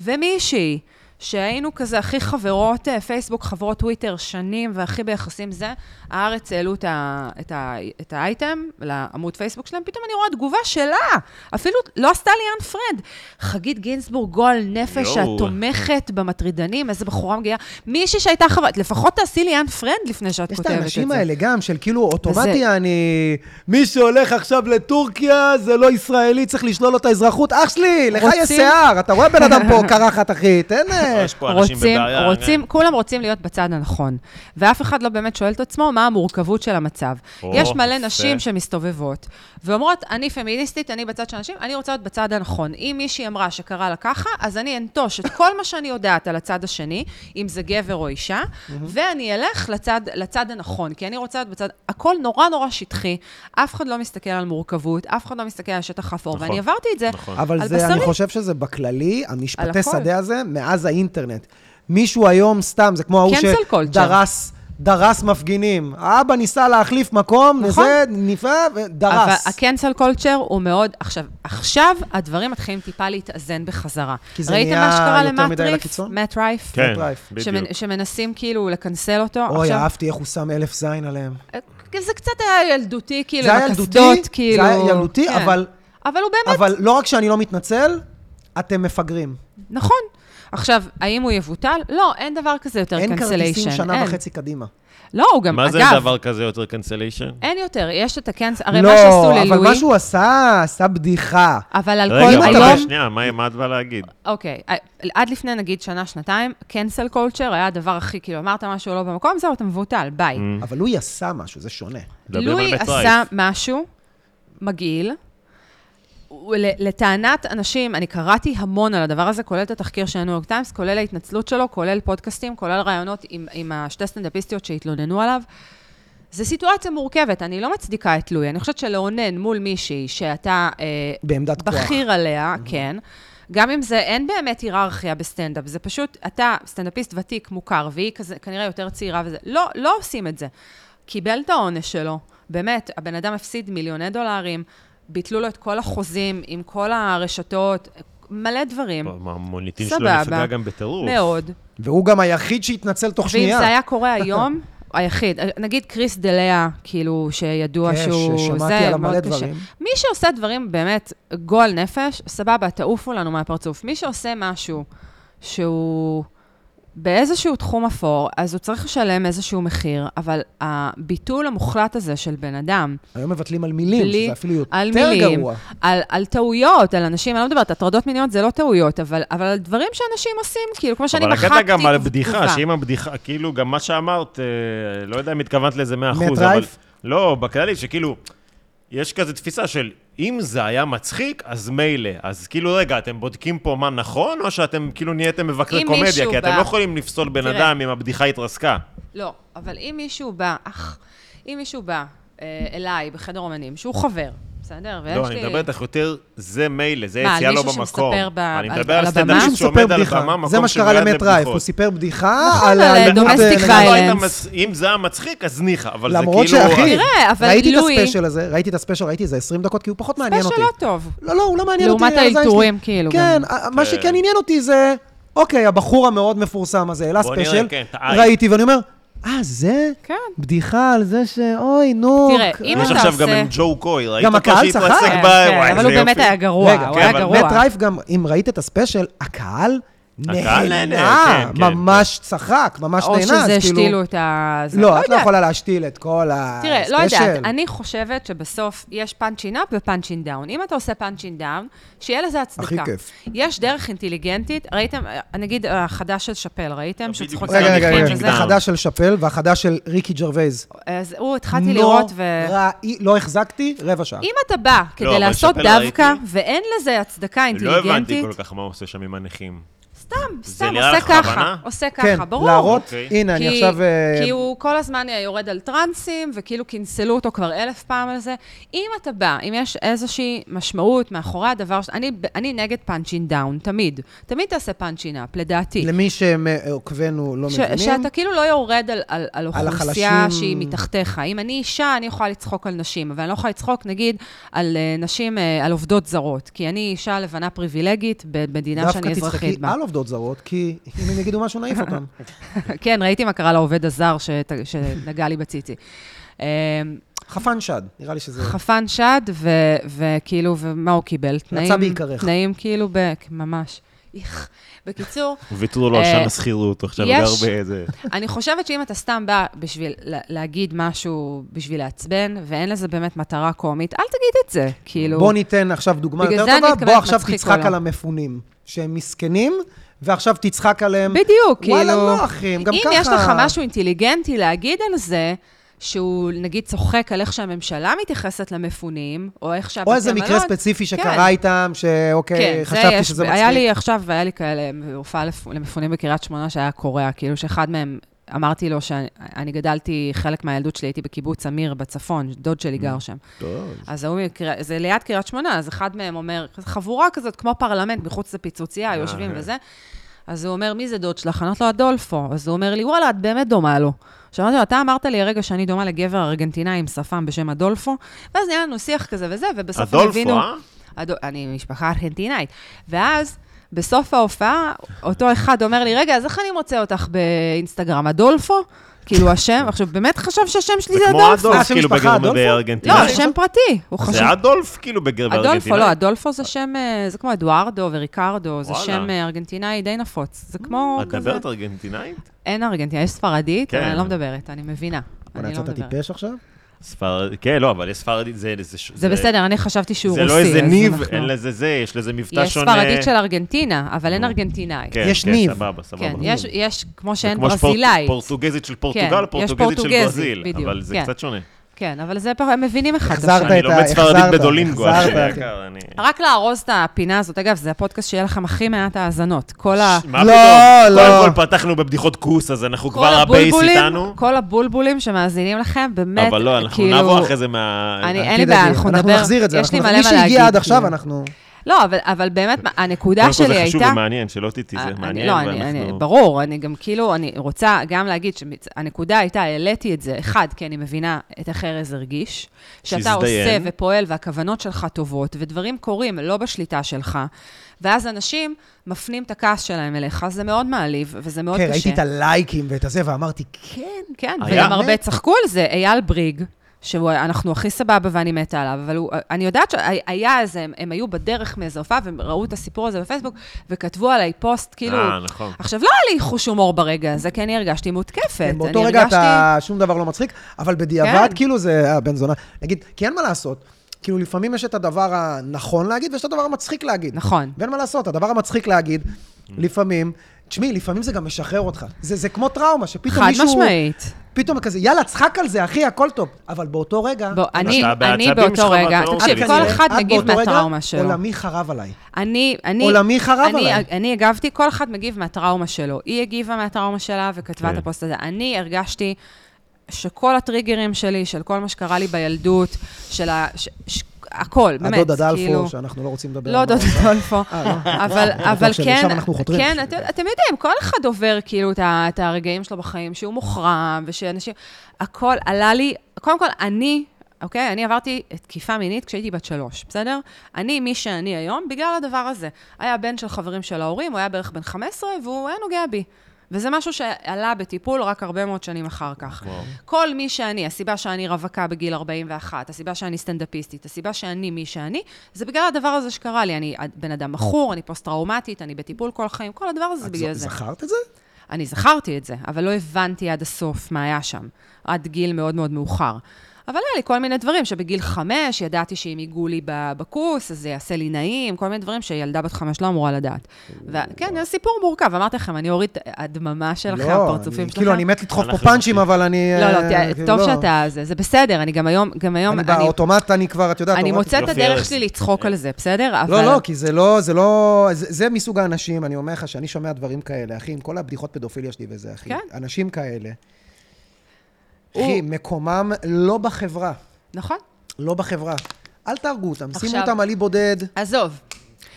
S3: ומישהי, שהיינו כזה הכי חברות אה, פייסבוק, חברות טוויטר, שנים והכי ביחסים זה, הארץ העלו את, ה, את, ה, את האייטם לעמוד פייסבוק שלהם, פתאום אני רואה תגובה שלה, אפילו לא עשתה לי אן פרד. חגית גינזבורג, גועל נפש, שאת
S1: יואו.
S3: תומכת במטרידנים, איזה בחורה מגאה. מישהי שהייתה חברת, לפחות תעשי לי אן פרנד לפני שאת
S2: יש את
S3: כותבת את זה.
S2: האנשים האלה גם, של כאילו אוטומטי
S3: וזה-
S2: אני... מי שהולך עכשיו לטורקיה זה לא ישראלי, צריך לשלול לו את האזרחות. אח שלי, לך יש
S3: רוצים-
S2: שיער, אתה רואה בן אדם פה קרחת, אחי, תן... אה, זה.
S1: לא, יש פה אנשים
S3: רוצים,
S1: בבעיה. כן. אוקיי.
S3: רוצים, כולם רוצים להיות בצד הנכון. ואף אחד לא באמת שואל את עצמו מה המורכבות של המצב.
S1: או,
S3: יש מלא
S1: יפה.
S3: נשים שמסתובבות ואומרות, אני פמיניסטית, אני בצד של הנשים, אני רוצה להיות בצד הנכון. אם מישהי אמרה שקרה לה ככה, אז אני אנטוש את כל מה שאני יודעת על הצד השני, אם זה גבר או אישה, ואני אלך לצד, לצד הנכון, כי אני רוצה להיות בצד... הכל נורא נורא שטחי, אף אחד לא מסתכל על מורכבות, אף אחד לא מסתכל על שטח אפור,
S1: נכון.
S3: ואני עברתי את זה.
S1: נכון.
S2: אבל
S3: על
S2: זה, אני
S3: בשרי.
S2: חושב שזה בכללי,
S3: על
S2: המשפטי
S3: הכל.
S2: שדה הזה, מאז האינטרנט. מישהו היום, סתם, זה כמו ההוא
S3: Cancel culture.
S2: שדרס... דרס מפגינים. האבא ניסה להחליף מקום,
S3: נכון.
S2: וזה נפלא, ודרס.
S3: אבל ה-cancel culture הוא מאוד... עכשיו, עכשיו הדברים מתחילים טיפה להתאזן בחזרה.
S2: כי זה
S3: ראיתם
S2: נהיה
S3: מה שקרה
S2: יותר
S3: למט
S2: מדי
S3: רייף?
S2: לקיצון?
S3: מאט רייף?
S1: כן,
S2: טרייף.
S1: בדיוק.
S3: שמנ- שמנסים כאילו לקנסל אותו.
S2: אוי,
S3: עכשיו, אה,
S2: אהבתי איך הוא שם אלף זין עליהם.
S3: זה קצת היה ילדותי, כאילו,
S2: זה
S3: עם
S2: היה ילדותי,
S3: הקסדות,
S2: זה
S3: כאילו.
S2: היה ילדותי,
S3: כן.
S2: אבל-
S3: אבל הוא באמת,
S2: אבל לא רק שאני לא מתנצל, אתם מפגרים.
S3: נכון. עכשיו, האם הוא יבוטל? לא, אין דבר כזה יותר
S2: אין
S3: cancellation.
S2: כרטיסים שנה
S3: אין.
S2: וחצי קדימה.
S3: לא, הוא גם,
S1: מה זה
S3: אגב,
S1: דבר כזה יותר קנסליישן?
S3: אין יותר, יש את הקנסל, הרי מה שעשו ללואי,
S2: לא, אבל מה שהוא עשה, עשה בדיחה.
S3: אבל על
S1: רגע,
S3: כל
S1: אבל
S3: היום...
S1: שנייה, מה מה את באה להגיד?
S3: אוקיי, עד לפני נגיד שנה-שנתיים, קנסל קולצ'ר היה הדבר הכי, כאילו, אמרת משהו לא במקום, זהו, אתה מבוטל, ביי.
S2: אבל לואי עשה משהו, זה שונה.
S1: Mm, מדברים על
S3: לואי
S1: בית
S3: עשה
S1: רייף.
S3: משהו מגעיל. הוא- ל- לטענת אנשים, אני קראתי המון על הדבר הזה, כולל את התחקיר של הניו יורק טיימס, כולל ההתנצלות שלו, כולל פודקאסטים, כולל ראיונות עם, עם השתי סטנדאפיסטיות שהתלוננו עליו. זו סיטואציה מורכבת, אני לא מצדיקה את לואי. אני חושבת שלאונן מול מישהי שאתה אה,
S2: בעמדת כוח.
S3: בכיר עליה, כן. גם אם זה, אין באמת היררכיה בסטנדאפ, זה פשוט, אתה סטנדאפיסט ותיק, מוכר, והיא כזה, כנראה יותר צעירה וזה. לא, לא עושים את זה. קיבל את העונש שלו, באמת, הבן אדם הפסיד מיליוני דולרים, ביטלו לו את כל החוזים עם כל הרשתות, מלא דברים.
S1: מה, המוניטין שלו
S3: סבבה.
S1: נפגע גם בטירוף.
S3: מאוד.
S2: והוא גם היחיד שהתנצל תוך
S3: ואם
S2: שנייה.
S3: זה היה קורה היום, היחיד, נגיד קריס דלאה, כאילו, שידוע
S2: כן,
S3: שהוא...
S2: ששמעתי
S3: זה
S2: עליו מלא
S3: מאוד קשה.
S2: דברים.
S3: מי שעושה דברים באמת גועל נפש, סבבה, תעופו לנו מהפרצוף. מי שעושה משהו שהוא באיזשהו תחום אפור, אז הוא צריך לשלם איזשהו מחיר, אבל הביטול המוחלט הזה של בן אדם,
S2: היום מבטלים על מילים,
S3: בלי-
S2: שזה אפילו יותר
S3: על מילים,
S2: גרוע.
S3: על, על טעויות, על אנשים, אני לא מדברת, הטרדות מיניות זה לא טעויות, אבל, אבל על דברים שאנשים עושים, כאילו, כמו שאני
S1: אבל
S3: מחקתי
S1: הקטע גם על בדיחה,
S3: תגובה.
S1: שאם הבדיחה, כאילו, גם מה שאמרת, אה, לא יודע אם התכוונת לזה 100%,
S2: מאט
S1: אבל...
S2: רייף?
S1: לא, בכללי, שכאילו, יש כזה תפיסה של אם זה היה מצחיק, אז מילא. אז כאילו, רגע, אתם בודקים פה מה נכון, או שאתם כאילו נהייתם מבקרי
S3: אם
S1: קומדיה?
S3: מישהו
S1: כי אתם
S3: בא-
S1: לא יכולים לפסול בן
S3: תראה.
S1: אדם אם הבדיחה התרסקה.
S3: לא, אבל אם מישהו בא, אך, אם מישהו בא אה, אליי בחדר אומנים, שהוא חבר, בסדר? ויש
S1: לא, אני
S3: לי-
S1: מדבר איתך יותר, זה מילא, זה
S3: מה, על
S1: יציאה לא
S3: מישהו
S1: במקום.
S3: שמספר ב-
S1: אני
S3: על-
S1: מדבר
S3: על
S1: על
S3: הבמה?
S1: סטנדאפיסט
S2: מישהו מספר
S1: שעומד על
S2: בדיחה.
S1: הבמה, מקום
S2: זה מה שקרה
S1: שמיועד
S2: למט רייף,
S1: לבדיחות.
S2: הוא סיפר בדיחה
S3: נכון,
S2: על
S3: על
S2: האלימות אה,
S3: domestic
S2: נגד-
S3: violence.
S1: לא היית מס- אם זה היה מצחיק, אז ניחא, אבל זה כאילו...
S2: למרות שאחי,
S3: תראה, אבל
S2: ראיתי את
S3: לואי-
S2: הספיישל הזה, ראיתי את הספיישל, ראיתי איזה 20 דקות, כי הוא פחות מעניין
S3: ספיישל
S2: אותי.
S3: לא טוב.
S2: לא, לא, הוא לא מעניין אותי.
S3: לעומת
S2: הזין שלי.
S3: האלתורים, כאילו,
S2: כן,
S3: גם.
S2: ה- מה שכן עניין אותי זה, אוקיי, הבחור המאוד מפורסם הזה, העלה
S1: בוא נראה,
S2: ספיישל,
S1: כן, את העין.
S2: ראיתי ואני אומר, אה, זה?
S3: כן.
S2: בדיחה על זה ש... אוי, נו.
S3: תראה, אם
S1: יש
S3: אתה
S1: עכשיו גם
S3: עושה-
S1: עם ג'ו קוי, ראית
S2: גם
S1: אותו
S2: הקהל צחק.
S1: שהתרסק
S3: כן,
S1: ב...
S3: כן,
S1: וואי,
S3: אבל
S1: איזה
S3: הוא באמת
S1: יופי.
S3: היה גרוע,
S2: רגע,
S3: הוא היה
S1: כן, אבל
S3: גרוע.
S2: נט רייף גם, אם ראית את הספיישל, הקהל
S1: הקהל נהנה,
S2: נהנה,
S1: כן, כן,
S2: ממש צחק, ממש
S3: או
S2: נהנה,
S3: שזה
S2: אז כאילו...
S3: השתילו את ה... זה,
S2: לא, את לא
S3: יודעת.
S2: יכולה להשתיל את כל
S3: תראה, לא יודעת,
S2: הספיישל.
S3: אני חושבת שבסוף יש פאנצ'ין אפ ופאנצ'ין דאון. אם אתה עושה פאנצ'ין דאון, שיהיה לזה הצדקה.
S2: הכי כיף.
S3: יש דרך אינטליגנטית, ראיתם, אה, נגיד החדש של שאפל, ראיתם? שהוא
S1: בדיוק
S3: צחוק
S1: מסתכלתי
S2: רגע, רגע,
S1: Punching
S3: על
S2: רגע,
S1: Down.
S2: החדש של שאפל והחדש של ריקי ג'רווייז.
S3: אז הוא, אה,
S2: לא.
S3: התחלתי לראות ו...
S2: נוראי, לא החזקתי, רבע שעה.
S3: אם אתה בא
S1: לא, אבל
S3: כדי לעשות
S1: שאפל ראיתי.
S3: דווקא, ואין לזה הצדקה
S1: לא הבנתי
S3: אינטליגנטית,
S1: כל כך מה הוא עושה שם עם הנכים.
S3: סתם,
S1: זה
S3: סתם,
S1: נראה
S3: עושה
S1: לך
S3: ככה,
S1: בכוונה?
S3: עושה
S2: כן,
S3: ככה, ברור.
S2: להראות,
S1: אוקיי.
S2: הנה, אני
S3: כי-
S2: עכשיו... אה,
S3: כי הוא כל הזמן יורד על טרנסים, וכאילו קינסלו אותו כבר אלף פעם על זה. אם אתה בא, אם יש איזושהי משמעות מאחורי הדבר, ש- אני- אני נגד פאנצ'ין דאון, תמיד. תמיד תעשה פאנצ'ין אפ, לדעתי.
S2: למי שעוקבנו לא
S3: ש-
S2: מבינים.
S3: שאתה כאילו לא יורד על, על, על אוכלוסייה
S2: החלשים.
S3: שהיא מתחתיך. אם אני אישה, אני יכולה לצחוק על נשים, אבל אני לא יכולה לצחוק, נגיד, על אה, נשים, אה, על עובדות זרות, כי אני אישה לבנה פריבילגית במדינה שאני
S2: דווקא
S3: אזרחית
S2: תצחקי
S3: בה.
S2: על עובדות זרות, כי אם הם יגידו משהו נעיף אותם.
S3: כן, ראיתי מה קרה לעובד הזר שת, שנגע לי בציצי. אה,
S2: חפן שד, נראה לי שזה...
S3: חפן שד, ו, וכאילו, ומה הוא קיבל? תנאים,
S2: בהיקרך.
S3: תנאים כאילו, ב, ממש. איך. בקיצור,
S1: ויתרו לו על
S3: אה,
S1: שם השכירות, עכשיו הוא
S3: יש-
S1: גר באיזה...
S3: אני חושבת שאם אתה סתם בא בשביל לה- להגיד משהו, בשביל לעצבן, ואין לזה באמת מטרה קומית, אל תגיד את זה. כאילו,
S2: בוא ניתן עכשיו דוגמה
S3: בגלל
S2: יותר
S3: זה אני
S2: טובה,
S3: מתכוונת
S2: בוא עכשיו
S3: מצחיק
S2: תצחק
S3: עולם.
S2: על המפונים, שהם מסכנים, ועכשיו תצחק עליהם.
S3: בדיוק, כאילו...
S2: וואלה, לא, אחי, הם גם ככה...
S3: אם יש לך משהו אינטליגנטי להגיד על זה, שהוא נגיד צוחק על איך שהממשלה מתייחסת למפונים, או איך שהבתי
S2: או
S3: המלון...
S2: איזה מקרה ספציפי שקרה איתם, שאוקיי,
S3: כן, זה
S2: חשבתי
S3: יש-
S2: שזה מצחיק.
S3: היה לי עכשיו, היה לי כאלה הופעה לפ- למפונים בקריית שמונה שהיה קורע, כאילו שאחד מהם, אמרתי לו שאני אני גדלתי, חלק מהילדות שלי הייתי בקיבוץ אמיר בצפון, דוד שלי גר שם.
S1: טוב.
S3: אז ההוא מקריית, זה ליד קריית שמונה, אז אחד מהם אומר, חבורה כזאת, כמו פרלמנט, מחוץ לפיצוצייה, יושבים וזה. אז הוא אומר, מי זה דוד שלך? אני אומרת לו, אדולפו. אז הוא אומר לי, וואלה, את באמת דומה לו. עכשיו אמרתי לו, אתה אמרת לי הרגע שאני דומה לגבר ארגנטינאי עם שפם בשם אדולפו, ואז נהיה לנו שיח כזה וזה, ובסוף הם
S1: אדולפו,
S3: הבינו...
S1: אה?
S3: אדו, אני משפחה ארגנטינאית. ואז, בסוף ההופעה, אותו אחד אומר לי, רגע, אז איך אני מוצא אותך באינסטגרם? אדולפו? כאילו השם, עכשיו, באמת חשב שהשם שלי זה
S1: כמו
S3: אדולפו.
S2: אה,
S1: אדולף,
S2: שם
S1: כאילו,
S2: משפחה,
S1: בגרמניה,
S2: אדולפו?
S3: לא,
S1: בארגנטינה.
S2: אדולף.
S3: השם פרטי. הוא חשב...
S1: זה אדולף, כאילו, בגר- בארגנטינה.
S3: אדולפו, לא, אדולפו זה שם, אה, זה כמו אדוארדו וריקרדו, זה
S1: וואלה.
S3: שם אה, ארגנטינאי די נפוץ. זה כמו
S1: את
S3: כזה...
S1: מדברת ארגנטינאית?
S3: אין ארגנטינאי, יש ספרדית, אבל
S1: כן.
S3: אני לא מדברת, אני מבינה.
S2: בוא'נה,
S3: אני לא
S2: יצאת
S3: מדברת.
S2: טיפש עכשיו?
S1: ספרדית, כן, לא, אבל יש ספרדית, זה...
S3: זה בסדר, אני חשבתי שהוא
S1: זה
S3: רוסי.
S1: לא איזה
S3: אז
S1: ניב,
S3: אנחנו-
S1: אין לזה זה, יש לזה מבטא
S3: יש
S1: שונה.
S3: ספרדית של ארגנטינה, אבל אין ארגנטינאי.
S1: כן,
S2: יש
S1: כן,
S2: ניב.
S1: סבבה, סבבה.
S3: כן, יש- יש, כמו
S1: זה
S3: שאין
S1: כמו שפור-
S3: ברזילאית.
S1: פורטוגזית של
S3: כן,
S1: פורטוגל,
S3: יש
S1: פורטוגזית של
S3: פורטוגזית,
S1: ברזיל,
S3: בדיוק,
S1: אבל זה
S3: כן.
S1: קצת שונה. לא
S3: כן, אבל זה, פח- הם מבינים אחד את
S2: החזרת
S3: השני.
S1: אני
S2: את ה-
S1: לומד ספרדית
S2: אה, החזרת,
S1: בדולינגו,
S2: החזרת,
S1: אחי,
S2: אחי.
S1: יקר, אני...
S3: רק לארוז את הפינה הזאת, אגב, זה הפודקאסט שיהיה לכם הכי מעט האזנות. כל ה...
S1: מה
S2: לא,
S1: פתאום?
S2: לא.
S1: קודם כל פתחנו בבדיחות כוס, אז אנחנו
S3: כל
S1: כבר הבייס
S3: הבולבולים-
S1: איתנו.
S3: כל הבולבולים שמאזינים לכם, באמת,
S1: אבל לא, אנחנו
S3: כאילו,
S1: נעבור אחרי זה מה... אה,
S3: אני-
S1: קודם
S3: אין
S2: תדאגי,
S3: לי בעיה, אנחנו נדבר-
S2: נחזיר את זה.
S3: יש לי
S2: אנחנו-
S3: מלא מה
S2: מי
S3: להגיד,
S2: שהגיע עד עכשיו,
S3: כאילו.
S2: אנחנו...
S3: לא, אבל, אבל באמת, מה- הנקודה
S1: כל
S3: שלי
S1: זה
S3: הייתה...
S1: חשוב ומעניין, שלא תטעי,
S3: אני-
S1: זה מעניין,
S3: לא, אני, אני,
S1: ואנחנו-
S3: ברור, אני גם כאילו, אני רוצה גם להגיד שהנקודה הייתה, העליתי את זה, אחד, כי אני מבינה את איך ארז הרגיש, שאתה
S1: שהזדיין.
S3: עושה ופועל והכוונות שלך טובות, ודברים קורים לא בשליטה שלך, ואז אנשים מפנים את הכעס שלהם אליך, זה מאוד מעליב, וזה מאוד
S2: כן,
S3: קשה.
S2: ראיתי את הלייקים ואת הזה, ואמרתי,
S3: כן, כן,
S1: היה?
S3: וגם הרבה
S2: באמת?
S3: צחקו על זה. אייל בריג, שאנחנו הכי סבבה ואני מתה עליו, אבל הוא, אני יודעת שהיה איזה, הם, הם היו בדרך מאיזו הופעה, והם ראו את הסיפור הזה בפייסבוק, וכתבו עליי פוסט, כאילו...
S1: אה, נכון.
S3: עכשיו, לא היה לי חוש הומור ברגע הזה, כי אני הרגשתי מותקפת.
S2: כן, באותו
S3: אני
S2: רגע
S3: הרגשתי...
S2: אתה, שום דבר לא מצחיק, אבל בדיעבד,
S3: כן.
S2: כאילו זה הבן זונה. נגיד, כי אין מה לעשות. כאילו, לפעמים יש את הדבר הנכון להגיד, ויש את הדבר המצחיק להגיד.
S3: נכון.
S2: ואין מה לעשות, הדבר המצחיק להגיד, לפעמים, תשמעי, לפעמים זה גם משחרר אותך. זה, זה כמו טראומה, שפתאום
S3: חד
S2: מישהו...
S3: משמעית.
S2: פתאום כזה, יאללה, צחק על זה, אחי, הכל טוב. אבל באותו רגע...
S3: בוא, אני,
S1: אתה לא
S3: אני
S1: בעצבים שלך
S3: באותו רגע,
S1: והטראומה
S3: תקשיב,
S1: שלי.
S3: כל
S2: כנראה,
S3: אחד
S2: את
S3: מגיב
S2: באותו רגע,
S3: מהטראומה שלו.
S2: עולמי חרב עליי.
S3: אני, אני...
S2: עולמי חרב
S3: אני,
S2: עליי.
S3: אני הגבתי, כל אחד מגיב מהטראומה שלו. היא הגיבה מהטראומה שלה וכתבה
S1: כן.
S3: את הפוסט הזה. אני הרגשתי שכל הטריגרים שלי, של כל מה שקרה לי בילדות, של ה... ש, ש, הכל, באמת,
S2: הדודה דלפו,
S3: כאילו...
S2: שאנחנו לא רוצים לדבר
S3: לא
S2: עליו.
S3: דוד דולפו,
S2: אה, לא.
S3: אבל,
S2: בטוח
S3: אבל
S2: שלשם
S3: כן,
S2: אנחנו חותרים.
S3: כן, את, אתם יודעים, כל אחד עובר כאילו את, ה- את הרגעים שלו בחיים, שהוא מוחרם, ושאנשים, הכל עלה לי, קודם כל, אני, אוקיי, אני עברתי תקיפה מינית כשהייתי בת שלוש, בסדר? אני מי שאני היום, בגלל הדבר הזה. היה בן של חברים של ההורים, הוא היה בערך בן 15, והוא היה נוגע בי. וזה משהו שעלה בטיפול רק הרבה מאוד שנים אחר כך.
S1: וואו.
S3: כל מי שאני, הסיבה שאני רווקה בגיל 41, הסיבה שאני סטנדאפיסטית, הסיבה שאני מי שאני, זה בגלל הדבר הזה שקרה לי. אני בן אדם מכור, אני פוסט-טראומטית, אני בטיפול כל החיים, כל הדבר הזה זה
S2: את
S3: בגלל
S2: ז-
S3: זה.
S2: זכרת את זה?
S3: אני זכרתי את זה, אבל לא הבנתי עד הסוף מה היה שם, עד גיל מאוד מאוד מאוחר. אבל היה לי כל מיני דברים, שבגיל חמש ידעתי שאם ייגעו לי ב- בכוס, אז זה יעשה לי נעים, כל מיני דברים שילדה בת חמש לא אמורה לדעת. וכן, זה סיפור מורכב, אמרתי לכם, אני אוריד את הדממה שלכם,
S2: לא,
S3: הפרצופים
S2: אני-
S3: שלכם.
S2: כאילו, אני מת לדחוף פה
S1: אנחנו
S2: פאנצ'ים, אבל אני...
S3: לא,
S2: אה,
S3: לא, תראה,
S2: כאילו,
S3: טוב
S2: לא.
S3: שאתה זה, זה בסדר, אני גם היום, גם היום,
S2: אני
S3: אני-
S2: באוטומט, אני כבר, את יודעת...
S3: אני
S2: הורדתי.
S3: מוצאת את
S1: יופי,
S3: הדרך
S1: ארז.
S3: שלי לצחוק על זה, בסדר? אבל-
S2: לא, לא, כי זה לא, זה לא, זה, זה מסוג האנשים, אני אומר לך, שאני שומע דברים כאלה, אחי, עם כל הבדיחות פדופיליה שלי וזה, אחי.
S3: כן.
S2: אנשים כאלה,
S3: הוא-
S2: אחי, מקומם לא בחברה,
S3: נכון.
S2: לא בחברה. אל תהרגו אותם, שימו
S3: עכשיו-
S2: אותם על אי בודד.
S3: עזוב.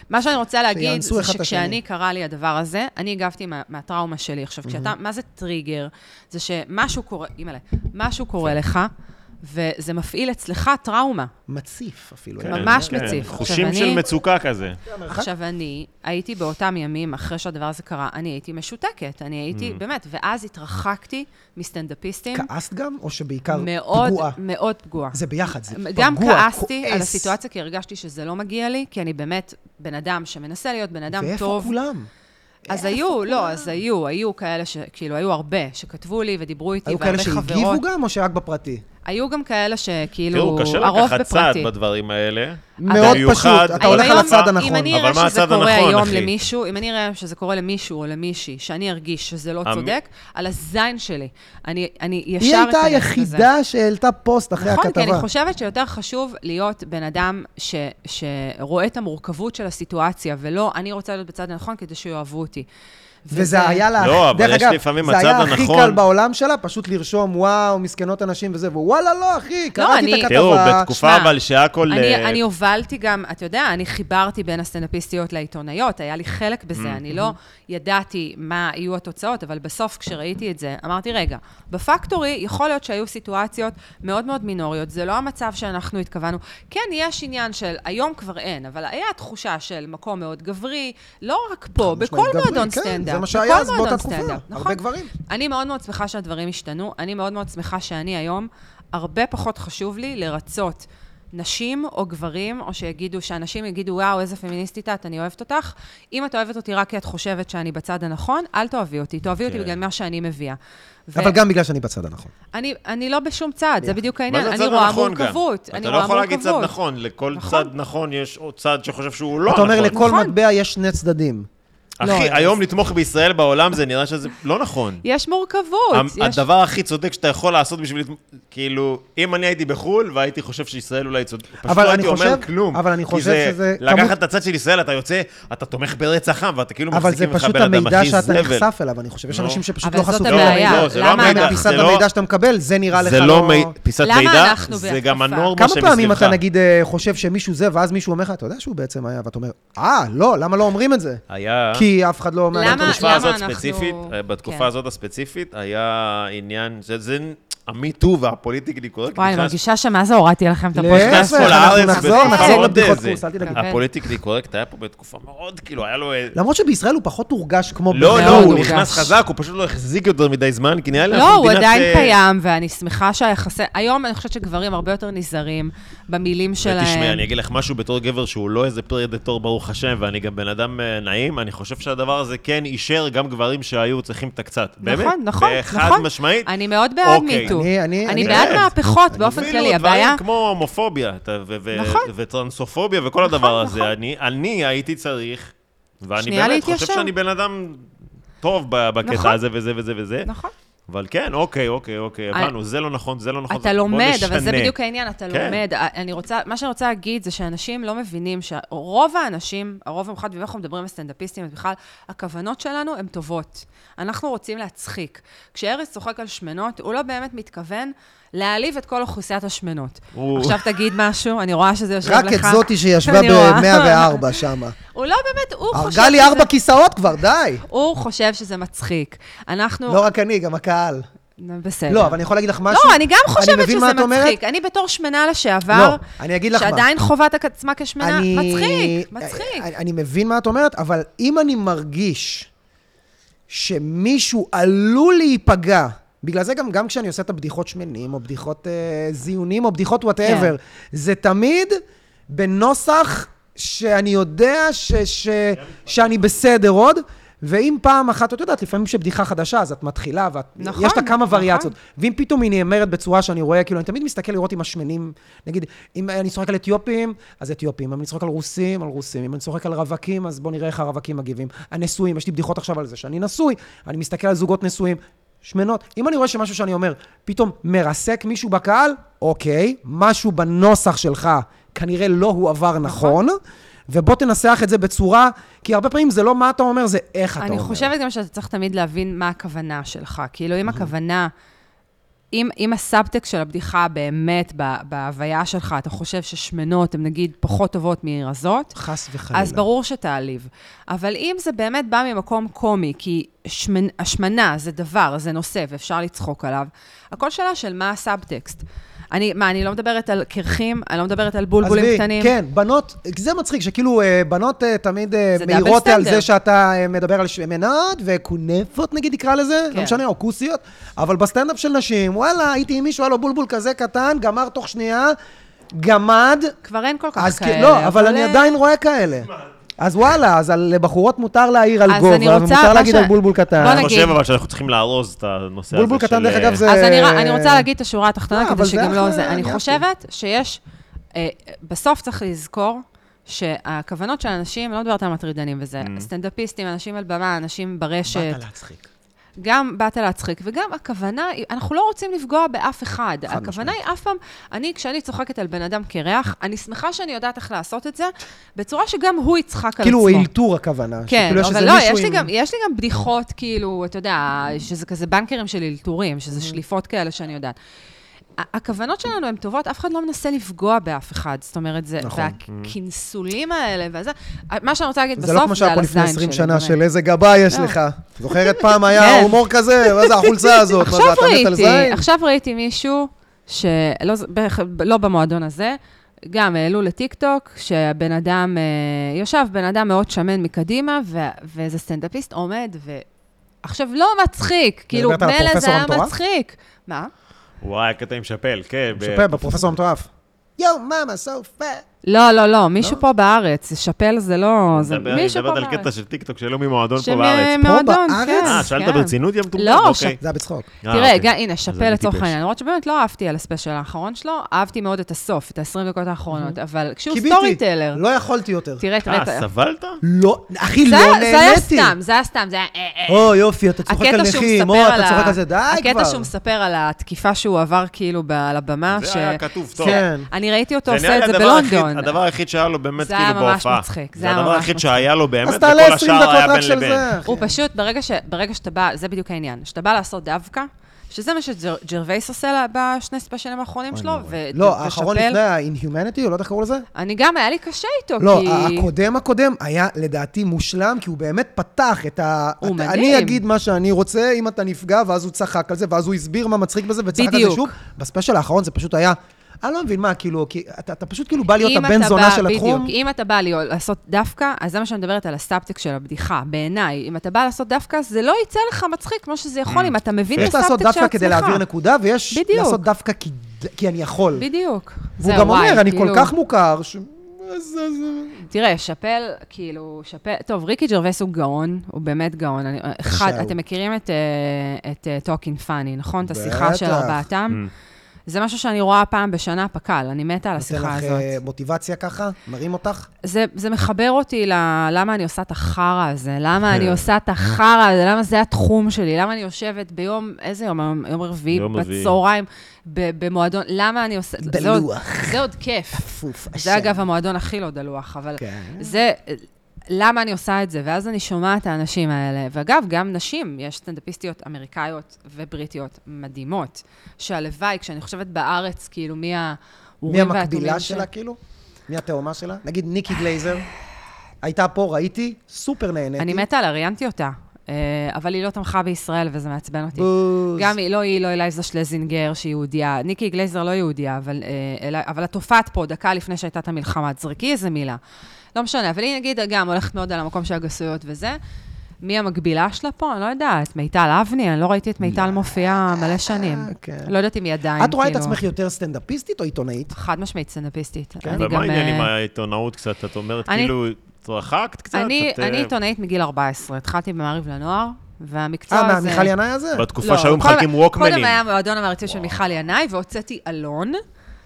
S3: מה שאני רוצה להגיד,
S2: שיאנסו
S3: זה
S2: אחד את השני.
S3: שכשאני קרה לי הדבר הזה, אני הגבתי מה, מהטראומה שלי. עכשיו, כשאתה, מה זה טריגר? זה שמשהו קורה, אימא'לה, משהו קורה
S2: כן.
S3: לך, וזה מפעיל אצלך טראומה.
S2: מציף אפילו.
S1: כן,
S3: ממש
S1: כן,
S3: מציף.
S1: חושים
S3: עכשיו, אני-
S1: של מצוקה כזה.
S3: עכשיו, אני הייתי באותם ימים, אחרי שהדבר הזה קרה, אני הייתי משותקת. אני הייתי, באמת, ואז התרחקתי מסטנדאפיסטים
S2: כעסת גם, או שבעיקר
S3: מאוד,
S2: פגועה?
S3: מאוד פגועה.
S2: זה ביחד, זה פגוע,
S3: גם כעסתי
S2: כועס.
S3: על הסיטואציה, כי הרגשתי שזה לא מגיע לי, כי אני באמת בן אדם שמנסה להיות בן אדם
S2: ואיפה
S3: טוב.
S2: כולם?
S3: אז היו, לא, אז היו, היו כאלה ש... כאילו, היו הרבה שכתבו לי ודיברו איתי,
S2: היו
S3: והרבה
S2: כאלה שהגיבו
S3: חברות.
S2: גם, או שרק בפרטי?
S3: היו גם כאלה שכאילו,
S1: תראו, קשה
S3: כאילו, הרוב
S1: לקחת צעד
S3: בפרטי.
S1: בדברים האלה.
S2: מאוד
S1: במיוחד-
S2: פשוט, אתה
S1: היום-
S2: הולך על הצד
S1: אם
S2: הנכון.
S3: אם אני
S1: אבל
S3: אראה
S1: מה
S3: שזה
S1: הצד
S3: קורה
S1: הנכון,
S3: היום
S1: אחי?
S3: למישהו, אם אני אראה שזה קורה למישהו או למישהי, שאני ארגיש שזה לא
S1: אמ-
S3: צודק, על הזין שלי. אני אני ישר...
S2: היא הייתה
S3: אכנס לזה.
S2: היחידה שהעלתה פוסט אחרי
S3: נכון, כי אני
S2: הכתבה.
S3: חושבת שיותר חשוב להיות בן אדם ש, שרואה את המורכבות של הסיטואציה, ולא אני רוצה להיות בצד הנכון כדי שיאהבו אותי.
S2: וזה היה לה...
S1: לא, אבל
S2: דרך
S1: יש
S2: אגב,
S1: לפעמים
S2: זה
S1: הצד
S2: היה הכי
S1: הנכון.
S2: קל בעולם שלה, פשוט לרשום, וואו, מסכנות הנשים וזה, ווואלה, לא, אחי, קראתי
S3: אני-
S2: את הכתבה.
S1: תראו, בתקופה
S3: שמע,
S1: אבל שהכל...
S3: אני,
S1: אה,
S3: אני הובלתי גם, אתה יודע, אני חיברתי בין הסטנדאפיסטיות לעיתונאיות, היה לי חלק בזה, אני לא ידעתי מה יהיו התוצאות, אבל בסוף כשראיתי את זה, אמרתי, רגע, בפקטורי יכול להיות שהיו סיטואציות מאוד מאוד מינוריות, זה לא המצב שאנחנו התכוונו. כן, יש עניין של, היום כבר אין, אבל היה תחושה של מקום מאוד גברי, לא רק פה, בכל
S2: משמעית, גברי,
S3: מועדון
S2: כן,
S3: סטנדאפ.
S2: זה מה
S3: בכל
S2: שהיה אז באותה
S3: מועדון
S2: תקופה,
S3: סטנדאפ,
S2: הרבה
S3: נכון.
S2: גברים.
S3: אני מאוד מאוד שמחה שהדברים השתנו. אני מאוד מאוד שמחה שאני היום, הרבה פחות חשוב לי לרצות נשים או גברים, או שיגידו, שאנשים יגידו, וואו, איזה פמיניסטית את, אני אוהבת אותך. אם את אוהבת אותי רק כי את חושבת שאני בצד הנכון, אל תאהבי אותי. תאהבי אותי
S1: כן.
S3: בגלל מה שאני מביאה. ו-
S2: אבל גם בגלל שאני בצד הנכון.
S3: אני, אני לא בשום צד, זה בדיוק
S1: מה
S3: העניין.
S1: זה
S3: אני
S1: הצד
S3: רואה
S1: הנכון גם?
S3: מורכבות. אני
S1: אתה לא
S3: רואה
S1: יכול להגיד צד
S3: מורכבות.
S1: נכון, לכל
S3: נכון.
S1: צד נכון יש עוד צד שחושב שהוא לא
S2: אתה
S1: נכון.
S2: אומר, לכל
S3: נכון.
S2: מטבע יש שני צדדים.
S3: לא,
S1: אחי,
S3: אז-
S1: היום לתמוך בישראל בעולם זה נראה שזה לא נכון.
S3: יש מורכבות.
S1: המ-
S3: יש...
S1: הדבר הכי צודק שאתה יכול לעשות בשביל... לתמ- כאילו, אם אני הייתי בחו"ל והייתי חושב שישראל אולי צודק, פשוט
S2: אבל
S1: לא
S2: אני
S1: הייתי אומר
S2: חושב-
S1: כלום.
S2: אבל אני
S1: כי
S2: חושב
S1: זה-
S2: שזה כמות-
S1: לקחת את הצד של ישראל, אתה יוצא, אתה תומך ברצח עם, ואתה כאילו
S2: אבל זה
S1: מחזיקים לך
S2: פשוט
S1: בן אדם
S2: המידע
S1: הכי
S2: שאתה
S1: זבל.
S2: נחשף אליו, אני חושב. יש
S1: נו.
S2: אנשים שפשוט
S3: אבל
S2: לא
S3: זאת
S2: חשופים.
S3: הבעיה.
S1: לא, זה לא
S3: למה-
S1: המידע,
S2: פיסת
S1: זה לא-
S2: המידע שאתה מקבל, זה נראה לך
S1: זה לא
S2: לא...
S1: מי- פיסת
S3: למה
S1: מידע,
S3: אנחנו
S1: זה
S3: בהתקפה?
S1: גם הנורמה
S2: כמה
S1: שמסביבך.
S2: פעמים אתה נגיד אה, חושב שמישהו זה, ואז מישהו אומר לך, אתה יודע שהוא בעצם היה, ואתה אומר, אה, לא, למה לא אומרים את זה?
S1: היה...
S2: כי אף אחד לא אומר...
S3: למה-
S1: בתקופה הזאת
S3: אנחנו-
S1: ספציפית, אה,
S3: כן.
S1: בתקופה הזאת הספציפית, היה עניין, זה- זה המיטו והפוליטיקלי קורקט.
S3: וואי, אני
S1: נכנס-
S3: מרגישה שמאז הורדתי לכם את הפודקאסט.
S1: נכנס פה
S2: להפך, אנחנו
S1: לארץ
S2: נחזור-
S1: בצורה
S2: נחזור
S1: מאוד
S2: לבדיחות
S1: איזה.
S2: חוץ, אל תדאג.
S1: הפוליטיקלי קורקט היה פה בתקופה מאוד, כאילו, היה לו... אה,
S2: למרות שבישראל הוא פחות הורגש כמו...
S1: לא,
S2: בחו"ל.
S1: לא, הוא
S3: מאוד
S1: נכנס
S3: הורגש.
S1: חזק, הוא פשוט לא החזיק יותר מדי זמן, כי נראה לי...
S3: לא,
S1: אנחנו
S3: הוא
S1: מדינת,
S3: עדיין
S1: אה,
S3: קיים, ואני שמחה שהיחסי... היום אני חושבת שגברים הרבה יותר נזהרים במילים שלהם.
S1: ותשמע, אה, אני אגיד לך משהו בתור גבר שהוא לא איזה פרדטור, ברוך השם, ואני גם בן אדם אה, נעים, אני חושב שהדבר הזה כן אישר גם גברים שהיו צריכים את הקצת. באמת.
S3: נכון, נכון,
S1: וחד
S3: נכון.
S1: משמעית.
S3: אני מאוד בעד
S1: אוקיי.
S3: מיטו.
S2: אני- אני-
S3: אני
S2: אני-
S3: בעד
S1: באמת.
S3: מהפכות באופן כללי,
S1: אפילו
S3: הבעיה...
S1: דברים כמו הומופוביה אתה- ו- ו-
S3: נכון.
S1: וטרנסופוביה וכל הדבר הזה. אני- אני הייתי צריך, ואני
S3: שנייה
S1: באמת חושב
S3: להתיישר.
S1: שאני בן אדם טוב ב-
S3: נכון.
S1: בקטע הזה וזה וזה וזה.
S3: נכון.
S1: אבל כן, אוקיי, אוקיי, אוקיי,
S3: אני-
S1: הבנו, זה לא נכון, זה לא נכון.
S3: אתה
S1: זה- בוא
S3: לומד, אבל זה
S1: נשנה.
S3: בדיוק העניין, אתה
S1: כן.
S3: לומד. אה, אני רוצה, מה שאני רוצה להגיד זה שאנשים לא מבינים שרוב האנשים, הרוב המוחד, ואם אנחנו מדברים על סטנדאפיסטים, אז בכלל, הכוונות שלנו הן טובות. אנחנו רוצים להצחיק. כשארז צוחק על שמנות, הוא לא באמת מתכוון להעליב את כל אוכלוסיית השמנות.
S1: הוא-
S3: עכשיו תגיד משהו, אני רואה שזה יושב לך.
S2: רק את זאתי שישבה
S3: אני רואה.
S2: ב-104 שמה.
S3: הוא לא באמת, הוא חושב
S2: הרגה לי
S3: שזה-
S2: ארבע כיסאות כבר, די.
S3: הוא חושב שזה מצחיק. אנחנו...
S2: לא רק אני, גם הקהל.
S3: בסדר.
S2: לא, אבל אני יכול להגיד לך משהו?
S3: כן. לא, אני גם חושבת
S2: מבין מה
S3: שזה
S2: את אומרת.
S3: מצחיק. אני בתור שמנה לשעבר,
S2: לא, אני אגיד לך מה.
S3: שעדיין חווה את עצמה כשמנה,
S2: אני- אה,
S3: מצחיק, מצחיק.
S2: אני, אני מבין מה את אומרת, אבל אם אני מרגיש שמישהו עלול להיפגע, בגלל זה גם, גם כשאני עושה את הבדיחות שמנים, או בדיחות אה, זיונים, או בדיחות
S3: כן.
S2: וואטאבר, זה תמיד בנוסח שאני יודע ש, ש, שאני בסדר עוד. ואם פעם אחת, את יודעת, לפעמים כשבדיחה חדשה, אז את מתחילה, ואת...
S3: נכון,
S2: יש לה כמה
S3: נכון.
S2: וריאציות. ואם פתאום היא נאמרת בצורה שאני רואה, כאילו, אני תמיד מסתכל לראות אם השמנים, נגיד, אם אני צוחק על אתיופים, אז אתיופים, אם אני צוחק על רוסים, על רוסים, אם אני צוחק על רווקים, אז בואו נראה איך הרווקים מגיבים. הנשואים, יש לי בדיחות עכשיו על זה שאני נשוי, אני מסתכל על זוגות נשואים, שמנות. אם אני רואה שמשהו שאני אומר, פתאום מרסק מישהו בקהל, אוקיי, משהו בנוסח שלך כנראה לא הועבר נכון, ובוא תנסח את זה בצורה, כי הרבה פעמים זה לא מה אתה אומר, זה איך אתה אומר.
S3: אני חושבת גם שאתה צריך תמיד להבין מה הכוונה שלך. כאילו,
S2: Mhm.
S3: אם הכוונה... אם, אם הסאבטקסט של הבדיחה באמת ב- בהוויה שלך, אתה חושב ששמנות הן נגיד פחות טובות מרזות,
S2: חס וחלילה.
S3: אז ברור שתעליב. אבל אם זה באמת בא ממקום קומי, כי שמנ... השמנה זה דבר, זה נושא, ואפשר לצחוק עליו, הכל שאלה של מה הסאבטקסט. אני, מה, אני לא מדברת על קרחים? אני לא מדברת על בולבולים
S2: עזבי,
S3: קטנים?
S2: כן, בנות, זה מצחיק, שכאילו אה, בנות אה, תמיד אה,
S3: זה
S2: מעירות
S3: דאבל
S2: על
S3: סטנדרט.
S2: זה שאתה אה, מדבר על שמנות וכונפות נגיד נקרא לזה,
S3: כן.
S2: לא משנה, או כוסיות, אבל בסטנדאפ של נשים, וואלה, הייתי עם מישהו, היה לו בולבול כזה קטן, גמר תוך שנייה, גמד,
S3: כבר אין כל כך
S2: אז
S3: כאלה.
S2: כן, לא, אבל אני
S3: אה,
S2: עדיין רואה כאלה. אז וואלה, אז על- לבחורות מותר להעיר על
S3: אז אני
S2: גובה,
S3: רוצה,
S2: ומותר
S3: מה
S2: להגיד
S3: ש-
S2: על בולבול
S3: בוא
S2: קטן.
S1: אני
S3: נגיד-
S1: חושב אבל שאנחנו צריכים לארוז את הנושא הזה של...
S2: בולבול קטן, דרך
S1: אה,
S2: אגב, זה...
S3: אז אני, ר- אני רוצה להגיד את השורה התחתונה,
S2: לא,
S3: כדי
S2: אבל זה
S3: שגם לא
S2: אחלה,
S3: זה. אני
S2: אני אהבתי.
S3: חושבת שיש אה, בסוף צריך לזכור שהכוונות של אנשים, אני לא מדברת על מטרידנים וזה,
S2: Mm.
S3: סטנדאפיסטים, אנשים על במה, אנשים ברשת,
S2: באת להצחיק.
S3: גם באת להצחיק, וגם הכוונה, היא- אנחנו לא רוצים לפגוע באף אחד. הכוונה היא אף פעם, אני, כשאני צוחקת על בן אדם קרח, אני שמחה שאני יודעת איך לעשות את זה, בצורה שגם הוא יצחק על עצמו.
S2: כאילו, אלתור הכוונה.
S3: כן,
S2: שכאילו יש
S3: אבל
S2: איזה
S3: לא,
S2: מישהו
S3: יש לי,
S2: עם-
S3: גם, יש לי גם בדיחות, כאילו, אתה יודע, שזה כזה בנקרים של אלתורים,
S2: Mm-hmm.
S3: שזה שליפות כאלה שאני יודעת. ה- הכוונות שלנו הן טובות, אף אחד לא מנסה לפגוע באף אחד. זאת אומרת, זה...
S2: נכון.
S3: והכינסולים האלה, וזה... מה שאני רוצה להגיד
S2: זה לא
S3: בסוף,
S2: כמו
S3: זה
S2: שהיה
S3: על
S2: פה לפני
S3: הזין
S2: 20
S3: שלי.
S2: שנה,
S3: באמת.
S2: של איזה גבה יש
S3: לא.
S2: לך. זוכרת פעם היה
S3: כן.
S2: הומור כזה, מה זה החולצה הזאת? מה זה,
S3: עכשיו
S2: אתה מת על
S3: ראיתי,
S2: זין?
S3: עכשיו ראיתי מישהו, שלא ז- בערך- לא במועדון הזה, גם העלו לטיקטוק, שהבן אדם, אה, יושב בן אדם מאוד שמן מקדימה, ו- ואיזה סטנדאפיסט עומד, ו... עכשיו, לא מצחיק, כאילו,
S2: מדברת על
S3: מילא
S2: הפרופסור
S3: זה היה
S2: המטורף?
S3: מצחיק. מה?
S1: אה, וואי, הקטע עם שאפל, כן. ב-
S2: שופר, בפרופסור המטורף. יואו, מאמה, סו
S3: לא, לא, לא, מישהו פה בארץ, שפל זה לא... זה
S1: מדבר- אני
S3: מישהו פה
S1: מדברת על קטע
S3: בארץ.
S1: של טיקטוק שלא ממועדון פה
S3: שמ-
S1: בארץ.
S3: מועדון,
S2: בארץ?
S3: כן,
S1: אה, שאלת
S3: כן.
S1: ברצינות, יא מטומטם?
S3: לא,
S1: אוקיי.
S2: זה היה בצחוק.
S1: אה,
S3: תראה,
S1: אוקיי.
S3: גם, הנה, שאפל
S1: אני
S3: לצורך
S1: טיפש.
S3: העניין, למרות שבאמת לא אהבתי על הספיישל האחרון שלו, אהבתי מאוד את הסוף, את ה-20 דקות האחרונות, אבל כשהוא סטורי טלר,
S2: לא יכולתי יותר.
S3: תראה, תראה,
S1: אה,
S3: תראה.
S1: סבלת?
S2: לא, אחי,
S3: זה
S2: לא
S3: היה-
S2: נהניתי.
S3: זה היה סתם, זה היה סתם, זה היה... אה, אה.
S2: או, יופי, אתה צוחק על
S3: הקטע שהוא
S2: נכים,
S3: מספר
S2: או, אתה
S3: על
S2: צוחק
S3: ה-
S2: על זה, די כבר.
S3: הקטע שהוא מספר על התקיפה שהוא עבר כאילו ב- על הבמה,
S1: זה
S3: ש-
S1: היה כתוב טוב.
S2: כן.
S3: אני ראיתי אותו
S1: זה נראה
S3: עושה
S1: לי
S3: את זה
S1: הדבר היחיד-
S3: בלונדון.
S1: הדבר היחיד שהיה לו באמת
S3: זה היה
S1: כאילו
S3: ממש
S1: בהופעה.
S3: מצחיק, זה
S1: זה
S3: היה
S1: הדבר
S3: ממש
S1: היחיד
S3: מצחיק.
S1: שהיה לו באמת,
S2: אז תעלה
S1: וכל
S2: 20
S1: השאר
S2: דקות
S1: היה
S2: רק
S1: בין
S2: של
S1: לבין.
S2: זה. אחי.
S3: הוא פשוט, ברגע, ש, ברגע שאתה בא, זה בדיוק העניין, שאתה בא לעשות דווקא, שזה מה שג'רווייס עושה לה- בשני ספיישלים האחרונים שלו, ו-
S2: לא,
S3: ו-
S2: האחרון
S3: ושאפל.
S2: לפני ה-Inhumanity, או לא יודע איך קראו לזה?
S3: אני גם, היה לי קשה איתו,
S2: לא,
S3: כי...
S2: הקודם הקודם היה לדעתי מושלם, כי הוא באמת פתח את ה...
S3: הוא
S2: אתה-
S3: מדהים.
S2: אני אגיד מה שאני רוצה, אם אתה נפגע, ואז הוא צחק על זה, ואז הוא הסביר מה מצחיק בזה, וצחק על זה
S3: בדיוק.
S2: שוב. בספיישל האחרון זה פשוט היה... אני לא מבין מה, כאילו, כי אתה, אתה פשוט כאילו בא להיות
S3: אם
S2: הבן
S3: אתה
S2: זונה
S3: בא-
S2: של התחום.
S3: בדיוק, אם אתה בא לי לעשות דווקא, אז זה מה שאני מדברת על הסאבטק של הבדיחה, בעיניי. אם אתה בא לעשות דווקא, זה לא יצא לך מצחיק כמו שזה יכול, אם אתה מבין את
S2: יש
S3: הסאבטק של
S2: לעשות
S3: עצמך.
S2: דווקא כדי להעביר נקודה, ויש
S3: בדיוק.
S2: לעשות דווקא כי, כי אני יכול.
S3: בדיוק.
S2: והוא
S3: זה
S2: גם
S3: וואי,
S2: אומר, אני כל
S3: כאילו-
S2: כך מוכר, ש... אז- אז-
S3: תראה, שאפל, כאילו, שאפל... טוב, ריקי ג'רווס הוא גאון, הוא באמת גאון. אני, אחד,
S2: זהו.
S3: אתם מכירים את, אה, את טוקינג פאני, נכון? את השיחה
S2: בטח. Mm.
S3: של ארבעתם? זה משהו שאני רואה פעם בשנה פק"ל, אני מתה על
S2: נותן
S3: השיחה
S2: לך
S3: הזאת.
S2: אה, מוטיבציה ככה, מרים אותך.
S3: זה, זה מחבר אותי ל... למה אני עושה את החרא הזה,
S1: כן.
S3: למה אני עושה את החרא הזה, למה זה התחום שלי, למה אני יושבת ביום, איזה יום? היום- יום רביעי,
S1: יום רביעי.
S3: בצהריים, ב- במועדון, למה אני עושה... זה עוד-
S2: דלוח.
S3: זה עוד כיף.
S2: פוף,
S3: זה אגב המועדון הכי לא דלוח, אבל
S2: כן.
S3: זה, למה אני עושה את זה? ואז אני שומעת את האנשים האלה. ואגב, גם נשים, יש סטנדאפיסטיות אמריקאיות ובריטיות מדהימות, שהלוואי, כשאני חושבת בארץ, כאילו, מי ה...
S2: מי המקבילה שלה, כאילו? מי התאומה שלה? נגיד ניקי גלייזר. הייתה פה, ראיתי, סופר נהניתי.
S3: אני מתה עליה, ראיינתי אותה. אה, אבל היא לא תמכה בישראל, וזה מעצבן אותי.
S2: בוז.
S3: גם היא, לא היא, לא אלייזה שלזינגר, שהיא יהודייה. ניקי גלייזר לא יהודייה, אבל, אה, אלי- אבל את הופעת פה דקה לפני שהייתה את המלחמה. תזרקי איזה מילה. לא משנה, אבל היא נגיד גם הולכת מאוד על המקום של הגסויות וזה. מי המקבילה שלה פה? אני לא יודעת. מיטל אבני? אני לא ראיתי את מיטל מופיעה מלא שנים.
S2: כן.
S3: לא יודעת אם היא עדיין,
S2: את רואה את
S3: כאילו-
S2: עצמך כן. יותר סטנדאפיסטית או עיתונאית?
S3: חד משמעית סטנדאפיסטית. אני
S1: ומה
S3: גם,
S1: העניין
S3: אה,
S1: עם העיתונאות קצת? את אומרת,
S3: אני-
S1: כאילו, צחקת קצת?
S3: אני
S1: את, אה,
S3: אני עיתונאית מגיל 14. התחלתי במעריב לנוער, והמקצוע
S2: אה,
S3: הזה...
S2: מה, מיכל ינאי הזה?
S1: בתקופה שהיו
S3: לא, קודם-
S1: מחלקים
S3: קודם
S1: ווקמנים.
S3: היה מועדון המרצים של מיכל ינאי, והוצאתי אלון,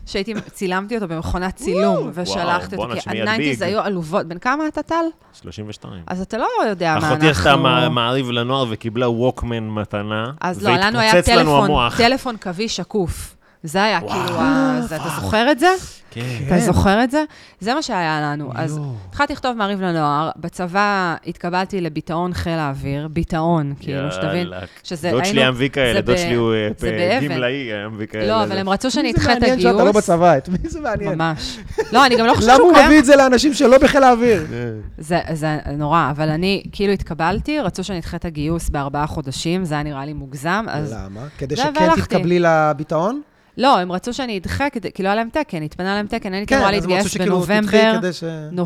S3: שהייתי, צילמתי אותו במכונת צילום, ושלחתי
S1: בואנה,
S3: אותו,
S1: שמי
S3: כי
S1: ידביק.
S3: הניינטיז היו עלובות. בן כמה אתה, טל?
S1: 32.
S3: אז אתה לא יודע מה אנחנו...
S1: אחותי עשתה מע- מעריב לנוער וקיבלה ווקמן מתנה,
S3: אז לא, לנו היה
S1: והתפוצץ לנו
S3: טלפון,
S1: המוח.
S3: טלפון קווי שקוף. זה היה כאילו, ה- זה- אתה זוכר את זה?
S1: כן.
S3: אתה זוכר את זה? זה מה שהיה לנו. אז התחלתי לכתוב מעריב לנוער, בצבא התקבלתי לביטאון חיל האוויר, ביטאון, כאילו, שתבין,
S1: יאללה.
S3: שזה,
S1: דוד שלי היה מביא כאלה,
S3: זה
S1: דוד
S3: ב-
S1: שלי הוא אה,
S3: זה
S1: פ-
S3: באבן.
S1: גמלאי, היה מביא כאלה.
S3: לא, אבל
S1: כן, זה-
S3: הם רצו שאני אדחה את
S2: מי זה מעניין שאתה לא
S3: הגיוס.
S2: בצבא? את מי זה מעניין?
S3: ממש. לא, אני גם לא חושבת
S2: למה הוא
S3: שהוא
S2: מביא
S3: קיים.
S2: את זה לאנשים שלא בחיל האוויר?
S1: כן.
S3: זה, זה נורא, אבל אני כאילו התקבלתי, רצו שאני אדחה את הגיוס בארבעה חודשים, זה היה נראה לי מוגזם, אז...
S2: למה? כדי
S3: זה,
S2: שכן
S3: והלכתי.
S2: תתקבלי לביטאון?
S3: לא, הם רצו שאני אדחה, כדי- כי לא היה להם תקן, התפנה להם תקן, אני הייתי אמורה
S2: כן, אז הם רצו
S3: להתגייס
S2: שכאילו
S3: בנובמבר,
S2: תדחי כדי ש...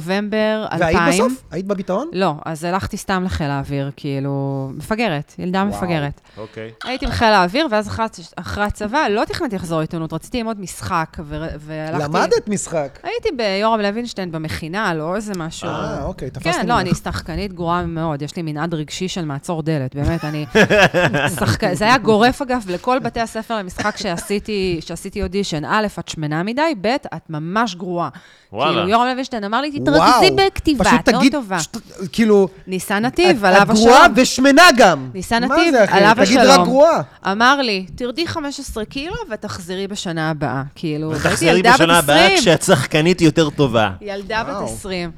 S3: נובמבר 2000.
S2: והיית בסוף? היית בביטאון?
S3: לא, אז הלכתי סתם לחיל האוויר, כאילו, מפגרת, ילדה
S2: וואו.
S3: מפגרת.
S1: אוקיי.
S3: הייתי בחיל האוויר, ואז אחרי, אחרי הצבא לא תכננתי לחזור לעיתונות, רציתי ללמוד משחק, ו, והלכתי...
S2: למדת משחק.
S3: הייתי ביורם לוינשטיין במכינה, לא איזה משהו.
S2: אה, אוקיי, תפסתי
S3: כן, לא,
S2: ממך.
S3: אני שחקנית גרועה מאוד, יש לי מנעד רגשי של מעצור דלת, באמת, אני... שחק... זה היה גורף, אגב, לכל בתי הספר למשחק שעשיתי, שעשיתי אודישן, א', את שמנה מדי, ב', את ממש גרועה.
S1: וואלה.
S3: כאילו, יורם לוינשטיין אמר לי, תתרכזי
S2: וואו,
S3: בכתיבה,
S2: פשוט
S3: את לא
S2: תגיד,
S3: טובה.
S2: פשוט, כאילו,
S3: ניסה
S2: את
S3: נתיב,
S2: את
S3: עליו
S2: גרועה
S3: השלום.
S2: ושמנה גם.
S3: ניסה
S2: מה
S3: נתיב,
S2: זה, אחי?
S3: עליו
S2: תגיד רק
S3: השלום.
S2: גרועה.
S3: אמר לי, תרדי 15 קילו ותחזרי בשנה הבאה. כאילו, הייתי
S1: תחזרי
S3: ילדה בת
S1: בשנה הבאה
S3: 20.
S1: כשאת שחקנית יותר טובה.
S3: ילדה בת
S2: וואו.
S3: 20.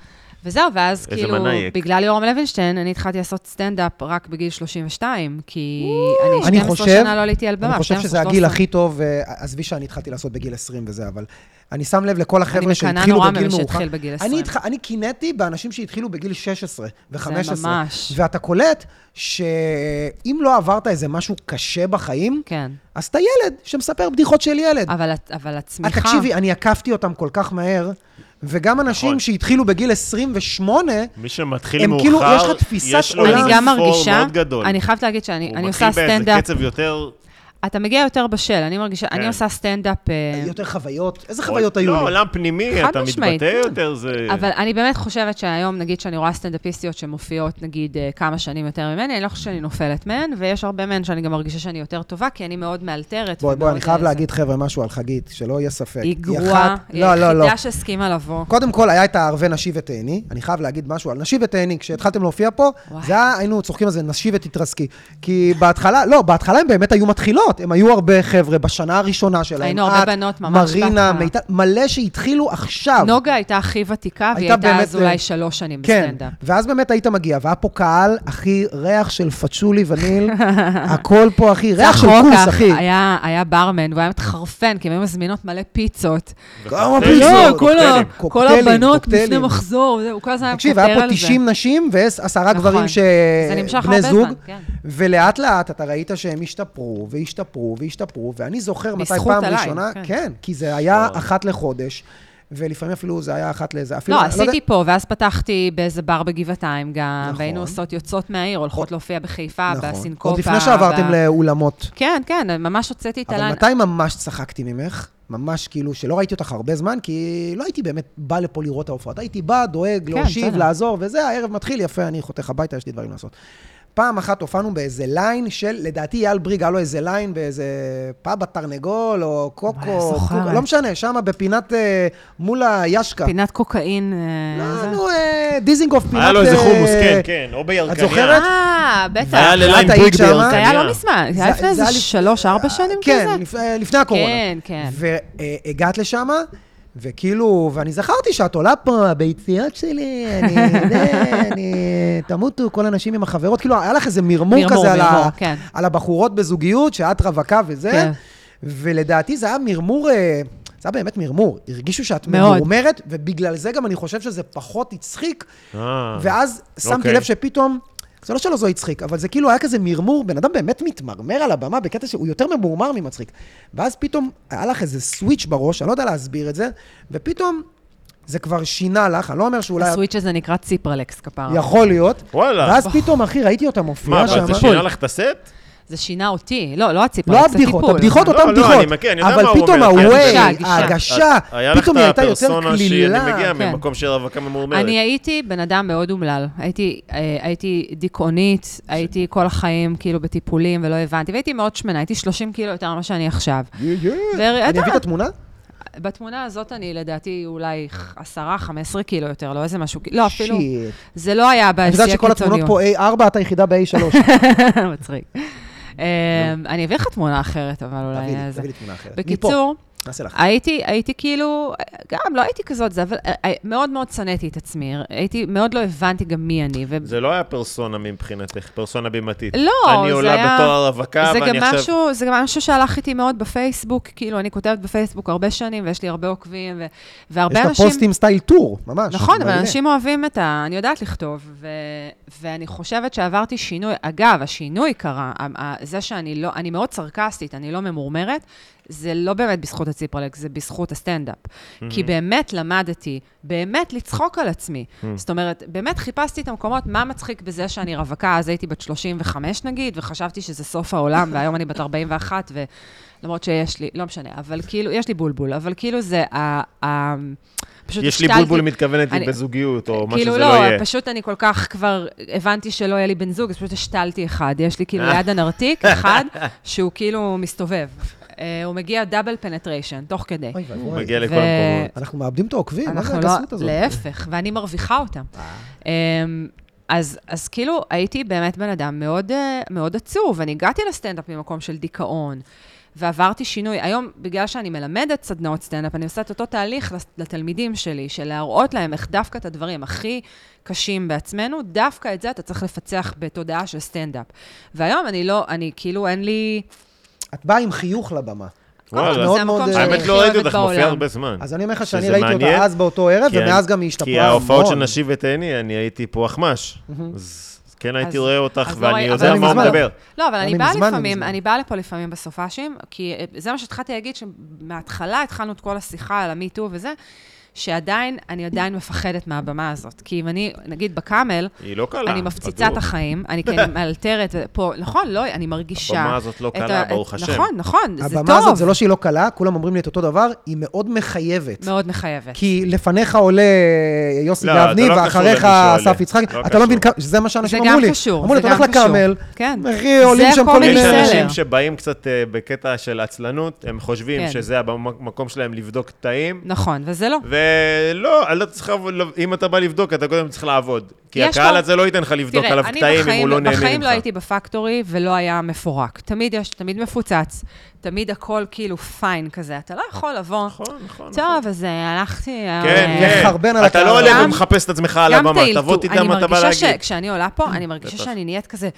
S3: וזהו, ואז
S1: איזה
S3: כאילו,
S1: מנאייק.
S3: בגלל יורם לוינשטיין, אני התחלתי לעשות סטנדאפ רק בגיל 32, כי אני
S2: אני
S3: 12
S2: חושב,
S3: שנה לא עליתי על במה.
S2: אני חושב
S3: 12,
S2: שזה הגיל
S3: 13.
S2: הכי טוב, אה, עזבי שאני התחלתי לעשות בגיל 20 וזה, אבל אני שם לב לכל
S3: אני
S2: החבר'ה
S3: מקנאה
S2: שהתחילו
S3: נורא
S2: בגיל
S3: ממי
S2: מאוחר.
S3: שהתחיל בגיל
S2: אני
S3: 20.
S2: התח- אני קינאתי באנשים שהתחילו בגיל 16 ו-15.
S3: ממש.
S2: ואתה קולט שאם לא עברת איזה משהו קשה בחיים,
S3: כן.
S2: אז אתה ילד שמספר בדיחות של ילד.
S3: אבל, הת- אבל
S2: אה,
S3: הצמיחה...
S2: תקשיבי, אני עקפתי אותם כל כך מהר, וגם אנשים
S1: נכון.
S2: שהתחילו בגיל 28,
S1: מי שמתחיל
S2: הם
S1: מאוחר,
S2: כאילו, יש לך תפיסת
S1: יש לו
S2: עולם.
S3: אני
S1: איזה
S3: גם
S1: פור
S3: מרגישה,
S1: מאוד גדול.
S3: אני חייבת להגיד שאני
S1: הוא
S3: אני
S1: מתחיל
S3: עושה
S1: באיזה
S3: סטנדאפ,
S1: קצב כן. יותר...
S3: אתה מגיע יותר בשל, אני מרגישה, אני עושה סטנדאפ, אה,
S2: יותר חוויות. איזה חוויות היו
S1: לא,
S2: לי?
S1: עולם פנימי,
S3: חד
S1: אתה
S3: משמעית,
S1: מתבטא
S3: כן.
S1: יותר, זה...
S3: אבל אני באמת חושבת שהיום, נגיד שאני רואה סטנדאפיסטיות שמופיעות, נגיד, אה, כמה שנים יותר ממני, אני לא חושבת שאני נופלת מהן, ויש הרבה מהן שאני גם מרגישה שאני יותר טובה, כי אני מאוד מאלתרת.
S2: בואי, בואי,
S3: ומאוד,
S2: אני חייב
S3: אה,
S2: להגיד, חבר'ה, משהו על חגית, שלא יהיה ספק.
S3: זה. היא גרועה,
S2: אחת-
S3: היא
S2: לא, לא, לא.
S3: היחידה שהסכימה לבוא.
S2: קודם כל, היה את הערבי נשי ותהני. אני חייב להגיד משהו על נשי ותהני. כשהתחלתם להופיע פה,
S3: וואי.
S2: זה היה, היינו צוחקים על זה, נשי ותתרסקי. כי בהתחלה, לא, בהתחלה הם באמת היו מתחילות. הם היו הרבה חבר'ה בשנה הראשונה שלהם.
S3: היינו הרבה
S2: את,
S3: בנות ממש
S2: מרינה,
S3: בהתחלה.
S2: מיטל, מלא שהתחילו עכשיו.
S3: נוגה הייתה הכי ותיקה, והיא
S2: הייתה
S3: הייתה
S2: באמת,
S3: אז אולי
S2: אה,
S3: שלוש שנים
S2: כן,
S3: בסטנדאפ.
S2: ואז באמת היית מגיע, והיה פה קהל, אחי, ריח של פצ'ולי וניל, הכל פה, אחי, ריח של
S3: אחר
S2: כוס,
S3: כך
S2: אחי.
S3: היה, היה ברמן, והוא היה מתחרפן, כי הם היו מזמינות מלא פיצות.
S2: כמה
S1: פיצות,
S3: לא, כל, ה,
S1: קוקטיילים.
S3: כל
S2: קוקטיילים,
S3: הבנות
S2: קוקטיילים.
S3: לפני מחזור, זה, הוא כל הזמן היה
S2: תקשיב,
S3: מקוטר
S2: היה פה
S3: על זה.
S2: 90 נשים ועשרה
S3: נכון.
S2: גברים ש...
S3: זה נמשך
S2: בני
S3: הרבה
S2: זוג,
S3: זמן, כן.
S2: ולאט לאט אתה ראית שהם השתפרו, והשתפרו, והשתפרו, ואני זוכר מתי
S3: בזכות
S2: פעם
S3: עליי,
S2: ראשונה...
S3: כן.
S2: כן, כי זה היה
S1: וואו.
S2: אחת לחודש, ולפעמים אפילו זה היה אחת לאיזה... אפילו-
S3: לא,
S2: אני יודע-
S3: עשיתי פה, ואז פתחתי באיזה בר בגבעתיים גם,
S2: נכון.
S3: והיינו עושות יוצאות מהעיר, הולכות להופיע בחיפה,
S2: נכון.
S3: בסינקופה.
S2: עוד לפני שעברתם
S3: ב-
S2: לאולמות.
S3: כן, כן, ממש הוצאתי את
S2: אבל
S3: הלן.
S2: מתי ממש צחקתי ממך? ממש כאילו, שלא ראיתי אותך הרבה זמן, כי לא הייתי באמת בא לפה לראות את ההופעות. הייתי בא, דואג,
S3: כן,
S2: להושיב,
S3: בסדר.
S2: לעזור, וזה, הערב מתחיל, יפה, אני חותך הביתה, יש לי דברים לעשות. פעם אחת הופענו באיזה ליין של, לדעתי אייל בריג, היה לו איזה ליין באיזה פאב התרנגול, או
S3: וואי, אני
S2: קוקו,
S3: זוכרת.
S2: קוקו, לא משנה, שם בפינת, אה, מול הישקה.
S3: פינת קוקאין. אה,
S2: לא,
S3: זה.
S2: נו, אה, דיזינגוף, פינת...
S1: היה לו איזה
S2: אה,
S1: חומוס, כן, כן, או בירקניה. אה.
S2: זוכרת?
S3: אה, בטח.
S1: היה
S2: את
S1: לליין
S2: היית
S1: בריג
S2: שמה?
S1: בירקניה.
S3: זה היה לא מזמן, זה היה
S2: זה-
S3: לפני
S2: זה
S3: איזה
S2: היה לפ-
S3: שלוש, ארבע שנים
S2: כן,
S3: כזה?
S2: לפ... אה, לפני הקורונה.
S3: כן, כן.
S2: והגעת לשם, וכאילו, ואני זכרתי שאת עולה פה, הביציות שלי, אני, זה, אני, תמותו כל הנשים עם החברות, כאילו, היה לך איזה מרמור,
S3: מרמור,
S2: כזה על, ה...
S3: מרמור, כן.
S2: על הבחורות בזוגיות, שאת רווקה וזה,
S3: כן.
S2: ולדעתי זה היה מרמור... אה, זה היה באמת מרמור, הרגישו שאת
S3: מאוד.
S2: ממורמרת, ובגלל זה גם אני חושב שזה פחות הצחיק,
S1: אה,
S2: ואז שמתי
S1: אוקיי.
S2: לב שפתאום, זה לא שלא זו הצחיק, אבל זה כאילו היה כזה מרמור, בן אדם באמת מתמרמר על הבמה בקטע שהוא יותר ממורמר ממצחיק. ואז פתאום היה לך איזה סוויץ' בראש, אני לא יודע להסביר את זה, ופתאום זה כבר שינה לך, אני לא אומר שאולי...
S3: הסוויץ' הזה נקרא ציפרלקס כפרה.
S2: יכול להיות.
S1: וואלה.
S2: ואז פתאום, אחי, ראיתי אותה
S1: מה,
S2: מופיעה
S1: אבל
S2: שם.
S1: זה שינה לך את הסט?
S3: זה שינה אותי. לא, לא הציפרלקס,
S2: לא
S3: הטיפול.
S2: הבדיחות, הבדיחות
S1: לא,
S2: אותן
S1: לא,
S2: בדיחות.
S1: אני מכיר, אני יודע מה
S2: אבל
S1: הוא
S2: פתאום
S1: אומר, כן,
S2: ה-way,
S3: הגישה,
S2: ההגשה,
S1: היה לך
S2: פתאום היא
S1: את
S2: הייתה יותר
S1: הפרסונה שאני
S2: קלילה.
S1: מגיע
S3: כן.
S1: ממקום של רווקה ממורמרת.
S3: אני הייתי בן אדם מאוד אומלל. הייתי, אה, הייתי דיכאונית, הייתי כל החיים כאילו בטיפולים ולא הבנתי, והייתי מאוד שמנה, הייתי 30 קילו יותר ממה שאני עכשיו. ואתה-
S2: אני אביא את התמונה?
S3: בתמונה הזאת אני לדעתי אולי 10-15 קילו יותר, לא איזה משהו, לא אפילו,
S2: שיט.
S3: זה לא היה
S2: את
S3: בשיא
S2: יודעת שכל התמונות
S3: הקיצוניות.
S2: פה A4, את היחידה ב-A3.
S3: מצחיק. אה, אני אביא לך תמונה אחרת, אבל אולי...
S2: תביא לי,
S3: זה.
S2: תביא לי תמונה אחרת. מפה,
S3: בקיצור,
S2: נעשה לך.
S3: הייתי, הייתי כאילו, גם לא הייתי כזאת זה, אבל אה, אה, מאוד מאוד שנאתי את עצמי. הייתי, מאוד לא הבנתי גם מי אני. ו...
S1: זה לא היה פרסונה מבחינתך, פרסונה בימתית.
S3: לא,
S1: אני
S3: זה
S1: עולה
S3: היה-
S1: בתואר רווקה,
S3: זה גם
S1: ואני עכשיו...
S3: משהו, זה גם משהו שהלך איתי מאוד בפייסבוק, כאילו, אני כותבת בפייסבוק הרבה שנים, ויש לי הרבה עוקבים, ו...
S2: יש
S3: והרבה
S2: לה
S3: אנשים...
S2: פוסטים סטייל טור, ממש.
S3: נכון, אבל
S2: מעולה.
S3: אנשים אוהבים את ה... אני יודעת לכתוב, ו... ואני חושבת שעברתי שינוי. אגב, השינוי קרה, ה- ה- זה שאני לא... אני מאוד סרקסטית, אני לא ממורמרת, זה לא באמת בזכות הציפרלקס, זה בזכות הסטנדאפ. כי באמת למדתי, באמת לצחוק על עצמי. זאת אומרת, באמת חיפשתי את המקומות, מה מצחיק בזה שאני רווקה, אז הייתי בת 35 נגיד, וחשבתי שזה סוף העולם, והיום אני בת 41, ו... למרות שיש לי, לא משנה, אבל כאילו, יש לי בולבול, אבל כאילו זה ה... ה... פשוט
S1: יש לי
S3: השתלתי-
S1: בולבול מתכוונת
S3: אני-
S1: בזוגיות, או מה
S3: כאילו
S1: שזה
S3: לא,
S1: לא יהיה.
S3: פשוט אני כל כך כבר הבנתי שלא יהיה לי
S1: אה.
S3: בן זוג, אז פשוט השתלתי אחד. יש לי כאילו ליד הנרתיק אחד, שהוא כאילו מסתובב. אה, הוא מגיע דאבל פנטריישן, תוך כדי.
S2: אוי
S1: הוא
S2: ואבוי.
S1: מגיע לכל
S3: ו-
S1: המקומות.
S2: אנחנו מאבדים את העוקבים, מה זה
S3: אנחנו לא...
S2: הגסות הזאת?
S3: להפך, ואני מרוויחה אותם. אמ, אז, אז כאילו, הייתי באמת בן אדם מאוד, אה, מאוד עצוב. אני הגעתי לסטנדאפ ממקום של דיכאון, ועברתי שינוי. היום, בגלל שאני מלמדת סדנאות סטנדאפ, אני עושה את אותו תהליך לס- לתלמידים שלי, של להראות להם איך דווקא את הדברים הכי קשים בעצמנו, דווקא את זה אתה צריך לפצח בתודעה של סטנדאפ. והיום אני לא, אני כאילו, אין לי...
S2: את באה עם חיוך לבמה.
S1: כן.
S3: זה
S1: וואלה.
S2: מאוד
S3: המקום
S2: מאוד, אה,
S3: שאני
S1: האמת
S2: שאני
S3: אה, הכי
S1: אה, לא ראיתי
S3: אוהבת
S1: אותך מופיע
S3: בעולם.
S1: הרבה זמן.
S2: אז אני אומר לך שאני
S1: שזה
S2: ראיתי אותה
S1: מעניין,
S2: אז באותו ערב,
S1: כי
S2: ומאז
S1: אני-
S2: גם היא השתפרה
S1: כי
S2: המון.
S1: ההופעות של נשי ותהני, אני הייתי פה אחמש. אז כן הייתי
S3: אז-
S1: רואה אותך,
S3: אז לא
S1: ואני
S3: ראי-
S1: יודע
S2: אבל
S1: מה הוא
S2: מזמן.
S1: מדבר.
S3: לא, אבל אני
S2: אני
S3: באה
S2: מזמן, אני
S3: לפעמים,
S2: מזמן.
S3: אני באה לפה לפעמים בסופאשים, כי אה, זה מה שהתחלתי להגיד, שמההתחלה התחלנו את כל השיחה על המיטו וזה, שעדיין, אני עדיין מפחדת מהבמה הזאת. כי אם אני, נגיד בקאמל,
S1: היא לא קלה.
S3: אני מפציצה את
S1: בטוח.
S3: החיים, אני כן מאלתרת, פה, נכון, לא, אני מרגישה...
S1: הבמה הזאת לא
S3: את
S1: קלה,
S3: את-
S1: ברוך השם.
S3: נכון, נכון, זה טוב.
S2: הבמה הזאת, זה לא שהיא לא קלה, כולם אומרים לי את אותו דבר, היא מאוד מחייבת.
S3: מאוד מחייבת.
S2: כי לפניך עולה אה, יוסי
S1: לא, אתה
S2: גבני,
S1: לא קשור
S2: ואחריך
S1: למי שעולה.
S2: אסף יצחק.
S1: לא
S2: אתה לא
S1: קשור.
S2: מבין כמה, שזה מה
S3: זה
S2: שאנשים
S3: גם
S2: אמרו לי.
S3: קשור,
S2: אמרו לי,
S3: זה
S2: אתה הולך
S3: גם קשור.
S2: לכרמל,
S3: כן.
S2: אחי,
S3: זה
S2: עולים שם כל
S3: הקומדי
S2: מיני...
S1: יש
S3: בסדר.
S1: אנשים שבאים קצת אה, בקטע של עצלנות, הם חושבים
S3: כן.
S1: שזה המקום שלהם לבדוק קטעים,
S3: נכון, וזה לא.
S1: ולא, אני לא צריך, לעבוד- לא- אם אתה בא לבדוק, אתה קודם צריך לעבוד. כי
S3: יש
S1: הקהל
S3: לו-
S1: הזה לא ייתן לך לבדוק
S3: תראה,
S1: עליו
S3: אני
S1: קטעים אם הוא לא נהנה ממך.
S3: בחיים לא הייתי בפקטורי ולא היה מפורק. תמיד יש, תמיד מפוצץ, תמיד הכל כאילו פיין כזה. אתה לא יכול לבוא,
S1: נכון, נכון. נכון.
S3: טוב, אז אה, הלכתי...
S1: כן,
S3: אה,
S1: כן.
S2: לחרבן
S1: אתה
S2: על הקהל.
S1: לא עולה
S3: גם-
S1: ומחפש את עצמך על הבמה, תבוא תדע מה אתה בא
S3: אני מרגישה
S1: להגיד.
S3: שכשאני עולה פה, אני מרגישה
S1: בטח.
S3: שאני נהיית כזה,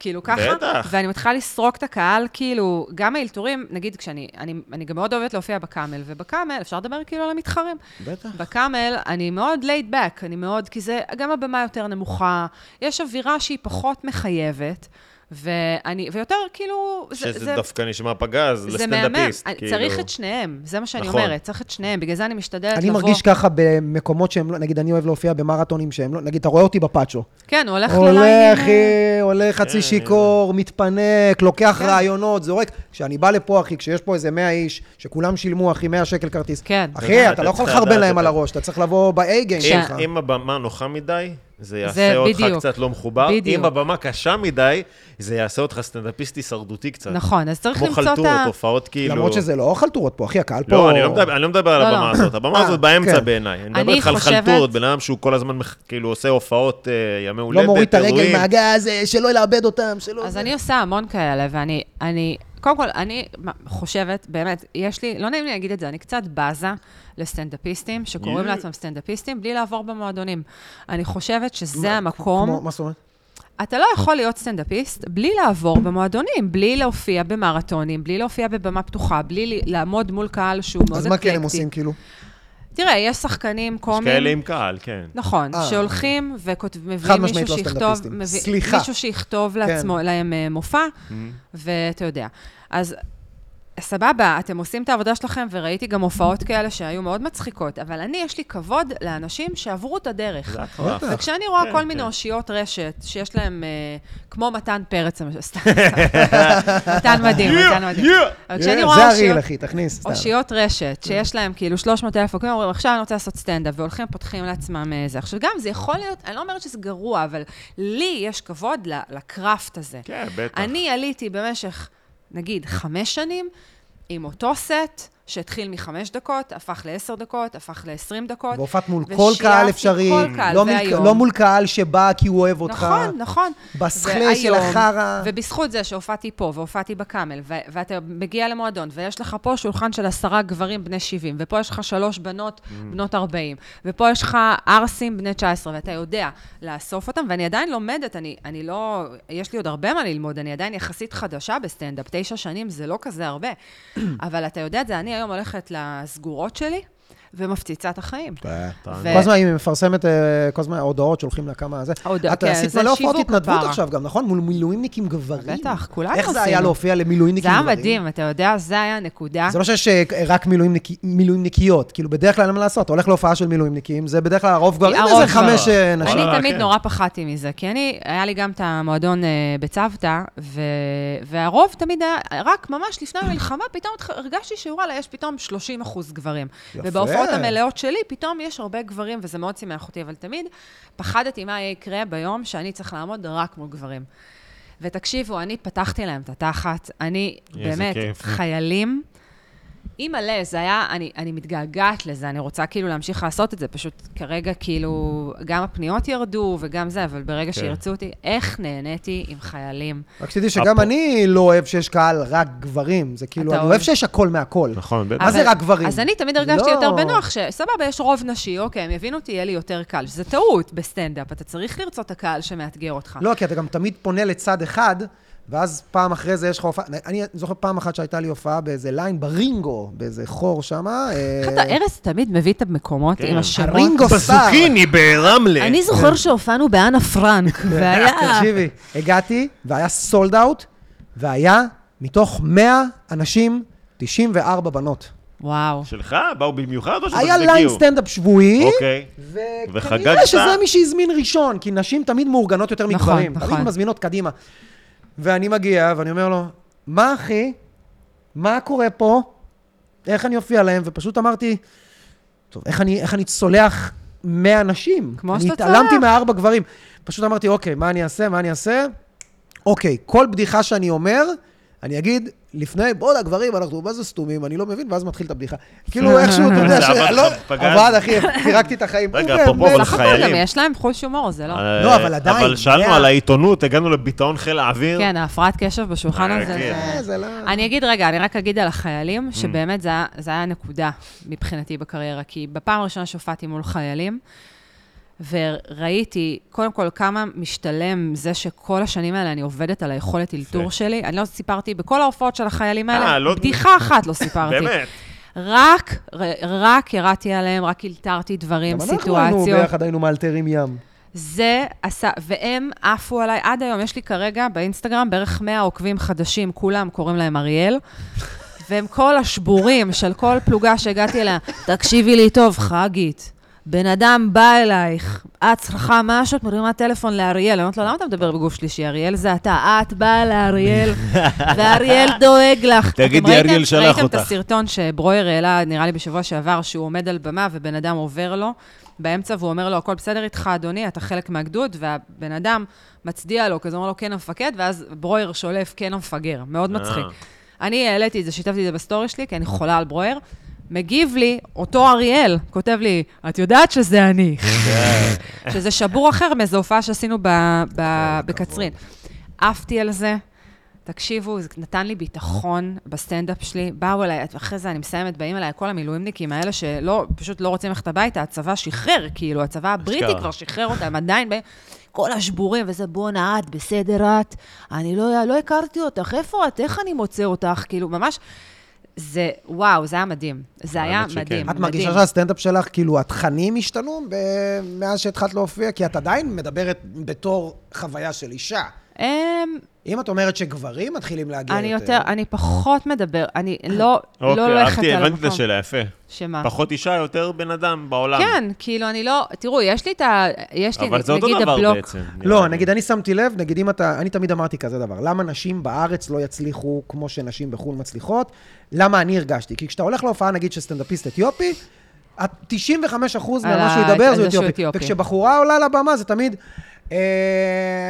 S3: כאילו ככה,
S1: בטח.
S3: ואני מתחילה לסרוק את הקהל, כאילו, גם האלתורים, נגיד כשאני, אני, אני גם מאוד אוהבת להופיע בקאמל, ובקאמל אפשר לדבר כאילו על המתחרים.
S1: בטח.
S3: בקאמל אני מאוד laid back, אני מאוד, כי זה, גם הבמה יותר נמוכה, יש אווירה שהיא פחות מחייבת, ואני, ויותר כאילו, זה-
S1: שזה
S3: זה-
S1: דווקא נשמע פגז,
S3: זה מהמם,
S1: לסטנדאפיסט.
S3: אני-
S1: כאילו.
S3: צריך את שניהם, זה מה שאני
S1: נכון.
S3: אומרת, צריך את שניהם, בגלל זה אני משתדלת לבוא.
S2: אני מרגיש ככה במקומות שהם לא, נגיד, אני אוהב להופיע במרתונים שהם לא, נגיד, אתה רואה אותי בפאצ'ו.
S3: כן, הוא הולך לא
S2: עולה,
S3: לעניינים.
S2: אחי, עולה
S1: כן,
S2: חצי שיכור, מתפנק, לוקח
S3: כן.
S2: רעיונות, זורק. כשאני בא לפה, אחי, כשיש פה איזה 100 איש, שכולם שילמו, אחי, 100 שקל כרטיס.
S3: כן.
S2: אחי, אתה
S1: אתה
S2: לא יכול
S1: צריך לדעת
S2: לחרבן להם
S1: את
S2: על
S1: זה.
S2: הראש, אתה צריך לבוא ב-A-game
S1: אם-
S2: שלך.
S1: אם הבמה נוחה מדי, זה
S3: זה
S1: יעשה אותך
S3: בדיוק.
S1: קצת לא מחובר.
S3: בדיוק.
S1: אם הבמה קשה מדי, זה יעשה אותך סטנדאפיסט הישרדותי קצת.
S3: נכון, אז צריך
S1: כמו
S3: למצוא את ה...
S1: חלטורות, הופעות כאילו...
S2: למרות שזה לא חלטורות פה, אחי, הקהל פה...
S1: לא, אני לא מדבר- אני לא מדבר על
S3: לא,
S1: הבמה
S3: לא.
S1: הזאת. הבמה
S2: אה,
S1: הזאת באמצע
S2: כן.
S1: בעיניי. אני מדבר
S3: אני
S1: איתך על
S3: חושבת-
S1: חלטורות, בן אדם שהוא כל הזמן מח- כאילו עושה הופעות אה, ימי הולדת,
S2: לא מוריד את הרגל
S1: אירועים.
S2: מהגז, אה, שלא ילאבד אותם, שלא...
S3: אז
S2: זה.
S3: אני עושה המון כאלה, ואני, אני, קודם כל, אני מ- חושבת, באמת, יש לי, לא נעים לי להגיד את זה, אני קצת בזה לסטנדאפיסטים, שקוראים
S1: יואו.
S3: לעצמם סטנדאפיסטים, בלי לעבור במועדונים. אני חושבת שזה
S2: כמו-
S3: המקום.
S2: מה זאת אומרת?
S3: אתה לא יכול להיות סטנדאפיסט בלי לעבור במועדונים, בלי להופיע במרתונים, בלי להופיע בבמה פתוחה, בלי ל- לעמוד מול קהל שהוא מאוד
S2: אז
S3: אקלקטי.
S2: מה כן הם עושים, כאילו?
S3: תראה, יש שחקנים
S1: יש
S3: קומיים.
S1: כאלה עם קהל, כן.
S3: נכון,
S2: אה.
S3: שהולכים ומביאים
S2: חד
S3: מישהו
S2: משמעית לא
S3: שיכתוב,
S2: סטנדאפיסטים.
S3: מביא,
S2: סליחה. כן.
S3: מישהו שיכתוב לעצמו, להם אה, מופע,
S1: Mm-hmm.
S3: ואתה יודע. אז סבבה, אתם עושים את העבודה שלכם, וראיתי גם הופעות כאלה שהיו מאוד מצחיקות, אבל אני, יש לי כבוד לאנשים שעברו את הדרך.
S1: זה הקרב.
S2: בטח.
S3: וכשאני רואה
S1: כן,
S3: כל
S1: כן.
S3: מיני אושיות רשת, שיש להם, אה, כמו מתן פרץ, למשל, סתם, סתם. מתן מדהים, מתן מדהים. כן, אבל לא כשאני רואה
S2: זה
S3: אושיות
S2: הריל, אחי, תכניס. סתם.
S3: אושיות רשת, שיש להם כאילו 300 אלף עוקבים, אומרים, עכשיו אני רוצה לעשות סטנדאפ, והולכים, פותחים לעצמם אה, זה. עכשיו, גם זה יכול להיות, אני לא אומרת שזה גרוע, אבל לי יש כבוד ל- לקראפט הזה.
S1: כן, בטח.
S3: אני עליתי במשך, נגיד, חמש שנים, עם אותו סט, שהתחיל מחמש דקות, הפך לעשר דקות, הפך לעשרים דקות.
S2: והופעת מול כל קהל
S3: ושיערתי
S2: אפשרי,
S3: כל קהל,
S2: לא מול-
S3: והיום-
S2: לא מול קהל שבא כי הוא אוהב אותך.
S3: נכון, נכון.
S2: בסכלה של
S3: והיום,
S2: החרא.
S3: ובזכות זה שהופעתי פה והופעתי בקאמל, ו- ואתה מגיע למועדון, ויש לך פה שולחן של עשרה גברים בני 70, ופה יש לך שלוש בנות בנות 40, ופה יש לך ערסים בני 19, ואתה יודע לאסוף אותם, ואני עדיין לומדת, אני, אני לא... יש לי עוד הרבה מה ללמוד, אני עדיין יחסית חדשה בסטנדאפ, תשע שנים זה לא כזה הרבה, אבל אתה יודע את זה, אני היום הולכת לסגורות שלי, ומפציצה את החיים. ו-
S2: כל הזמן היא מפרסמת אה, כל הזמן הודעות שהולכים לה כמה זה.
S3: הודעות,
S2: את
S3: כן,
S2: עשית
S3: זה
S2: מלא הופעות
S3: שיווק
S2: התנדבות
S3: כבר.
S2: עכשיו גם, נכון? מול מילואימניקים גברים.
S3: בטח, כולנו
S2: איך זה היה
S3: עשינו.
S2: להופיע למילואימניקים
S3: זה היה
S2: גברים?
S3: מדהים, אתה יודע, זה היה הנקודה.
S2: זה לא שיש אה, רק מילואימניק- מילואימניקיות, כאילו בדרך כלל אין מה לעשות, אתה הולך להופעה של מילואימניקים, זה בדרך כלל הרוב גברים,
S3: הרוב
S2: איזה חמש
S3: גברים.
S2: אה, נשים.
S1: וואלה.
S3: אני תמיד
S1: כן.
S3: נורא פחדתי מזה, כי אני, היה לי גם את המועדון אה, בצוותא, ו- והרוב תמיד היה, רק ממש לפני המלחמה, פתאום התח- הרגשתי שוואלה, יש פתאום 30 אחוז גברים.
S2: יפה.
S3: אה, ובהופעות המלאות שלי, פתאום יש הרבה גברים, וזה מאוד שימח אותי, אבל תמיד פחדתי מה יקרה ביום שאני צריך לעמוד רק מול גברים. ותקשיבו, אני פתחתי להם את התחת, אני
S1: איזה
S3: באמת,
S1: כיף.
S3: חיילים. אימא'לה, זה היה, אני, אני מתגעגעת לזה, אני רוצה כאילו להמשיך לעשות את זה, פשוט כרגע כאילו, גם הפניות ירדו וגם זה, אבל ברגע
S1: כן.
S3: שירצו אותי, איך נהניתי עם חיילים?
S2: רק שתדעי שגם
S1: אפו.
S2: אני לא אוהב שיש קהל רק גברים. זה כאילו,
S3: אתה
S2: אני
S3: אוהב.
S2: אוהב שיש הכל מהכל.
S1: נכון, בטח.
S2: מה זה
S3: אבל-
S2: רק גברים?
S3: אז אני תמיד הרגשתי
S2: לא.
S3: יותר בנוח, שסבבה, יש רוב נשי, אוקיי, הם יבינו אותי, יהיה לי יותר קל, שזה טעות בסטנדאפ, אתה צריך לרצות את הקהל שמאתגר אותך.
S2: לא, כי אתה גם תמיד פונה לצד אחד, ואז פעם אחרי זה יש לך הופעה... אני זוכר פעם אחת שהייתה לי הופעה באיזה ליין ברינגו, באיזה חור אה, שם.
S3: איך אתה, ארז תמיד מביא את המקומות
S1: כן.
S3: עם השמות.
S2: הרינגו סטאר.
S1: בסוקיני ברמלה.
S3: אני זוכר שהופענו באנה פרנק, והיה...
S2: תקשיבי, הגעתי, והיה סולד אאוט, והיה מתוך 100 אנשים, 94 בנות.
S3: וואו.
S1: שלך? באו במיוחד או
S2: היה
S1: שפשוט
S2: ליין
S1: הגיעו?
S2: סטנדאפ שבועי,
S1: אוקיי. וחגגת?
S2: וכנראה שזה מי שהזמין ראשון, כי נשים תמיד מאורגנות יותר
S3: נכון,
S2: מגברים.
S3: נכון.
S2: תמיד מזמינות קדימה. ואני מגיע, ואני אומר לו, מה אחי? מה קורה פה? איך אני אופיע להם? ופשוט אמרתי, טוב, איך אני, איך אני צולח 100 נשים?
S3: כמו
S2: אני
S3: שאתה
S2: התעלמתי
S3: צולח.
S2: מארבע גברים. פשוט אמרתי, אוקיי, מה אני אעשה? מה אני אעשה? אוקיי, כל בדיחה שאני אומר, אני אגיד, לפני, בואנה גברים, אנחנו מה זה סתומים, אני לא מבין, ואז מתחיל את הבדיחה. כאילו איכשהו, אתה יודע,
S1: זה
S2: ש...
S1: עבד לך,
S2: לא,
S1: פגז.
S2: עבד, אחי, פירקתי את החיים.
S1: רגע,
S2: הוא
S1: אפרופו,
S2: באמת-
S1: אבל
S3: סך הכל גם
S1: חיילים.
S3: יש להם חוש הומור, זה לא...
S1: אה,
S2: לא, אבל עדיין,
S1: אבל שאלנו
S2: מאה.
S1: על העיתונות, הגענו לביטאון חיל האוויר.
S3: כן, ההפרעת קשב בשולחן
S1: אה,
S3: הזה.
S1: כן.
S3: זה-
S2: אה, זה לא...
S3: אני אגיד רגע, אני רק אגיד על החיילים,
S1: Mm.
S3: שבאמת זה היה- זה היה נקודה מבחינתי בקריירה, כי בפעם הראשונה שהופעתי מול חיילים, וראיתי, קודם כל, כמה משתלם זה שכל השנים האלה אני עובדת על היכולת אלתור שלי. אני לא סיפרתי, בכל ההופעות של החיילים
S1: אה, לא-
S3: האלה, בדיחה אחת לא סיפרתי.
S1: באמת.
S3: רק, ר- רק ירדתי עליהם, רק אלתרתי דברים,
S2: גם
S3: סיטואציות.
S2: אנחנו היינו ביחד, היינו מאלתרים ים.
S3: זה עשה, והם עפו עליי עד היום. יש לי כרגע באינסטגרם בערך 100 עוקבים חדשים, כולם קוראים להם אריאל, והם כל השבורים של כל פלוגה שהגעתי אליה, תקשיבי לי טוב, חגית. בן אדם בא אלייך, את צריכה משהו, את מרימה טלפון לאריאל. אני אומרת לו, למה אתה מדבר בגוף שלישי? אריאל זה אתה. את באה לאריאל, ואריאל דואג לך.
S1: תגידי,
S3: אתם ראיתם-
S1: אריאל שלח
S3: ראיתם את
S1: אותך.
S3: הסרטון שברויר העלה, נראה לי בשבוע שעבר, שהוא עומד על במה ובן אדם עובר לו באמצע, והוא אומר לו, הכל בסדר איתך, אדוני, אתה חלק מהגדוד, והבן אדם מצדיע לו, כזה אומר לו, כן המפקד, ואז ברויר שולף, כן המפגר. מאוד מצחיק. אני העליתי את זה, שיתפתי את זה בסטורי שלי, כי אני חולה על ברויר. מגיב לי, אותו אריאל, כותב לי, את יודעת שזה אני. שזה שבור אחר מאיזו הופעה שעשינו ב-
S1: כן,
S3: ב- בקצרין. עפתי על זה. תקשיבו, זה נתן לי ביטחון בסטנדאפ שלי. באו אליי, אחרי זה אני מסיימת, באים אליי כל המילואימניקים האלה שלא, פשוט לא רוצים ללכת הביתה, הצבא שחרר, כאילו, הצבא הבריטי
S1: אשכרה.
S3: כבר שחרר אותם, עדיין באים. כל השבורים, וזה בואנה את, בסדר את, אני לא, לא הכרתי אותך, איפה את, איך אני מוצא אותך, כאילו, ממש, זה, וואו, זה היה מדהים. זה היה
S1: האמת שכן.
S3: מדהים,
S2: את
S3: מדהים.
S2: מרגישה שהסטנדאפ שלך, כאילו, התכנים השתנו ב- מאז שהתחלת להופיע? כי את עדיין מדברת בתור חוויה של אישה.
S3: אמ,
S2: אם את אומרת שגברים מתחילים להגיע
S3: אני יותר, אני פחות מדבר, אני לא, לא הולכת
S1: כן, אוקיי, אהבתי,
S3: על
S1: הבנתי את
S3: המקום.
S1: השאלה, יפה.
S2: אה.
S3: שמה?
S1: פחות אישה, יותר בן אדם בעולם.
S3: כן, כאילו, אני לא, תראו, יש לי את ה... יש לי,
S1: אבל זה אותו
S3: נגיד,
S1: דבר
S3: הבלוק.
S1: בעצם. נראה
S2: לא,
S1: לי.
S2: נגיד, אני שמתי לב, נגיד אם אתה, אני תמיד אמרתי כזה דבר, למה נשים בארץ לא יצליחו כמו שנשים בחו"ל מצליחות? למה אני הרגשתי? כי כשאתה הולך להופעה, נגיד, של סטנדאפיסט אתיופי, ה- 95%
S3: על
S2: ממה שהוא
S3: ה-
S2: ידבר
S3: על
S2: זה
S3: זה שהוא
S2: אתיופי.
S3: אתיופי.
S2: וכשבחורה עולה לבמה, זה תמיד, אה,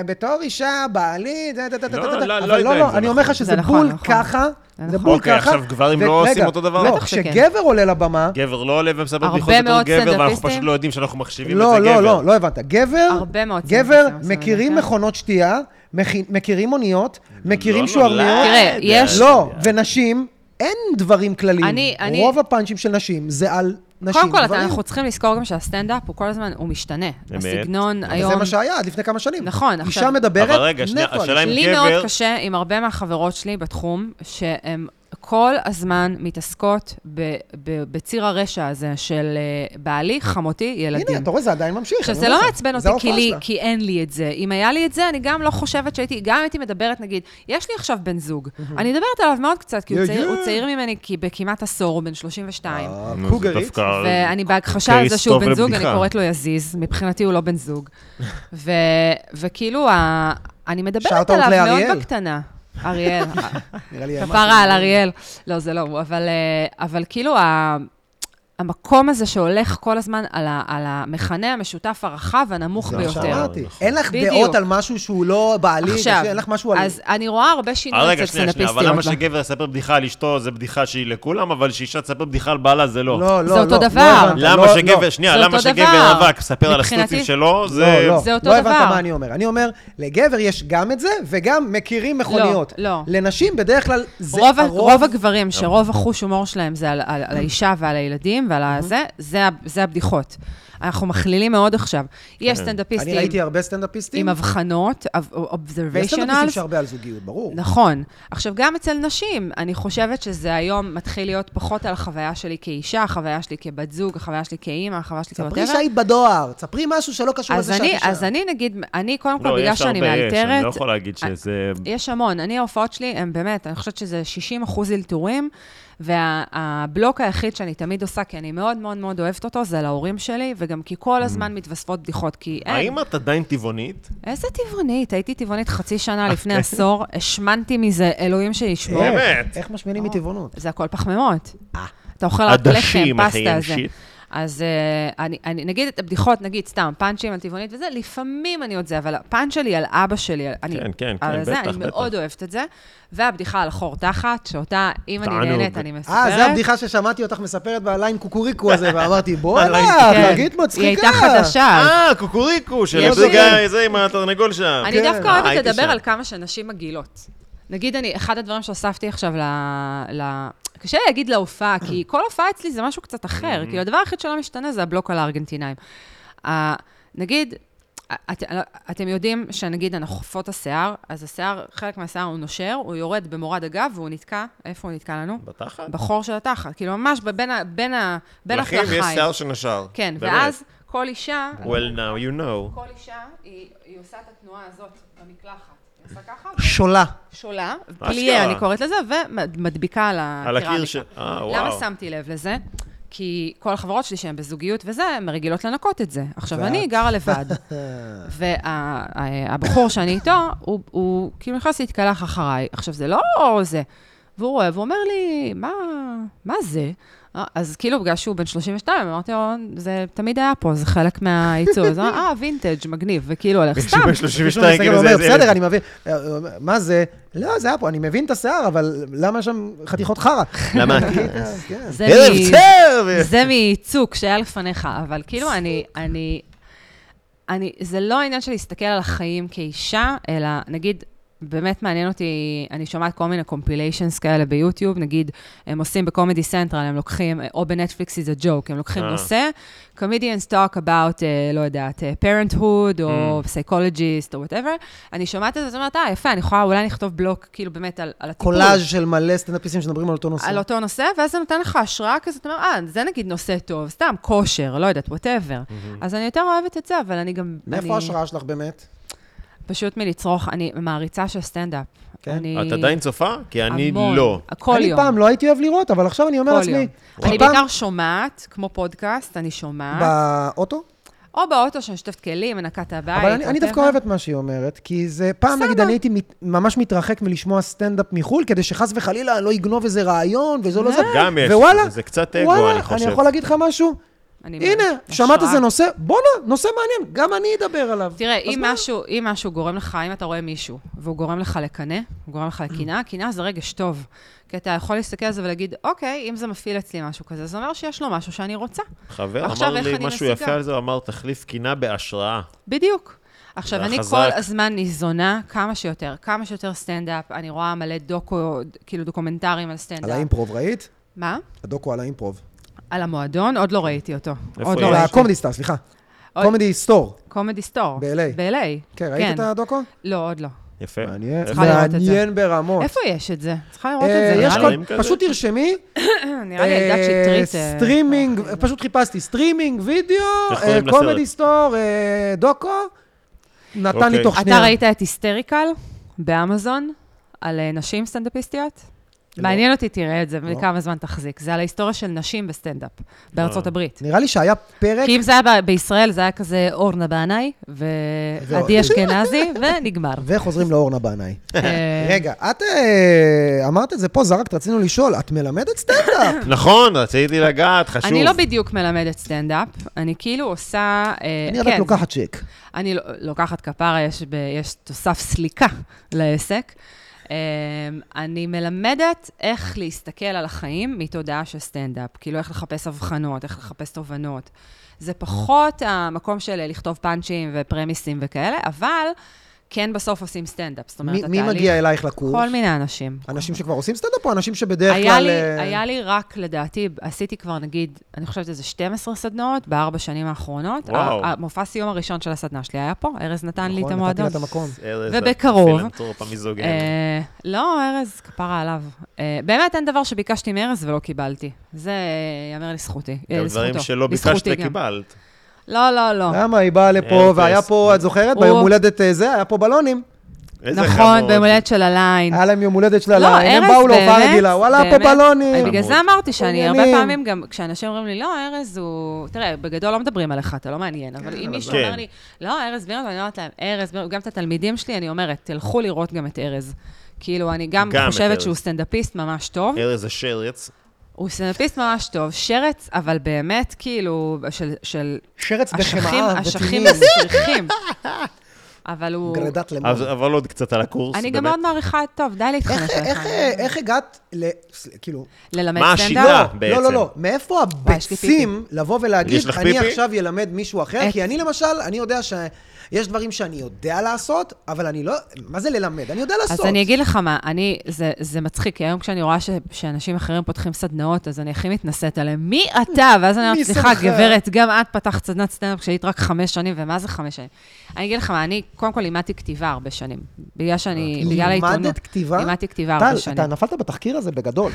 S2: בתור אישה, בעלי, דה, דה, דה, דה,
S1: לא,
S2: דה, דה.
S1: לא, לא
S2: אבל
S1: יודע
S2: לא,
S1: אם
S2: לא,
S1: זה
S2: אני אומר לך
S1: נכון.
S2: שזה
S3: זה נכון,
S2: בול
S3: נכון.
S2: ככה,
S3: זה
S2: זה
S3: נכון.
S2: בול
S1: אוקיי,
S2: ככה.
S1: עכשיו גברים לא
S2: ורגע,
S1: עושים אותו דבר?
S2: לא,
S1: בטח
S3: שכן.
S2: כשגבר עולה לבמה,
S1: גבר לא עולה ומספר
S3: הרבה
S1: בדיחות בתור
S3: מאוד
S1: גבר, ואנחנו
S3: סטנדאפיסטים.
S1: פשוט לא יודעים שאנחנו מחשיבים את
S2: לא,
S1: זה גבר.
S2: לא, לא, לא הבנת. גבר,
S3: הרבה מאוד
S2: גבר
S3: סטנדאפיסטים עושים את
S2: מכירים
S3: זה, כן.
S2: מכונות שתייה, מכי- מכירים אוניות, מכירים
S1: לא
S2: שוערניות.
S1: נולד.
S3: תראה, יש-
S2: לא, ונשים, אין דברים כלליים.
S3: אני- אני-
S2: רוב הפאנצ'ים של נשים זה על נשים.
S3: קודם כל, אתה-
S2: גברים.
S3: אנחנו צריכים לזכור גם שהסטנדאפ הוא כל הזמן, הוא משתנה. הסגנון
S2: אבל זה
S3: היום...
S2: מה שהיה עד לפני כמה שנים.
S3: נכון,
S2: אישה
S3: עכשיו-
S2: מדברת
S1: אבל רגע, שנייה,
S2: נטו על
S1: השאלה אם-
S2: נשים.
S3: לי
S1: גבר-
S3: מאוד קשה עם הרבה מהחברות שלי בתחום, שהן כל הזמן מתעסקות ב- ב- בציר הרשע הזה של אה, בעלי, חמותי, ילדים.
S2: הנה, אתה רואה, זה עדיין ממשיך.
S3: עכשיו,
S2: אני
S3: זה
S2: אומר
S3: לא
S2: לך.
S3: מעצבן
S2: זה
S3: אותי כי,
S2: ההופעה
S3: לי,
S2: שלה.
S3: כי אין לי את זה. אם היה לי את זה, אני גם לא חושבת שהייתי, גם הייתי מדברת, נגיד, יש לי עכשיו בן זוג, אני מדברת עליו מאוד קצת, כי הוא
S2: יא,
S3: צעיר-
S2: יא.
S3: הוא צעיר ממני כי בכמעט עשור, הוא בן 32.
S2: אה, אוקיי,
S1: נו, זה
S2: קוגרית.
S1: דווקא-
S3: ואני בהכחשה על זה
S1: קייס
S3: שהוא
S1: טוב
S3: בן זוג, אני
S1: לבדיחה.
S3: קוראת לו יזיז, מבחינתי הוא לא בן זוג. ו- וכאילו, ה- אני מדברת
S2: Shout out
S3: עליו
S2: לאריאל.
S3: מאוד בקטנה. אריאל,
S2: נראה לי כן, משהו-
S3: כפרה על אריאל. לא, זה לא הוא, אבל, אה, אבל כאילו, ה- המקום הזה שהולך כל הזמן על, ה, על המכנה המשותף הרחב והנמוך
S2: זה מה
S3: ביותר.
S2: שאמרתי.
S1: נכון.
S2: אין לך
S3: בדיוק.
S2: דעות על משהו שהוא לא בעלי,
S3: עכשיו,
S2: אין לך משהו על...
S3: אז אני רואה הרבה
S1: אה,
S3: שינוי
S1: רגע,
S3: אצל
S1: שנייה, שנייה, אבל למה
S3: סטנאפיסטיות.
S1: שגבר יספר בדיחה על אשתו זה בדיחה שהיא לכולם, אבל שאישה תספר בדיחה על בעלה זה לא?
S2: לא, לא,
S3: זה אותו
S2: לא, לא
S3: דבר.
S2: הבנת,
S1: למה
S2: לא,
S1: שגבר,
S2: לא.
S1: שנייה,
S3: זה
S1: למה
S3: אותו
S1: שגבר
S3: דבר.
S1: רווק יספר על
S3: מבחינתי-
S1: הסטוצים שלו, זה...
S2: לא, לא.
S3: זה אותו
S2: לא הבנת
S3: דבר.
S2: מה אני אומר. אני אומר, לגבר יש גם את זה, וגם מכירים מכוניות.
S3: לא.
S2: לנשים בדרך כלל זה
S3: רוב, ה-
S2: הרוב...
S3: רוב הגברים, שרוב החוש הומור שלהם זה על, על, על האישה ועל הילדים ועל הזה, זה, ה- זה הבדיחות.
S1: כן.
S3: אנחנו מכלילים מאוד עכשיו. יש
S2: כן. אני
S3: סטנדאפיסטים
S2: ראיתי הרבה
S3: עם
S2: סטנדאפיסטים.
S3: הבחנות,
S2: יש סטנדאפיסטים
S3: observationals,
S2: שהרבה על זוגיות, ברור.
S3: נכון. עכשיו, גם אצל נשים, אני חושבת שזה היום מתחיל להיות פחות על החוויה שלי כאישה, החוויה שלי כבת זוג, החוויה שלי כאימא, החוויה שלי
S2: ספרי
S3: כבטבע.
S2: שהיית בדואר, ספרי משהו שלא קשור
S3: אז
S2: לזה שאת
S3: אני,
S2: אישה.
S3: אז אני נגיד, אני קודם כל,
S1: לא,
S3: בגלל
S1: יש
S3: שאני
S1: הרבה, יש, אני לא
S3: מאלתרת, אה,
S1: יכול להגיד שזה...
S3: יש המון. אני, ההופעות שלי הן באמת, אני חושבת שזה 60 אחוז אלתורים, והבלוק היחיד שאני תמיד עושה, כי אני מאוד מאוד מאוד אוהבת אותו, זה להורים שלי, וגם כי
S1: Mm.
S3: כל הזמן מתווספות בדיחות, כי אין.
S1: האם את עדיין טבעונית?
S3: איזה טבעונית, הייתי טבעונית חצי שנה
S1: אה, כן.
S3: לפני עשור, השמנתי מזה, אלוהים שישמור.
S2: איך?
S1: באמת.
S2: איך משמינים
S3: או.
S2: מטבעונות?
S3: זה הכל פחמימות.
S2: אה.
S3: אתה אוכל רק לחם,
S1: עדשים, אחי,
S3: פסטה,
S1: הם
S3: זה.
S1: שיט.
S3: אז אה, אני, אני, נגיד את הבדיחות, נגיד סתם, פאנצ'ים על טבעונית וזה, לפעמים אני עוד זה, אבל הפאנץ' שלי על אבא שלי, על, אני,
S1: כן, כן,
S3: על
S1: כן,
S3: זה,
S1: בטח,
S3: אני
S1: בטח.
S3: מאוד אוהבת את זה. והבדיחה על חור תחת, שאותה, אם אני
S1: תענוג.
S3: נהנית, אני מספרת.
S2: אה, זו הבדיחה ששמעתי אותך מספרת בליין קוקוריקו הזה, ואמרתי, בואנה,
S1: הליין-
S2: חגית מצחיקה.
S3: כן. היא הייתה חדשה.
S1: אה, קוקוריקו, של
S3: יש
S1: הזוג
S2: לי-
S1: ה- זה עם התרנגול שם.
S3: אני
S2: כן.
S3: דווקא
S1: אה,
S3: אוהבת
S1: הייתי
S3: לדבר
S1: שם.
S3: על כמה שנשים מגעילות. נגיד, אני, אחד הדברים שהוספתי עכשיו ל... ל... קשה לי להגיד להופעה, כי כל הופעה אצלי זה משהו קצת אחר.
S1: Mm-hmm.
S3: כאילו, הדבר היחיד שלא משתנה זה הבלוק על הארגנטינאים. Uh, נגיד, את, לא, אתם יודעים שנגיד אנחנו חופות השיער, אז השיער, חלק מהשיער הוא נושר, הוא יורד במורד הגב והוא נתקע, איפה הוא נתקע לנו?
S1: בתחת?
S3: בחור של התחת, כאילו ממש בין, ה- בין, ה- בין
S1: לכם יש
S3: הקלחיים.
S1: שיער שנשר.
S3: כן,
S1: באמת.
S3: ואז כל אישה,
S1: Well, now you know.
S3: כל אישה, היא, היא עושה את התנועה הזאת במקלחת. היא עושה ככה,
S2: שולה.
S3: שולה,
S1: אשכרה.
S3: פליה אני קוראת לזה, ומדביקה על
S1: על
S3: הקרמיקה.
S1: הקיר ש... אה, וואו.
S3: למה שמתי לב לזה? כי כל החברות שלי שהן בזוגיות וזה, הן רגילות לנקות את זה. עכשיו,
S2: ואת?
S3: אני גרה לבד, והבחור שאני איתו, הוא- הוא כאילו נכנס להתקלח אחריי. עכשיו, זה לא זה. והוא רואה, והוא אומר לי, מה, מה זה? אה, אז כאילו, בגלל שהוא בן 32, אמרתי לו, זה תמיד היה פה, זה חלק מהייצור. אז הוא אמר, אה, וינטג', מגניב, וכאילו, הולך סתם.
S1: בן
S2: פתאום אני
S1: 32,
S2: מסתכל
S1: כאילו זה...
S2: ואומר,
S1: זה-
S2: בסדר, אני מבין. אה, מה זה? לא, זה היה פה, אני מבין את השיער, אבל למה יש שם חתיכות חרא?
S1: למה?
S2: כן.
S3: זה
S1: ערב
S3: מ-
S1: טוב!
S3: זה מצוק שהיה לפניך, אבל כאילו אני, אני, אני, זה לא העניין של להסתכל על החיים כאישה, אלא נגיד, באמת מעניין אותי, אני שומעת כל מיני קומפיליישנס כאלה ביוטיוב, נגיד, הם עושים בקומדי סנטרל, הם לוקחים, או בנטפליקס is a joke, הם לוקחים
S1: אה.
S3: נושא, comedians talk about, uh, לא יודעת, uh, parenthood, או psychologist, או whatever, אני שומעת את זה, אז אומרת, אה, יפה, אני יכולה אולי לכתוב בלוק, כאילו באמת על, על הטיפול.
S2: קולאז' של מלא סטנדאפיסטים שמדברים על אותו נושא.
S3: על אותו נושא, ואז זה נותן לך השראה כזאת, אתה אומר, אה, זה נגיד נושא טוב, סתם, כושר, לא יודעת, ווטאבר. אז אני יותר אוהבת את זה, אבל אני גם... אני-
S2: מאיפה ההשראה שלך באמת?
S3: פשוט מלצרוך, אני מעריצה של סטנדאפ.
S2: כן.
S3: אני...
S1: את עדיין צופה? כי אני
S3: המון.
S1: לא.
S3: כל יום.
S2: אני פעם לא הייתי אוהב לראות, אבל עכשיו אני אומר
S3: כל
S2: לעצמי...
S3: יום.
S2: פעם-
S3: אני בעיקר שומעת, כמו פודקאסט, אני שומעת.
S2: באוטו?
S3: או באוטו שאני שוטפת כלים, מנקה את הבית.
S2: אבל אני, אני
S3: whatever.
S2: דווקא אוהב את מה שהיא אומרת, כי זה, פעם נגיד
S3: אה, בסדר.
S2: אני הייתי מת, ממש מתרחק מלשמוע סטנדאפ מחו"ל, כדי שחס וחלילה אני לא אגנוב איזה רעיון וזה לא
S3: אה?
S2: זה.
S1: גם יש.
S2: ווואלה,
S1: זה קצת אגו,
S2: וואלה,
S1: אני חושב.
S2: אני יכול להגיד לך משהו?
S3: אני
S2: הנה,
S3: מעריצה.
S2: שמעת
S3: השראה.
S2: איזה נושא? בואנה, נושא מעניין, גם אני אדבר עליו.
S3: תראה,
S2: אז
S3: אם
S2: מה?
S3: משהו, אם משהו גורם לך, אם אתה רואה מישהו, והוא גורם לך לקנא, הוא גורם לך
S2: Mm.
S3: לקנאה, קנאה זה רגש טוב. כי אתה יכול להסתכל על זה ולהגיד, אוקיי, אם זה מפעיל אצלי משהו כזה, זה אומר שיש לו משהו שאני רוצה.
S1: חבר
S3: עכשיו,
S1: אמר
S3: איך
S1: לי
S3: אני
S1: משהו
S3: משיגה?
S1: יפה על זה, הוא אמר, תחליף קינה בהשראה.
S3: בדיוק. עכשיו,
S1: זה
S3: אני
S1: חזק.
S3: כל הזמן ניזונה כמה שיותר, כמה שיותר סטנדאפ. אני רואה מלא דוקו, כאילו דוקומנטרים על
S2: על
S3: סטנדאפ.
S2: האימפרוב, ראית?
S3: מה?
S2: הדוקו על האימפרוב. על
S3: על המועדון? עוד לא ראיתי אותו.
S1: איפה
S3: עוד
S1: יש?
S3: לא ראיתי.
S2: הקומדי סטאר, סליחה.
S3: אוי.
S2: קומדי סטור.
S3: קומדי סטור.
S2: ב-LA.
S3: ב-LA.
S2: כן, ראית את הדוקו?
S3: לא, עוד לא.
S1: יפה.
S2: מעניין.
S3: צריכה לראות את זה.
S2: מעניין ברמות.
S3: איפה יש את זה? צריכה לראות את
S2: אה,
S3: זה,
S2: יש
S3: נראה לי.
S1: דברים
S2: כל...
S1: כזה?
S2: פשוט תרשמי.
S3: נראה לי אלדד
S2: אה,
S3: שטרית. אה,
S2: סטרימינג, פשוט חיפשתי, סטרימינג, וידאו,
S1: איך קוראים
S2: אה, קומדי
S1: לסרט?
S2: סטור, אה, דוקו, נתן לי
S1: אוקיי.
S2: תוך
S3: אתה
S2: שנייה.
S3: ראית את היסטריקל באמזון על אה, נשים סטנדאפיסטיות? מעניין אותי, תראה את זה,
S2: לא.
S3: וכמה זמן תחזיק. זה על ההיסטוריה של נשים בסטנדאפ, בארצות הברית.
S2: נראה לי שהיה פרק...
S3: כי אם זה היה ב- בישראל, זה היה כזה אורנה בנאי, ועדי אשכנזי, ונגמר.
S2: וחוזרים לאורנה בנאי.
S3: אה,
S2: רגע, את אה, אמרת את זה פה, זרקת, רצינו לשאול, את מלמדת סטנדאפ?
S3: אה,
S1: נכון, רציתי לגעת, חשוב.
S3: אני לא בדיוק מלמדת סטנדאפ, אני כאילו עושה... אה,
S2: אני רק
S3: כן,
S2: לוקחת צ'ק.
S3: אני ל- לוקחת כפרה, יש, ב, יש תוסף סליקה לעסק. אמ, אני מלמדת איך להסתכל על החיים מתודעה של סטנדאפ. כאילו, איך לחפש הבחנות, איך לחפש תובנות. זה פחות המקום של לכתוב פאנצ'ים ופרמיסים וכאלה, אבל כן בסוף עושים סטנדאפ. זאת אומרת,
S2: מי- מי מגיע אלייך לקורס?
S3: כל מיני אנשים.
S2: אנשים שכבר עושים סטנדאפ או אנשים שבדרך
S3: היה
S2: כלל...
S3: לי,
S2: אה,
S3: היה לי רק, לדעתי, עשיתי כבר, נגיד, אני חושבת איזה 12 סדנאות בארבע שנים האחרונות.
S1: וואו.
S3: ה- המופע סיום הראשון של הסדנה שלי היה פה, ארז נתן לי את
S2: נכון,
S3: המועדון.
S2: נתתי לה את המקום.
S1: ארז,
S3: ובקרוב.
S1: הפילנטרופ המיזוגן.
S3: אה, לא, ארז, כפרה עליו. אה, באמת אין דבר שביקשתי מארז ולא קיבלתי. זה אה, יאמר לזכותי. אה,
S1: גם
S3: לזכותו.
S1: דברים שלא ביקשת
S3: לזכותי גם.
S1: וקיבלת.
S3: לא, לא, לא.
S2: למה היא באה לפה,
S1: אפס.
S2: והיה פה, את זוכרת?
S3: הוא-
S2: ביום הולדת אה, זה, היה פה בלונים.
S1: איזה
S3: נכון,
S1: חמוד.
S3: ביום הולדת של הליין.
S2: היה להם יום הולדת שלה,
S3: לא,
S2: לה- הם
S3: ארז,
S2: באו להופעה
S3: באמת,
S2: רגילה, וואלה, פה
S3: באמת. אני
S2: בלונים.
S3: בגלל זה
S1: חמוד.
S3: אמרתי שאני הרבה
S2: עניינים.
S3: פעמים גם, כשאנשים אומרים לי, לא, ארז הוא... תראה, בגדול לא מדברים עליך, אתה לא מעניין, אבל אם מישהו
S1: כן.
S3: אומר לי, לא, ארז בירנבוים, אני אומרת להם, ארז בירנבוים, גם את התלמידים שלי, אני אומרת, תלכו לראות גם את ארז. כאילו, אני גם
S1: גם את
S3: חושבת
S1: ארז.
S3: שהוא סטנדאפיסט ממש טוב.
S1: ארז השרץ.
S3: הוא סטנדאפיסט ממש טוב, שרץ, אבל באמת, כאילו, של, של
S2: שרץ
S3: אשכים,
S2: בחמאה
S3: אשכים
S2: וטילים.
S3: מסריחים. אבל הוא...
S2: גרדת למון.
S1: אז- אבל עוד קצת על הקורס,
S3: אני
S1: באמת.
S3: גם מאוד מעריכה את טוב, די להתחנש
S2: איך-
S3: עליך.
S2: איך, אה, איך הגעת ל... ס- כאילו...
S3: ללמד
S1: מה
S3: סטנדאפ?
S1: השיטה?
S2: לא,
S1: בעצם.
S2: לא, לא, לא. מאיפה
S3: יש לי פיפי.
S2: הביצים לבוא ולהגיד,
S1: יש לך
S2: אני
S1: פיפי?
S2: עכשיו ילמד מישהו אחר?
S3: את-
S2: כי אני למשל, אני יודע שיש דברים שאני יודע לעשות, אבל אני לא... מה זה ללמד? אני יודע לעשות.
S3: אז אני אגיד לך מה, אני, זה, זה מצחיק, כי היום כשאני רואה ש, שאנשים אחרים פותחים סדנאות, אז אני הכי מתנשאת עליהם. מי אתה? ואז אני
S2: מי
S3: אומרת, סליחה,
S2: שמך?"
S3: גברת, גם את פתחת סדנת סטנדאפ כשהיית רק חמש שנים, ומה זה חמש שנים? אני אגיד לך מה, אני קודם כל לימדתי כתיבה הרבה שנים. בגלל שאני, בגלל העיתונות.
S2: אה, לימדת כתיבה?
S3: לימדתי כתיבה הרבה
S2: טל,
S3: שנים.
S2: אתה נפלת בתחקיר הזה בגדול.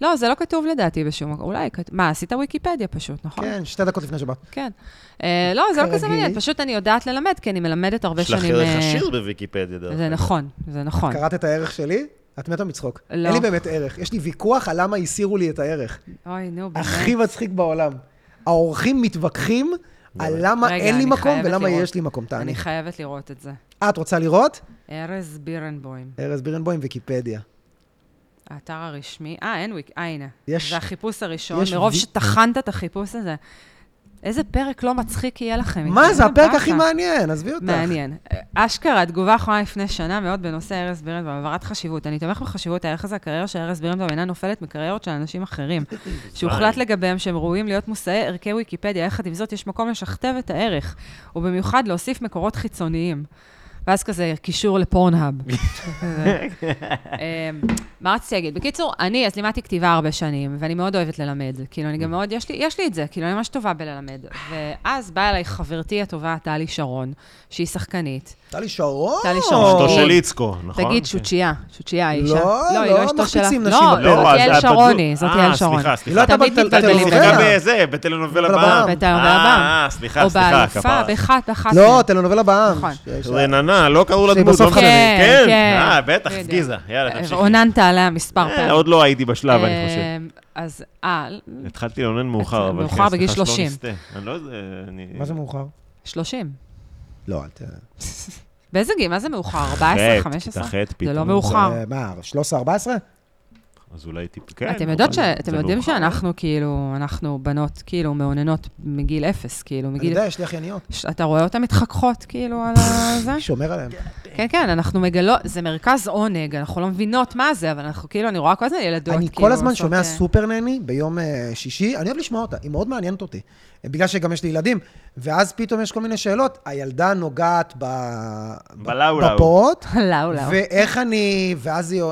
S3: לא, זה לא כתוב לדעתי בשום מקום. אולי, כת- מה, עשית ויקיפדיה פשוט, נכון?
S2: כן, שתי דקות לפני שבאת.
S3: כן. אה, לא, זה לא כזה
S2: כרגיל.
S3: מעניין, פשוט אני יודעת ללמד, כי אני מלמדת הרבה
S1: יש לך
S3: שנים...
S1: ערך
S3: אה,
S1: עשיר בוויקיפדיה, דרך
S3: זה
S1: אגב.
S3: נכון, זה נכון.
S2: קראת את הערך שלי? את מתה מצחוק.
S3: לא.
S2: אין לי באמת ערך. יש לי ויכוח על למה הסירו לי את הערך.
S3: אוי, נו, באמת.
S2: הכי מצחיק בעולם. האורחים מתווכחים על למה
S3: רגע,
S2: אין לי
S3: אני
S2: מקום
S3: חייבת
S2: ולמה
S3: לראות.
S2: יש לי מקום. תעני.
S3: אני חייבת לראות את זה.
S2: את רוצה לראות?
S3: ארז בירנבוים,
S2: ארז בירנבוים, ויקיפדיה.
S3: האתר הרשמי. אה, אין וויק, אה, הנה.
S2: יש-
S3: זה החיפוש הראשון,
S2: יש
S3: מרוב
S2: וי-
S3: שטחנת את החיפוש הזה. איזה פרק לא מצחיק יהיה לכם.
S2: מה, זה
S3: איזה
S2: הפרק
S3: באסה.
S2: הכי מעניין, עזבי אותך.
S3: מעניין. אשכרה, התגובה האחרונה לפני שנה מאוד בנושא ארז בירנבוים, העברת חשיבות. אני תומך בחשיבות הערך הזה, הקריירה של ארז בירנבוים אינה נופלת מקריירות של אנשים אחרים, שהוחלט לגביהם שהם ראויים להיות מושאי ערכי ויקיפדיה. יחד עם זאת, יש מקום לשכתב את הערך, ובמיוחד להוסיף מקורות חיצוניים. ואז כזה קישור לפורנהאב. כזה. אמ, מה רציתי להגיד? בקיצור, אני, אז לימדתי כתיבה הרבה שנים, ואני מאוד אוהבת ללמד. כאילו, אני גם מאוד, יש לי, יש לי את זה, כאילו, אני ממש טובה בללמד. ואז באה אליי חברתי הטובה, טלי שרון, שהיא שחקנית.
S2: טלי שרון.
S3: טלי שרון.
S1: אשתו של
S3: תגיד-
S1: איצקו, נכון?
S3: תגיד,
S1: כן.
S3: שוצ'יה, צוצ'יה היא אישה.
S2: לא,
S3: היא
S2: לא
S3: אשתו שלה.
S2: מחפיצים נשים
S3: לא,
S2: בפרק.
S3: זאת
S1: אז
S3: יעל
S1: הבת זו-
S3: שרוני, זאת יעל
S1: אה,
S3: שרוני.
S1: סליחה,
S2: היא לא
S1: סליחה.
S2: הייתה
S3: תמיד
S2: בטל-
S3: מתבלבלים
S1: היא
S2: בטלנובלה.
S3: לגמרי.
S1: גם בזה, בטלנובלה
S2: בטלנובלה
S1: בעם.
S2: בעם.
S3: בטלנובלה
S1: אה,
S3: בעם.
S1: סליחה,
S3: או
S1: סליחה,
S3: באלופה,
S1: כפרה.
S3: באחת, באחת.
S2: לא, טלנובלה בעם.
S3: נכון.
S2: ש- ש-
S1: רננה, לא קראו לדמות.
S2: שבסוף
S1: לא משנה.
S3: חברים. כן, כן.
S1: אה, בטח,
S3: בדיוק. אה,
S1: סגיזה. יאללה,
S2: אה,
S1: תמשיכי.
S3: רוננת עליה מספר
S1: אה,
S3: פעמים.
S1: עוד לא הייתי בשלב, אני חושב.
S3: אמ, אז, אה,
S1: התחלתי לעונן מאוחר, אבל
S3: מאוחר,
S1: כן,
S3: בגיל
S1: סליחה שלא
S3: 30.
S1: נסטה. אני לא יודע, אני...
S2: מה זה מאוחר?
S3: 30.
S2: לא, אל ת...
S3: באיזה גיל? מה זה מאוחר? 14?
S1: ח',
S3: 15?
S1: כיתה ח'
S3: זה לא
S1: פתאום.
S3: מאוחר.
S2: זה, מה, 13-14?
S1: אז אולי טיפ... כן.
S3: אתם יודעות ש...
S1: אבל
S3: אתם
S1: זה
S3: יודעים
S1: מאוחר.
S3: שאנחנו כאילו, אנחנו בנות כאילו מאוננות מגיל אפס, כאילו
S2: אני
S3: מגיל...
S2: יודע, יש לי אחייניות.
S3: ש- אתה רואה אותן מתחככות כאילו על ה- זה?
S2: אני שומר עליהם.
S3: כן, כן, אנחנו מגלות, זה מרכז עונג, אנחנו לא מבינות מה זה, אבל אנחנו כאילו, אני רואה כל הזמן ילדות,
S2: אני
S3: כאילו,
S2: כל הזמן
S3: עושות,
S2: שומע
S3: אה,
S2: סופר נני ביום אה, שישי, אני אוהב לשמוע אותה, היא מאוד מעניינת אותי. בגלל שגם יש לי ילדים, ואז פתאום יש כל מיני שאלות. הילדה נוגעת ב...
S1: בלאו-לאו.
S2: בפעוט,
S3: לאו, לאו.
S2: ואיך אני... ואז היא...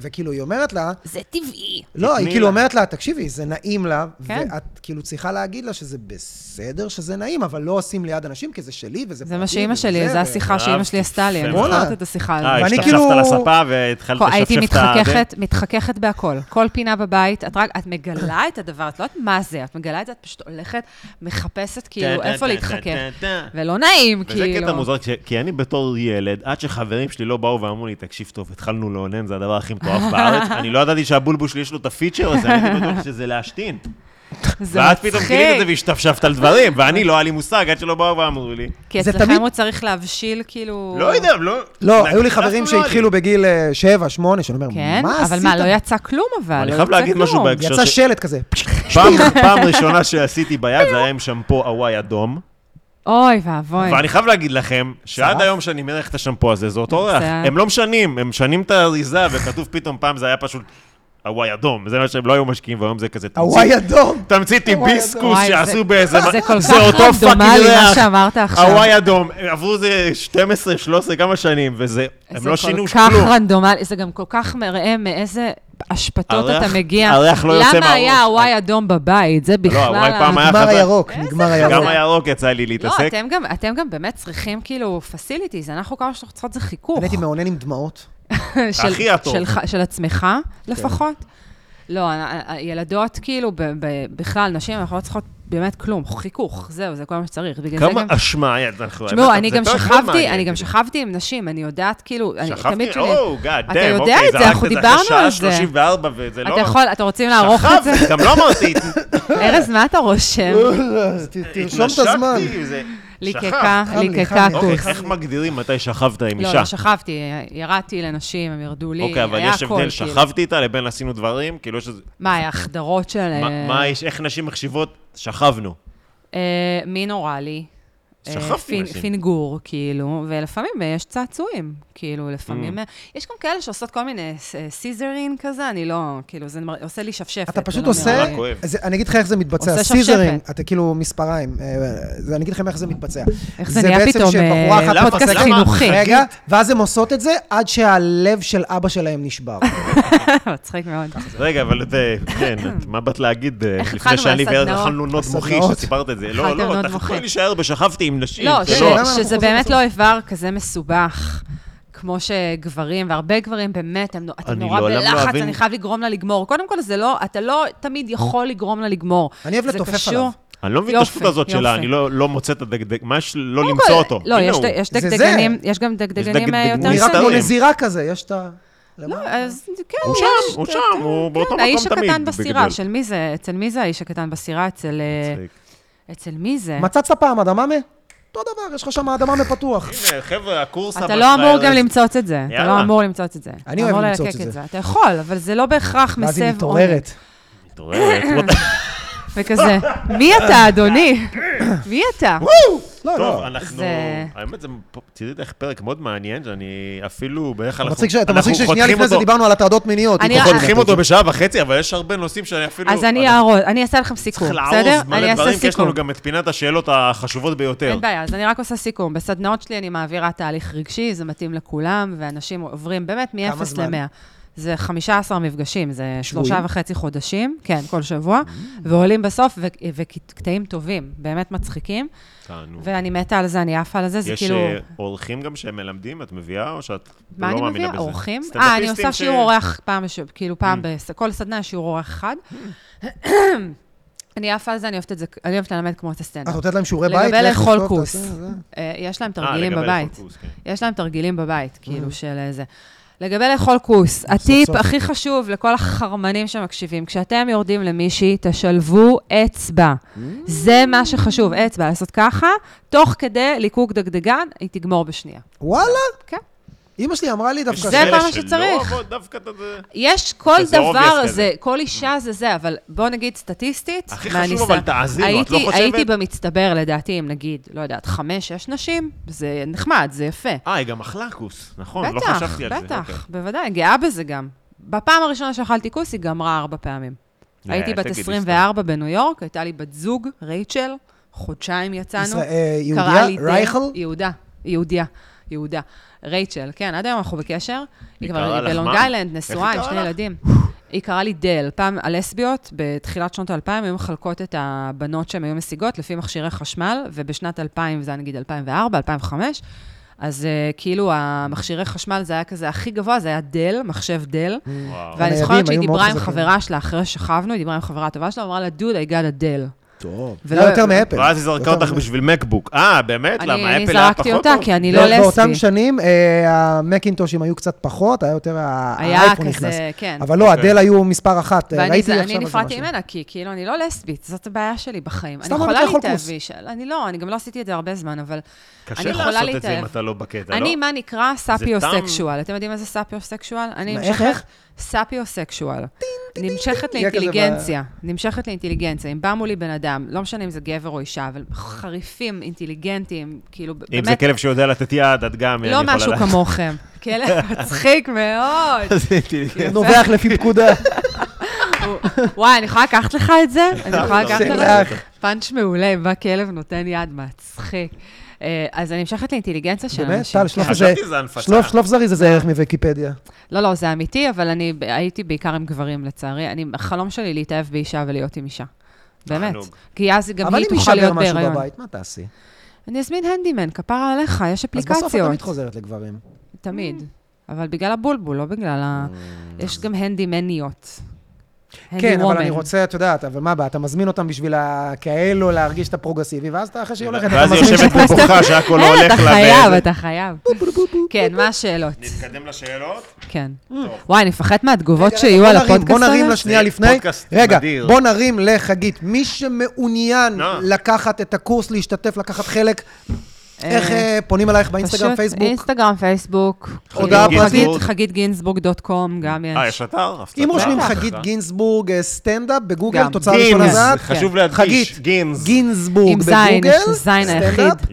S2: וכאילו, היא אומרת לה,
S3: זה טבעי.
S2: לא, היא
S1: תתני
S2: כאילו
S1: לה.
S2: אומרת לה, תקשיבי, זה נעים לה,
S3: כן.
S2: ואת כאילו צריכה להגיד לה שזה בסדר שזה נעים, אבל לא עושים ליד אנשים, כי זה שלי וזה
S3: זה מה שאימא שלי, זו השיחה שאימא שלי עשתה לי. אני
S1: אהבתי,
S3: זוכרת את השיחה
S1: אה, כן?
S3: הזאת.
S2: ואני
S1: השתפשפת
S2: כאילו-
S1: על הספה והתחלת לשפשף את ה...
S3: הייתי מתחככת, מתחככת בהכל. כל פינה בבית, את רק, את מגלה את הדבר, את לא יודעת מה זה, את מגלה את זה, את פשוט הולכת, מחפשת כאילו איפה להתחכך. ולא נעים,
S1: וזה
S3: כאילו.
S1: קטע מוזר, כי- כי אני בתור ילד, עד שחברים שלי לא באו ואמרו לי, תקשיב טוב, התחלנו לאונן, זה הדבר הכי מטורף בארץ, אני לא ידעתי שהבולבול שלי יש לו את הפיצ'ר הזה, אני הייתי בטוח שזה להשתין.
S3: זה
S1: ואת
S3: מצחיק.
S1: פתאום גילית את זה והשתפשפת על דברים, ואני לא היה לי מושג עד שלא באו ואמרו לי.
S3: כי
S2: זה
S3: אצלכם
S2: תמיד-
S3: הוא צריך להבשיל, כאילו...
S1: לא יודע, לא...
S2: לא,
S1: נ-
S2: היו לי
S1: דווקא
S2: חברים
S1: לא היה לי.
S2: שהתחילו בגיל 7, 8, שאני אומר,
S3: כן,
S2: מה עשית?
S3: אבל מה, לא יצא כלום, אבל.
S1: אני
S3: לא
S1: חייב
S3: יצא
S1: להגיד משהו
S3: כלום.
S1: בהקשר-
S2: יצא
S1: ש-
S2: שלט כזה.
S1: פעם- פעם ראשונה שעשיתי ביד זה היה עם שמפו הוואי אדום,
S3: אוי ואבוי.
S1: ואני חייב להגיד לכם, שעד
S2: שרף?
S1: היום שאני מריח את השמפו הזה, זה אותו ריח.
S3: זה-
S1: הם לא משנים, הם משנים את האריזה, וכתוב פתאום פעם זה היה פשוט הוואי אדום, זה מה שהם לא היו משקיעים, והיום זה כזה
S2: הוואי אדום.
S1: תמצית עם
S2: הוואי אדום.
S1: ביסקוס
S3: וואי,
S1: שעשו
S3: זה-
S1: באיזה...
S3: זה כל
S1: זה
S3: כך
S1: אותו
S3: רנדומלי,
S1: פאקינג
S3: מה
S1: ריח.
S3: שאמרת עכשיו.
S1: הוואי אדום, עברו איזה 12, 13, כמה שנים, וזה, הם לא שינו
S3: זה כל כך
S1: כלום.
S3: רנדומלי, זה גם כל כך מראה מאיזה אשפתות
S1: הריח-
S3: אתה מגיע.
S1: הריח לא יוצא
S3: למה
S1: מהראש. לא,
S3: היה הוואי אדום בבית? זה בכלל...
S1: הוואי פעם היה-
S2: נגמר
S1: חזק.
S2: הירוק, נגמר
S1: אה, גם
S2: הירוק.
S1: הירוק יצא לי
S3: לא,
S1: להתעסק.
S3: אתם גם, אתם גם באמת צריכים כאילו פסיליטיז, אנחנו כמה שאנחנו צריכות זה חיכוך.
S2: אני הייתי מאונן עם דמעות.
S3: של,
S1: הכי הטוב.
S3: של, ח- של עצמך, לפחות. לא, ה- ה- ילדות, כאילו, ב, ב, בכלל, נשים, אנחנו לא צריכות באמת כלום, חיכוך, זהו, זה כל מה שצריך. בגלל זה
S1: כמה
S3: גם...
S1: אשמה יד אנחנו...
S3: תשמעו,
S1: האמת,
S3: אני
S1: זה
S3: גם
S1: פרק מאוד
S3: שכבתי,
S1: מעניין.
S3: אני גם שכבתי עם נשים, אני יודעת, כאילו, אני תמיד
S1: שכבתי,
S3: שאני...
S1: או, גאד,
S3: אתה
S1: דאם,
S3: יודע
S1: אוקיי,
S3: את זה,
S1: זרקת
S3: אנחנו
S1: את זה
S3: דיברנו
S1: אחרי שעה
S3: על זה.
S1: 34, וזה לא...
S3: אתה יכול, אתה רוצים לערוך את זה?
S1: שכבתי, גם לא אמרתי,
S3: ארז, מה אתה רושם?
S2: אז ת- תרשום את הזמן.
S1: התנשקתי, זה-
S3: ליקקה,
S2: חם לי,
S3: ליקקה
S2: חם לי.
S1: אוקיי,
S3: כוס.
S1: איך מגדירים מתי שכבת עם
S3: לא,
S1: אישה?
S3: לא שכבתי, ירדתי לנשים, הם ירדו לי,
S1: אוקיי, אבל
S3: היה
S1: יש
S3: הכל,
S1: הבדל,
S3: כאילו.
S1: שכבתי איתה לבין עשינו דברים, כאילו יש איזה...
S3: מה, היה החדרות של...
S1: מה- מה יש, איך נשים מחשיבות? שכבנו.
S3: אה, מין אוראלי. אה,
S1: שכבתי
S3: פינ-
S1: נשים.
S3: פינגור, כאילו, ולפעמים אה, יש צעצועים, כאילו, לפעמים...
S1: Mm.
S3: אה, יש גם כאלה שעושות כל מיני ס- אה, סיזרין כזה, אני לא, כאילו, זה מר- עושה לי שפשפת.
S2: אתה פשוט
S3: זה לא נראה
S2: עושה,
S3: לי.
S1: רק כואב.
S2: זה- אני אגיד לך איך זה מתבצע,
S3: עושה
S2: סיזרים,
S3: שפשפת.
S2: אתה כאילו מספריים, אה, זה- אני אגיד לכם איך זה מתבצע.
S3: איך זה נהיה
S2: בעצם
S3: פתאום
S2: שבחורה
S3: אה,
S2: אחת
S1: למה-
S3: פודקאסט
S1: למה-
S3: חינוכי.
S2: רגע, ואז הן עושות את זה עד שהלב של אבא שלהם נשבר.
S3: לא, מצחיק מאוד.
S1: רגע, אבל זה, כן, את- מה באת להגיד אה,
S3: איך
S1: לפני
S3: התחלנו
S1: שאני וארז
S3: מהסדנאות?
S1: אכלנו נוד מוחי,
S2: הסדנאות.
S1: שסיפרת את זה? לא,
S3: אכלתם
S1: לא,
S3: נוד
S1: אתה
S3: מוחי.
S1: יכול להישאר בשכבתי עם נשים.
S3: לא,
S1: זה
S3: ש-
S1: לא.
S2: למה אנחנו
S3: שזה
S2: חוזרים
S3: באמת
S2: לסוף?
S3: לא איבר כזה מסובך. כמו שגברים, והרבה גברים, באמת, הם, נו- אתם
S1: אני
S3: נורא
S1: לעולם לא
S3: בלחץ,
S1: אבין-
S3: אני חייב לגרום לה לגמור. קודם כל, זה לא, אתה לא תמיד יכול לגרום לה לגמור.
S2: אני אוהב
S3: זה
S2: לתופף
S3: קשור-
S2: עליו.
S1: אני לא מבין את
S3: יופי,
S1: השטות הזאת שלה,
S3: יופי.
S1: אני לא לא מוצא את הדגדג, מה יש לא
S3: קודם
S1: למצוא
S3: כל,
S1: אותו?
S3: לא,
S1: הנה
S3: יש,
S1: הוא.
S3: יש
S2: זה זה.
S3: דגדגנים, יש גם דגדגנים אה,
S1: דגדגנים
S2: הוא
S3: יותר
S2: נראה כמו
S1: מסתרים.
S3: קטנים.
S2: נזירה כזה, יש את ה...
S3: לא, אז כן,
S1: הוא
S3: יש. כן,
S1: שם, הוא שם, הוא באותו מקום תמיד.
S3: האיש הקטן בסירה,
S1: בגדול.
S3: של מי זה? אצל מי זה האיש הקטן בסירה? אצל... אה,
S1: מצחיק.
S3: אצל מי זה?
S2: מצצת פעם אדממה? אותו דבר, יש לך שם אדממה פתוח.
S1: הנה, חבר'ה, הקורס הבא
S3: אתה לא
S1: שלך,
S3: אמור
S1: ארז.
S3: גם למצוץ את זה. אתה
S1: יאללה.
S3: לא אמור למצוץ את זה. אתה
S2: אוהב
S3: אמור
S2: למצוץ
S3: ללקק
S2: את זה.
S3: אתה יכול, אבל זה לא בהכרח מסב...
S2: ואז היא
S3: עונג.
S2: מתעוררת.
S1: מתעוררת, what the-
S3: וכזה, מי אתה, אדוני? מי אתה?
S2: לא,
S1: טוב,
S2: לא.
S1: אנחנו...
S3: זה-
S1: האמת, זה פה- תראית איך פרק מאוד מעניין, שאני אפילו בערך אנחנו...
S2: מצחיק ש- אתה
S1: אנחנו
S2: מצחיק ששנייה
S1: חותכים
S2: לפני זה
S1: אותו-
S2: דיברנו על הטרדות מיניות.
S3: אני אה,
S2: היא
S3: רק-
S2: פחות
S1: חותכים
S2: יודעת
S1: אותו
S2: את זה.
S1: בשעה וחצי, אבל יש הרבה נושאים שאני אפילו...
S3: אז אני
S1: אנחנו-
S3: אארוז, אני אעשה לכם סיכום,
S1: צריך
S3: בסדר?
S1: לערוז
S3: אני
S1: מלא
S3: אעשה
S1: דברים, כי יש
S3: סיכום.
S1: לנו גם את פינת השאלות החשובות ביותר.
S3: אין בעיה, אז אני רק עושה סיכום. בסדנאות שלי אני מעבירה תהליך רגשי, זה מתאים לכולם, ואנשים עוברים באמת
S2: כמה
S3: מ-0
S2: זמן?
S3: ל-100. זה 15 מפגשים, זה
S2: שבועי? Mm.
S3: שלושה וחצי חודשים, כן, כל שבוע, ועולים בסוף, ו- וקטעים טובים, באמת מצחיקים,
S1: תענוג.
S3: ואני מתה על זה, אני עפה על זה, זה
S1: יש
S3: כאילו...
S1: אה, אורחים גם שמלמדים, את מביאה או שאת לא
S3: מה
S1: מאמינה
S3: אני
S1: בזה?
S3: מביאה? אורחים? אה, אני
S1: סטנדאפיסטים
S3: עושה
S1: ש- Mm.
S3: שיעור אורח פעם, בש- כאילו פעם, בס- כל סדנה יש שיעור אורח אחד. אני עפה על זה, אני אוהבת את זה, אני אוהבת ללמד כמו את
S2: את
S3: הסטנדאפ.
S2: נותנת להם שיעורי
S3: לגבי
S2: בית? לך
S3: לאכול
S2: תכתוב,
S3: כוס.
S2: תעשה, זה.
S3: אה, יש להם
S1: אה,
S3: תרגילים
S1: לגבי Mm.
S3: בבית.
S1: לאכול כוס, כן.
S3: יש להם תרגילים בבית, כאילו, של איזה... לגבי לאכול כוס, הטיפ
S2: סוף.
S3: הכי חשוב לכל החרמנים שמקשיבים, כשאתם יורדים למישהי, תשלבו אצבע.
S1: Mm.
S3: זה מה שחשוב, אצבע, לעשות ככה, תוך כדי ליקוק דגדגן, היא תגמור בשנייה.
S2: וואלה?
S3: כן.
S2: אימא שלי אמרה לי דווקא...
S3: זה
S2: ש-
S3: כל מה
S1: אלה שלא
S3: שצריך.
S1: עובד, דווקא אתה זה...
S3: יש כל
S1: שזה obvious
S3: דבר,
S1: כזה.
S3: זה, כל אישה זה זה, אבל בוא נגיד סטטיסטית,
S1: הכי
S3: מהניסיון.
S1: חשוב, אבל תאזינו, את לא
S3: הייתי-
S1: חושבת?
S3: הייתי במצטבר, לדעתי, אם נגיד, לא יודעת, חמש, שש נשים, זה נחמד, זה יפה.
S1: אה, היא גם אכלה כוס, נכון, לא
S3: בטח,
S1: חשבתי על זה. אוקיי.
S3: בטח, בוודאי, גאה בזה גם. בפעם הראשונה שאכלתי כוס, היא גמרה ארבע פעמים.
S1: אה,
S3: הייתי
S1: אל
S3: בת
S1: תגידי סתם.
S3: 24 בניו יורק, הייתה לי בת זוג, רייצ'ל, חודשיים יצאנו.
S2: ישראל- אה,
S3: קראה לי
S2: יהודיה?
S3: די-
S2: רייכל?
S3: יהודה, יהודיה, יהודה. רייצ'ל, כן, עד היום אנחנו בקשר. היא
S1: קראה
S3: כבר
S1: לך
S3: בלונג
S1: מה?
S3: איילנד, נשואה
S1: איך היא
S3: עם שני
S1: קראה לך?
S3: ילדים. היא קראה לי דל. פעם הלסביות, בתחילת שנות ה-2000, היו מחלקות את הבנות שהן היו משיגות לפי מכשירי חשמל, ובשנת 2000, זה היה נגיד 2004, 2005, אז אה, כאילו המכשירי חשמל זה היה כזה הכי גבוה, זה היה דל, מחשב דל.
S1: אוקיי. וואו.
S3: ואני
S2: הניידים
S3: זוכרת שהיא
S2: Mm. היו מאוד
S3: דיברה עם
S2: חזקים.
S3: חברה שלה אחרי ששכבנו, היא דיברה עם חברה טובה שלה, אמרה לה, דוד, I got a dell.
S2: טוב. זה
S3: ולא-
S2: היה לא יותר מאפל.
S1: ואז היא זרקה
S2: יותר
S1: אותך
S2: מאפל.
S1: בשביל מקבוק. אה, באמת?
S3: אני
S1: למה?
S3: אני
S1: אפל היה
S3: זרקתי
S1: פחות
S3: אותה,
S1: טוב?
S3: כי אני לא
S2: באותם
S3: לסבי.
S2: שנים, אה, המקינטושים היו קצת פחות, היה יותר ה-
S3: היה
S2: האייפון
S3: כזה,
S2: נכנס.
S3: כן.
S2: אבל לא,
S1: אוקיי.
S2: הדל היו מספר אחת. אה,
S3: ואני
S2: ראיתי
S3: זה-
S2: עכשיו
S3: אני
S2: על זה
S3: נפרדתי
S2: משהו.
S3: ממנה, כי כאילו, אני לא לסבית, זאת הבעיה שלי בחיים. אני
S2: סתם לא אוהבת
S3: יכולה
S2: לאכול כוס.
S3: להתאביש, אני לא, אני גם לא עשיתי את זה הרבה זמן, אבל לא- אני
S1: קשה
S3: יכולה
S1: לעשות את זה אם
S3: להתאהב.
S1: אתה לא בקטע, לא?
S3: אני, מה נקרא סאפיוסקשואל. אתם יודעים מה זה סאפיוסקשואל? אני
S2: איך,
S3: נמשכת...
S2: איך?
S3: סאפיוסקשואל. נמשכת
S2: יהיה כזה ב-
S3: לאינטליגנציה. נמשכת לאינטליגנציה. אם בא מולי בן אדם, לא משנה אם זה גבר או אישה, אבל חריפים, אינטליגנטים, כאילו, באמת...
S1: אם זה כלב שיודע לתת יד, את גם, אני
S3: לא
S1: יכולה
S3: משהו
S1: לדעת.
S3: כמוכם. כלב מצחיק מאוד.
S1: זה אינטליגנט.
S2: נובח לפי פקודה.
S3: הוא- וואי, אני יכולה לקחת לך את זה? אני יכולה לקחת לך?
S2: שלך.
S3: פאנץ' מעולה, בא כלב, נותן יד, מצחיק. אה, אז אני נמשכת לאינטליגנציה של אנשים.
S2: באמת, טל, שלוף
S3: כן.
S2: איזה...
S1: לא, חשבתי שזה הנפצה.
S2: שלוף, שלוף זריז איזה ערך מוויקיפדיה.
S3: לא, לא, זה אמיתי, אבל אני ב- הייתי בעיקר עם גברים, לצערי. אני, החלום שלי להתאהב באישה ולהיות עם אישה. באמת.
S1: תענוג.
S3: כי אז גם
S2: אבל אם
S3: היא תוכל
S2: יישבר
S3: להיות
S2: משהו
S3: בהיריון.
S2: בבית, מה תעשי?
S3: אני אזמין הנדימן, כפרה עליך, יש
S2: אז
S3: אפליקציות.
S2: בסוף את תמיד חוזרת לגברים.
S3: תמיד. אבל בגלל הבולבול, לא בגלל ה...
S1: Mm.
S3: יש גם הנדימניות.
S2: כן, אבל
S3: handywoman.
S2: אני רוצה, את יודעת, אבל מה הבעיה, אתה מזמין אותם בשביל ה- כאלו להרגיש את הפרוגרסיבי, ואז אתה אחרי שהיא הולכת, אתה
S1: ואז היא
S2: מזמין
S1: יושבת
S2: שם...
S1: פה בוכה שהכל לא
S3: אין,
S1: הולך
S3: אה, אתה
S1: לה.
S3: חייב,
S1: באיזה-
S3: אתה חייב. כן, מה השאלות?
S1: נתקדם לשאלות.
S3: כן. וואי, אני מפחד מהתגובות
S2: רגע,
S3: שיהיו
S2: בוא
S3: על
S2: נרים,
S3: הפודקאסט הזה.
S2: בוא נרים לה שנייה
S1: זה
S2: לפני.
S1: פודקאסט
S2: רגע,
S1: מדהים.
S2: בוא נרים לחגית. מי שמעוניין
S1: נא.
S2: לקחת את הקורס, להשתתף, לקחת חלק, איך אה, פונים אלייך באינסטגרם,
S3: פשוט
S2: פייסבוק?
S3: אינסטגרם, פייסבוק.
S2: הודעה
S3: כאילו,
S1: פרטית.
S3: חגית- חגית גינזבורג דוט קום, גם יש.
S1: אה, יש אה, אתר?
S2: אם רושמים
S3: בטח.
S2: חגית גינזבורג אה, סטנדאפ בגוגל,
S3: גם.
S2: תוצאה ראשונה
S1: גינז,
S2: זעת.
S1: חשוב
S2: חגית,
S1: להדגיש. גינז.
S2: גינזבורג
S3: עם זין,
S2: בגוגל,
S3: יש זין היחיד.
S2: סטנדאפ.
S1: Yeah.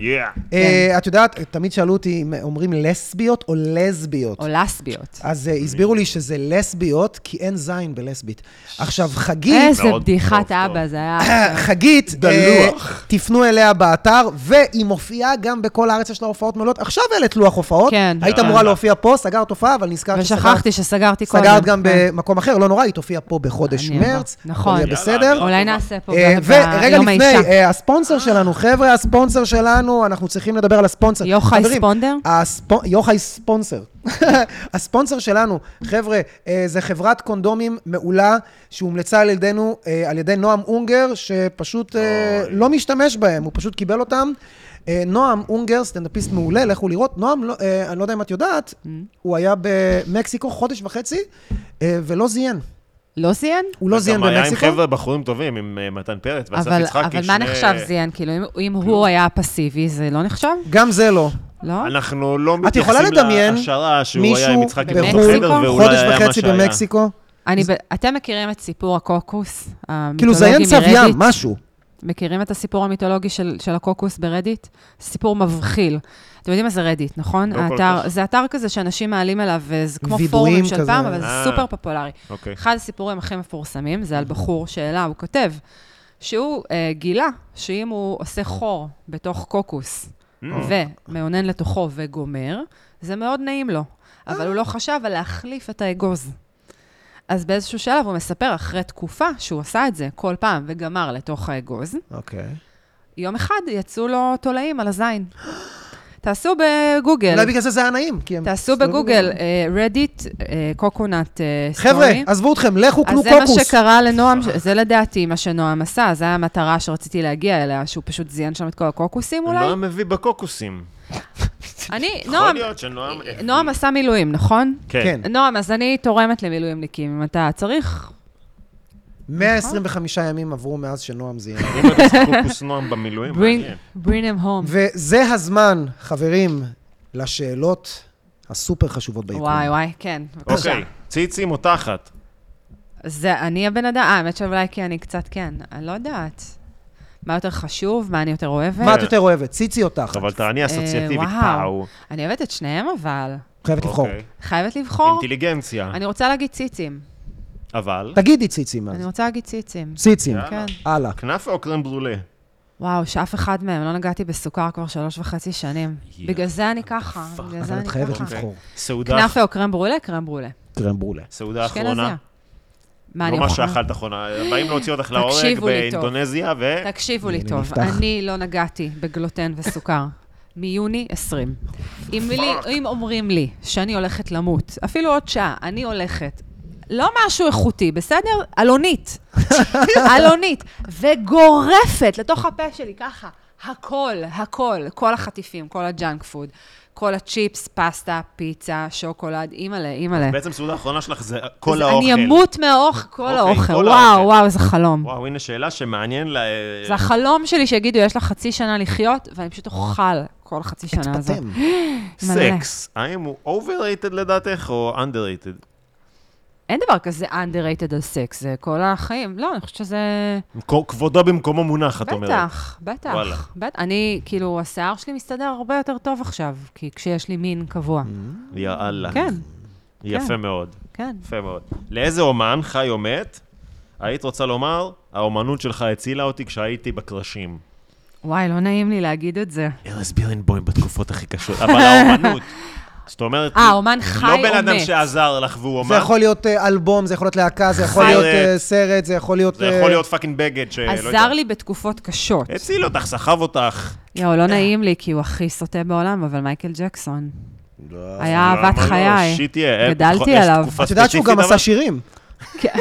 S2: אה, את יודעת, תמיד שאלו אותי אם אומרים לסביות או לסביות.
S3: או לסביות.
S2: אז אה, הסבירו לי שזה לסביות, כי אין זין בלסבית. עכשיו, חגית,
S3: איזה
S1: מאוד טוב,
S3: בדיחת
S1: טוב.
S3: אבא זה היה.
S2: חגית, אה,
S1: דלוח.
S2: תפנו אליה באתר, והיא מופיעה גם בכל הארץ, יש לה הופעות מלאות. עכשיו העלית לוח הופעות.
S3: כן.
S2: היית אמורה להופיע פה, סגרת הופעה, אבל נזכרת
S3: ושכחתי שסגרתי קודם.
S2: סגרת גם
S3: כן.
S2: במקום אחר, לא נורא, היא תופיע פה בחודש
S3: אני אבוא.
S2: מרץ.
S3: נכון.
S2: הכל יהיה
S1: יאללה,
S2: בסדר.
S1: אווירה
S3: אולי
S1: טובה.
S3: נעשה פה
S2: אה,
S3: ב-
S2: ורגע
S3: ביום
S2: לפני,
S3: האישה.
S2: אה, הספונסר שלנו, חבר'ה, הספונסר שלנו, אנחנו צריכים לדבר על הספונסר.
S3: יוחאי
S2: חברים,
S3: ספונדר?
S2: הספו- יוחאי ספונסר. הספונסר שלנו, חבר'ה, אה, זה חברת קונדומים מעולה שהומלצה על ידינו, אה, על ידי נועם אונגר, שפשוט אה,
S1: אוי.
S2: לא משתמש בהם, הוא פשוט קיבל אותם. אה, נועם אונגר, סטנדאפיסט מעולה, לכו לראות. נועם, לא- אה, אני לא יודע אם את יודעת,
S3: Mm.
S2: הוא היה במקסיקו חודש וחצי, אה, ולא זיין.
S3: לא זיין?
S2: הוא לא זיין
S1: גם היה עם
S2: במקסיקו.
S1: חבר'ה בחורים טובים, עם אה, מתן פרץ ואסף
S3: אבל
S1: יצחקי.
S3: אבל מה
S1: שני-
S3: נחשב זיין? כאילו, אם- אם הוא היה פסיבי, זה לא נחשב?
S2: גם זה לא.
S3: לא?
S1: אנחנו לא
S2: את יכולה
S1: מתייחסים
S2: לדמיין
S1: להשערה שהוא היה עם
S2: מישהו
S1: יצחקי
S3: בחו"ל,
S1: בחדר, ואולי
S2: חודש
S1: היה מה
S2: וחצי
S1: שהיה.
S2: במקסיקו.
S3: אני ב- אתם מכירים את סיפור הקוקוס?
S2: כאילו
S3: המיתולוגי
S2: זיין צב
S3: מרדיט?
S2: ים, משהו.
S3: מכירים את הסיפור המיתולוגי של, של הקוקוס ברדיט? סיפור מבחיל. אתם יודעים מה זה רדיט, נכון?
S1: לא כל
S3: האתר,
S1: כך.
S3: זה אתר כזה שאנשים מעלים עליו, וזה כמו
S2: וידועים
S3: פורומים של
S2: כזה.
S3: פעם, אבל זה
S1: אה.
S3: סופר פופולרי.
S1: אוקיי.
S3: אחד הסיפורים הכי מפורסמים זה על בחור שאלה, הוא כותב, שהוא אה, גילה שאם הוא עושה חור בתוך קוקוס,
S1: Mm.
S3: ומאונן לתוכו וגומר, זה מאוד נעים לו, אבל הוא לא חשב על להחליף את האגוז. אז באיזשהו שלב הוא מספר, אחרי תקופה שהוא עשה את זה כל פעם וגמר לתוך האגוז,
S2: אוקיי.
S3: יום אחד יצאו לו תולעים על הזין. תעשו בגוגל,
S2: אולי בגלל זה זה היה נעים. כי הם
S3: תעשו
S2: הסתובבו
S3: בגוגל, אה, רדיט, קוקונט סטורי.
S2: חבר'ה, עזבו אתכם, לכו קנו
S3: אה, אז זה מה
S2: קוקוס.
S3: שקרה לנועם, ש- זה לדעתי מה שנועם עשה, זו המטרה שרציתי להגיע אליה, שהוא פשוט זיין שם את כל הקוקוסים אולי.
S1: נועם מביא בקוקוסים.
S3: אני,
S1: יכול
S3: נועם, אה,
S1: להיות שנועם... הביא-
S3: נועם עשה מילואים, נכון?
S1: כן.
S2: כן.
S3: נועם, אז אני תורמת למילואימניקים, אם אתה צריך.
S2: 125 ימים עברו מאז שנועם זיין.
S1: אם אתה עושה קוקוס נועם במילואים, מעניין.
S3: bring bring them home.
S2: וזה הזמן, חברים, לשאלות הסופר חשובות ביקום.
S3: וואי, וואי, כן, בבקשה.
S1: אוקיי, ציצים או תחת?
S3: זה אני הבן אדם, אה, האמת שאולי כי אני קצת כן, אני לא יודעת. מה יותר חשוב, מה אני יותר אוהבת?
S2: מה את יותר אוהבת, ציצי או תחת?
S1: אבל תעני
S3: אה,
S1: אסוציאטיבית,
S3: וואו.
S1: פאו.
S3: אני אוהבת את שניהם, אבל
S2: חייבת לבחור.
S1: אוקיי.
S3: חייבת לבחור.
S1: אינטליגנציה,
S3: אני רוצה להגיד ציצים.
S1: אבל...
S2: תגידי ציצים אז.
S3: אני רוצה להגיד ציצים.
S2: ציצים.
S1: יאללה.
S3: כן.
S2: הלאה.
S1: כנאפה או קרם ברולה?
S3: וואו, שאף אחד מהם, לא נגעתי בסוכר כבר שלוש וחצי שנים.
S1: יא,
S3: בגלל זה אני ככה, בגלל
S2: אבל
S3: זה
S2: את
S3: אני
S2: חייבת
S3: ככה.
S2: לבחור.
S1: סעודה
S3: כנאפה או קרם ברולה? קרם ברולה.
S2: קרם ברולה.
S1: סעודה
S3: אשכנזיה.
S1: אחרונה.
S3: מה, אה, אני
S1: לא מה
S3: אוכל?
S1: שאכלת אחרונה. באים להוציא אותך להורג
S3: תקשיבו לי טוב.
S1: באינדונזיה, ו...
S3: תקשיבו
S2: הנה,
S3: לי טוב,
S2: נפתח.
S3: אני לא נגעתי בגלוטן וסוכר. מיוני 20. אם, לי, אם אומרים לי שאני הולכת למות, אפילו עוד שעה, אני הולכת, לא משהו איכותי, בסדר? אלונית. אלונית. וגורפת לתוך הפה שלי, ככה, הכל, הכל, כל החטיפים, כל הג'אנק פוד, כל הצ'יפס, פסטה, פיצה, שוקולד, אימא'לה, אימא'לה.
S1: בעצם סעודה האחרונה שלך זה כל
S3: אז
S1: האוכל.
S3: אני אמות מהאוכל, כל
S1: אוקיי,
S3: האוכל.
S1: כל
S3: וואו,
S1: האוכל.
S3: וואו, איזה חלום.
S1: וואו, הנה שאלה שמעניין ל...
S3: זה החלום שלי שיגידו, יש לך חצי שנה לחיות, ואני פשוט אוכל כל חצי שנה הזאת.
S2: אתפטם.
S3: מלא.
S1: סקס, האם הוא overrated לדעתך או underrated?
S3: אין דבר כזה underrated על סקס, זה כל החיים. לא, אני חושבת שזה...
S1: כ- כבודו במקומו מונח, את אומרת.
S3: בטח, בטח.
S1: וואלה.
S3: בט- אני, כאילו, השיער שלי מסתדר הרבה יותר טוב עכשיו, כי כשיש לי מין קבוע.
S1: יאללה.
S3: כן,
S1: יפה
S3: כן.
S1: מאוד,
S3: כן.
S1: יפה מאוד. לאיזה אומן, חי או מת, היית רוצה לומר, האומנות שלך הצילה אותי כשהייתי בקרשים?
S3: וואי, לא נעים לי להגיד את זה.
S1: ארז בירנבוים בתקופות הכי קשות, אבל האומנות. זאת אומרת,
S3: אה, אומן חי
S1: לא בן
S3: או
S1: אדם
S3: מת.
S1: שעזר לך והוא אומן,
S2: זה יכול להיות אה, אלבום, זה יכול להיות להקה, זה יכול
S1: סרט.
S2: להיות אה, סרט, זה יכול להיות...
S1: זה
S2: אה,
S1: יכול להיות פאקינג בגד שלא לא יודע.
S3: עזר לי בתקופות קשות.
S1: הציל אותך, סחב אותך.
S3: יואו,
S1: אה.
S3: לא נעים לי, כי הוא הכי סוטה בעולם, אבל מייקל ג'קסון.
S2: לא.
S3: היה אהבת
S1: למה לא?
S3: חיי.
S1: שיט יהיה. אה,
S3: גדלתי
S1: נכון, יש
S3: עליו.
S1: תקופה
S2: את יודעת שהוא
S1: ספציפית,
S2: גם
S1: אבל- אה,
S2: עשה שירים.
S3: כן.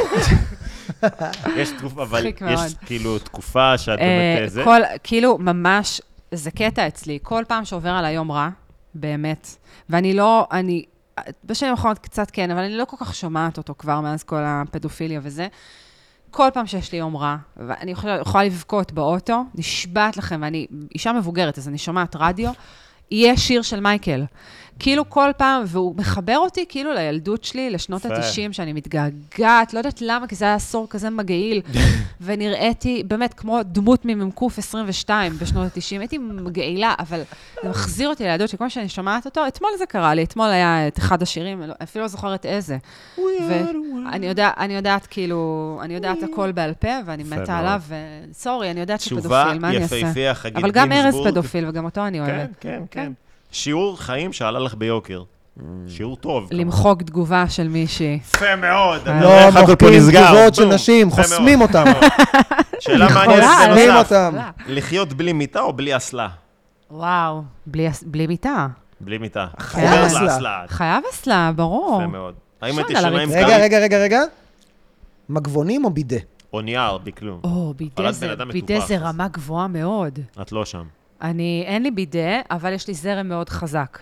S1: יש תקופה, אבל
S3: מצחיק מאוד.
S1: יש כאילו תקופה שאת
S3: אה,
S1: באמת אה, זה.
S3: כל, כאילו, ממש, זה קטע אצלי. כל פעם שעובר עליי יום רע, באמת, ואני לא, אני, בשנים האחרונות קצת כן, אבל אני לא כל כך שומעת אותו כבר מאז כל הפדופיליה וזה. כל פעם שיש לי יום רע, ואני יכולה, יכולה לבכות באוטו, נשבעת לכם, ואני אישה מבוגרת, אז אני שומעת רדיו, יהיה שיר של מייקל. כאילו כל פעם, והוא מחבר אותי כאילו לילדות שלי, לשנות
S1: יפה.
S3: ה-90, שאני מתגעגעת, לא יודעת למה, כי זה היה עשור כזה מגעיל, ונראיתי באמת כמו דמות ממ"ק 22 בשנות ה-90, הייתי מגעילה, אבל זה מחזיר אותי לילדות שכמו שאני שומעת אותו, אתמול זה קרה לי, אתמול היה את אחד השירים, אני לא- אפילו לא זוכרת איזה. ואני יודע, אני יודעת, כאילו, אני יודעת הכל בעל פה, ואני
S1: יפה
S3: מתה
S1: מאוד.
S3: עליו, וסורי, אני יודעת שהוא
S1: תשובה
S3: פדופיל, מה אני אעשה?
S1: יפהפייה, חגית
S3: אבל גם ארז
S1: גינזבורג.
S3: פדופיל, וגם אותו אני אוהבת.
S1: כן, כן, כן.
S3: כן.
S1: שיעור חיים שעלה לך ביוקר.
S2: Mm.
S1: שיעור טוב. כמובן.
S3: למחוק תגובה של מישהי.
S1: יפה מאוד.
S3: אה.
S1: אתה
S2: לא
S1: רואה איך הכל פה
S2: מוחקים
S1: נסגר,
S2: תגובות של
S1: בום.
S2: נשים,
S1: יפה מאוד.
S2: חוסמים אותם.
S1: שאלה מעניינת
S3: יכולה,
S2: חוסמים
S3: עליהם.
S1: בנוסף.
S2: אותם.
S3: לא.
S1: לחיות בלי מיטה או בלי אסלה?
S3: וואו, בלי הס- בלי מיטה.
S1: בלי מיטה.
S2: חייב
S1: חובר
S2: אסלה.
S1: לאסלה.
S3: חייב אסלה, ברור.
S1: יפה מאוד. האם
S3: אפשר
S1: הייתי
S3: על
S1: שונה עם
S3: הרצפה.
S2: רגע,
S1: קארי
S2: רגע, רגע, רגע. מגבונים או בידה?
S1: או נייר, בכלום. אבל
S3: או, בידה
S1: את בן
S3: זה,
S1: אדם
S3: בידה
S1: מטופח,
S3: זה
S1: אז-
S3: רמה גבוהה מאוד.
S1: את לא שם.
S3: אני, אין לי בידה, אבל יש לי זרם מאוד חזק.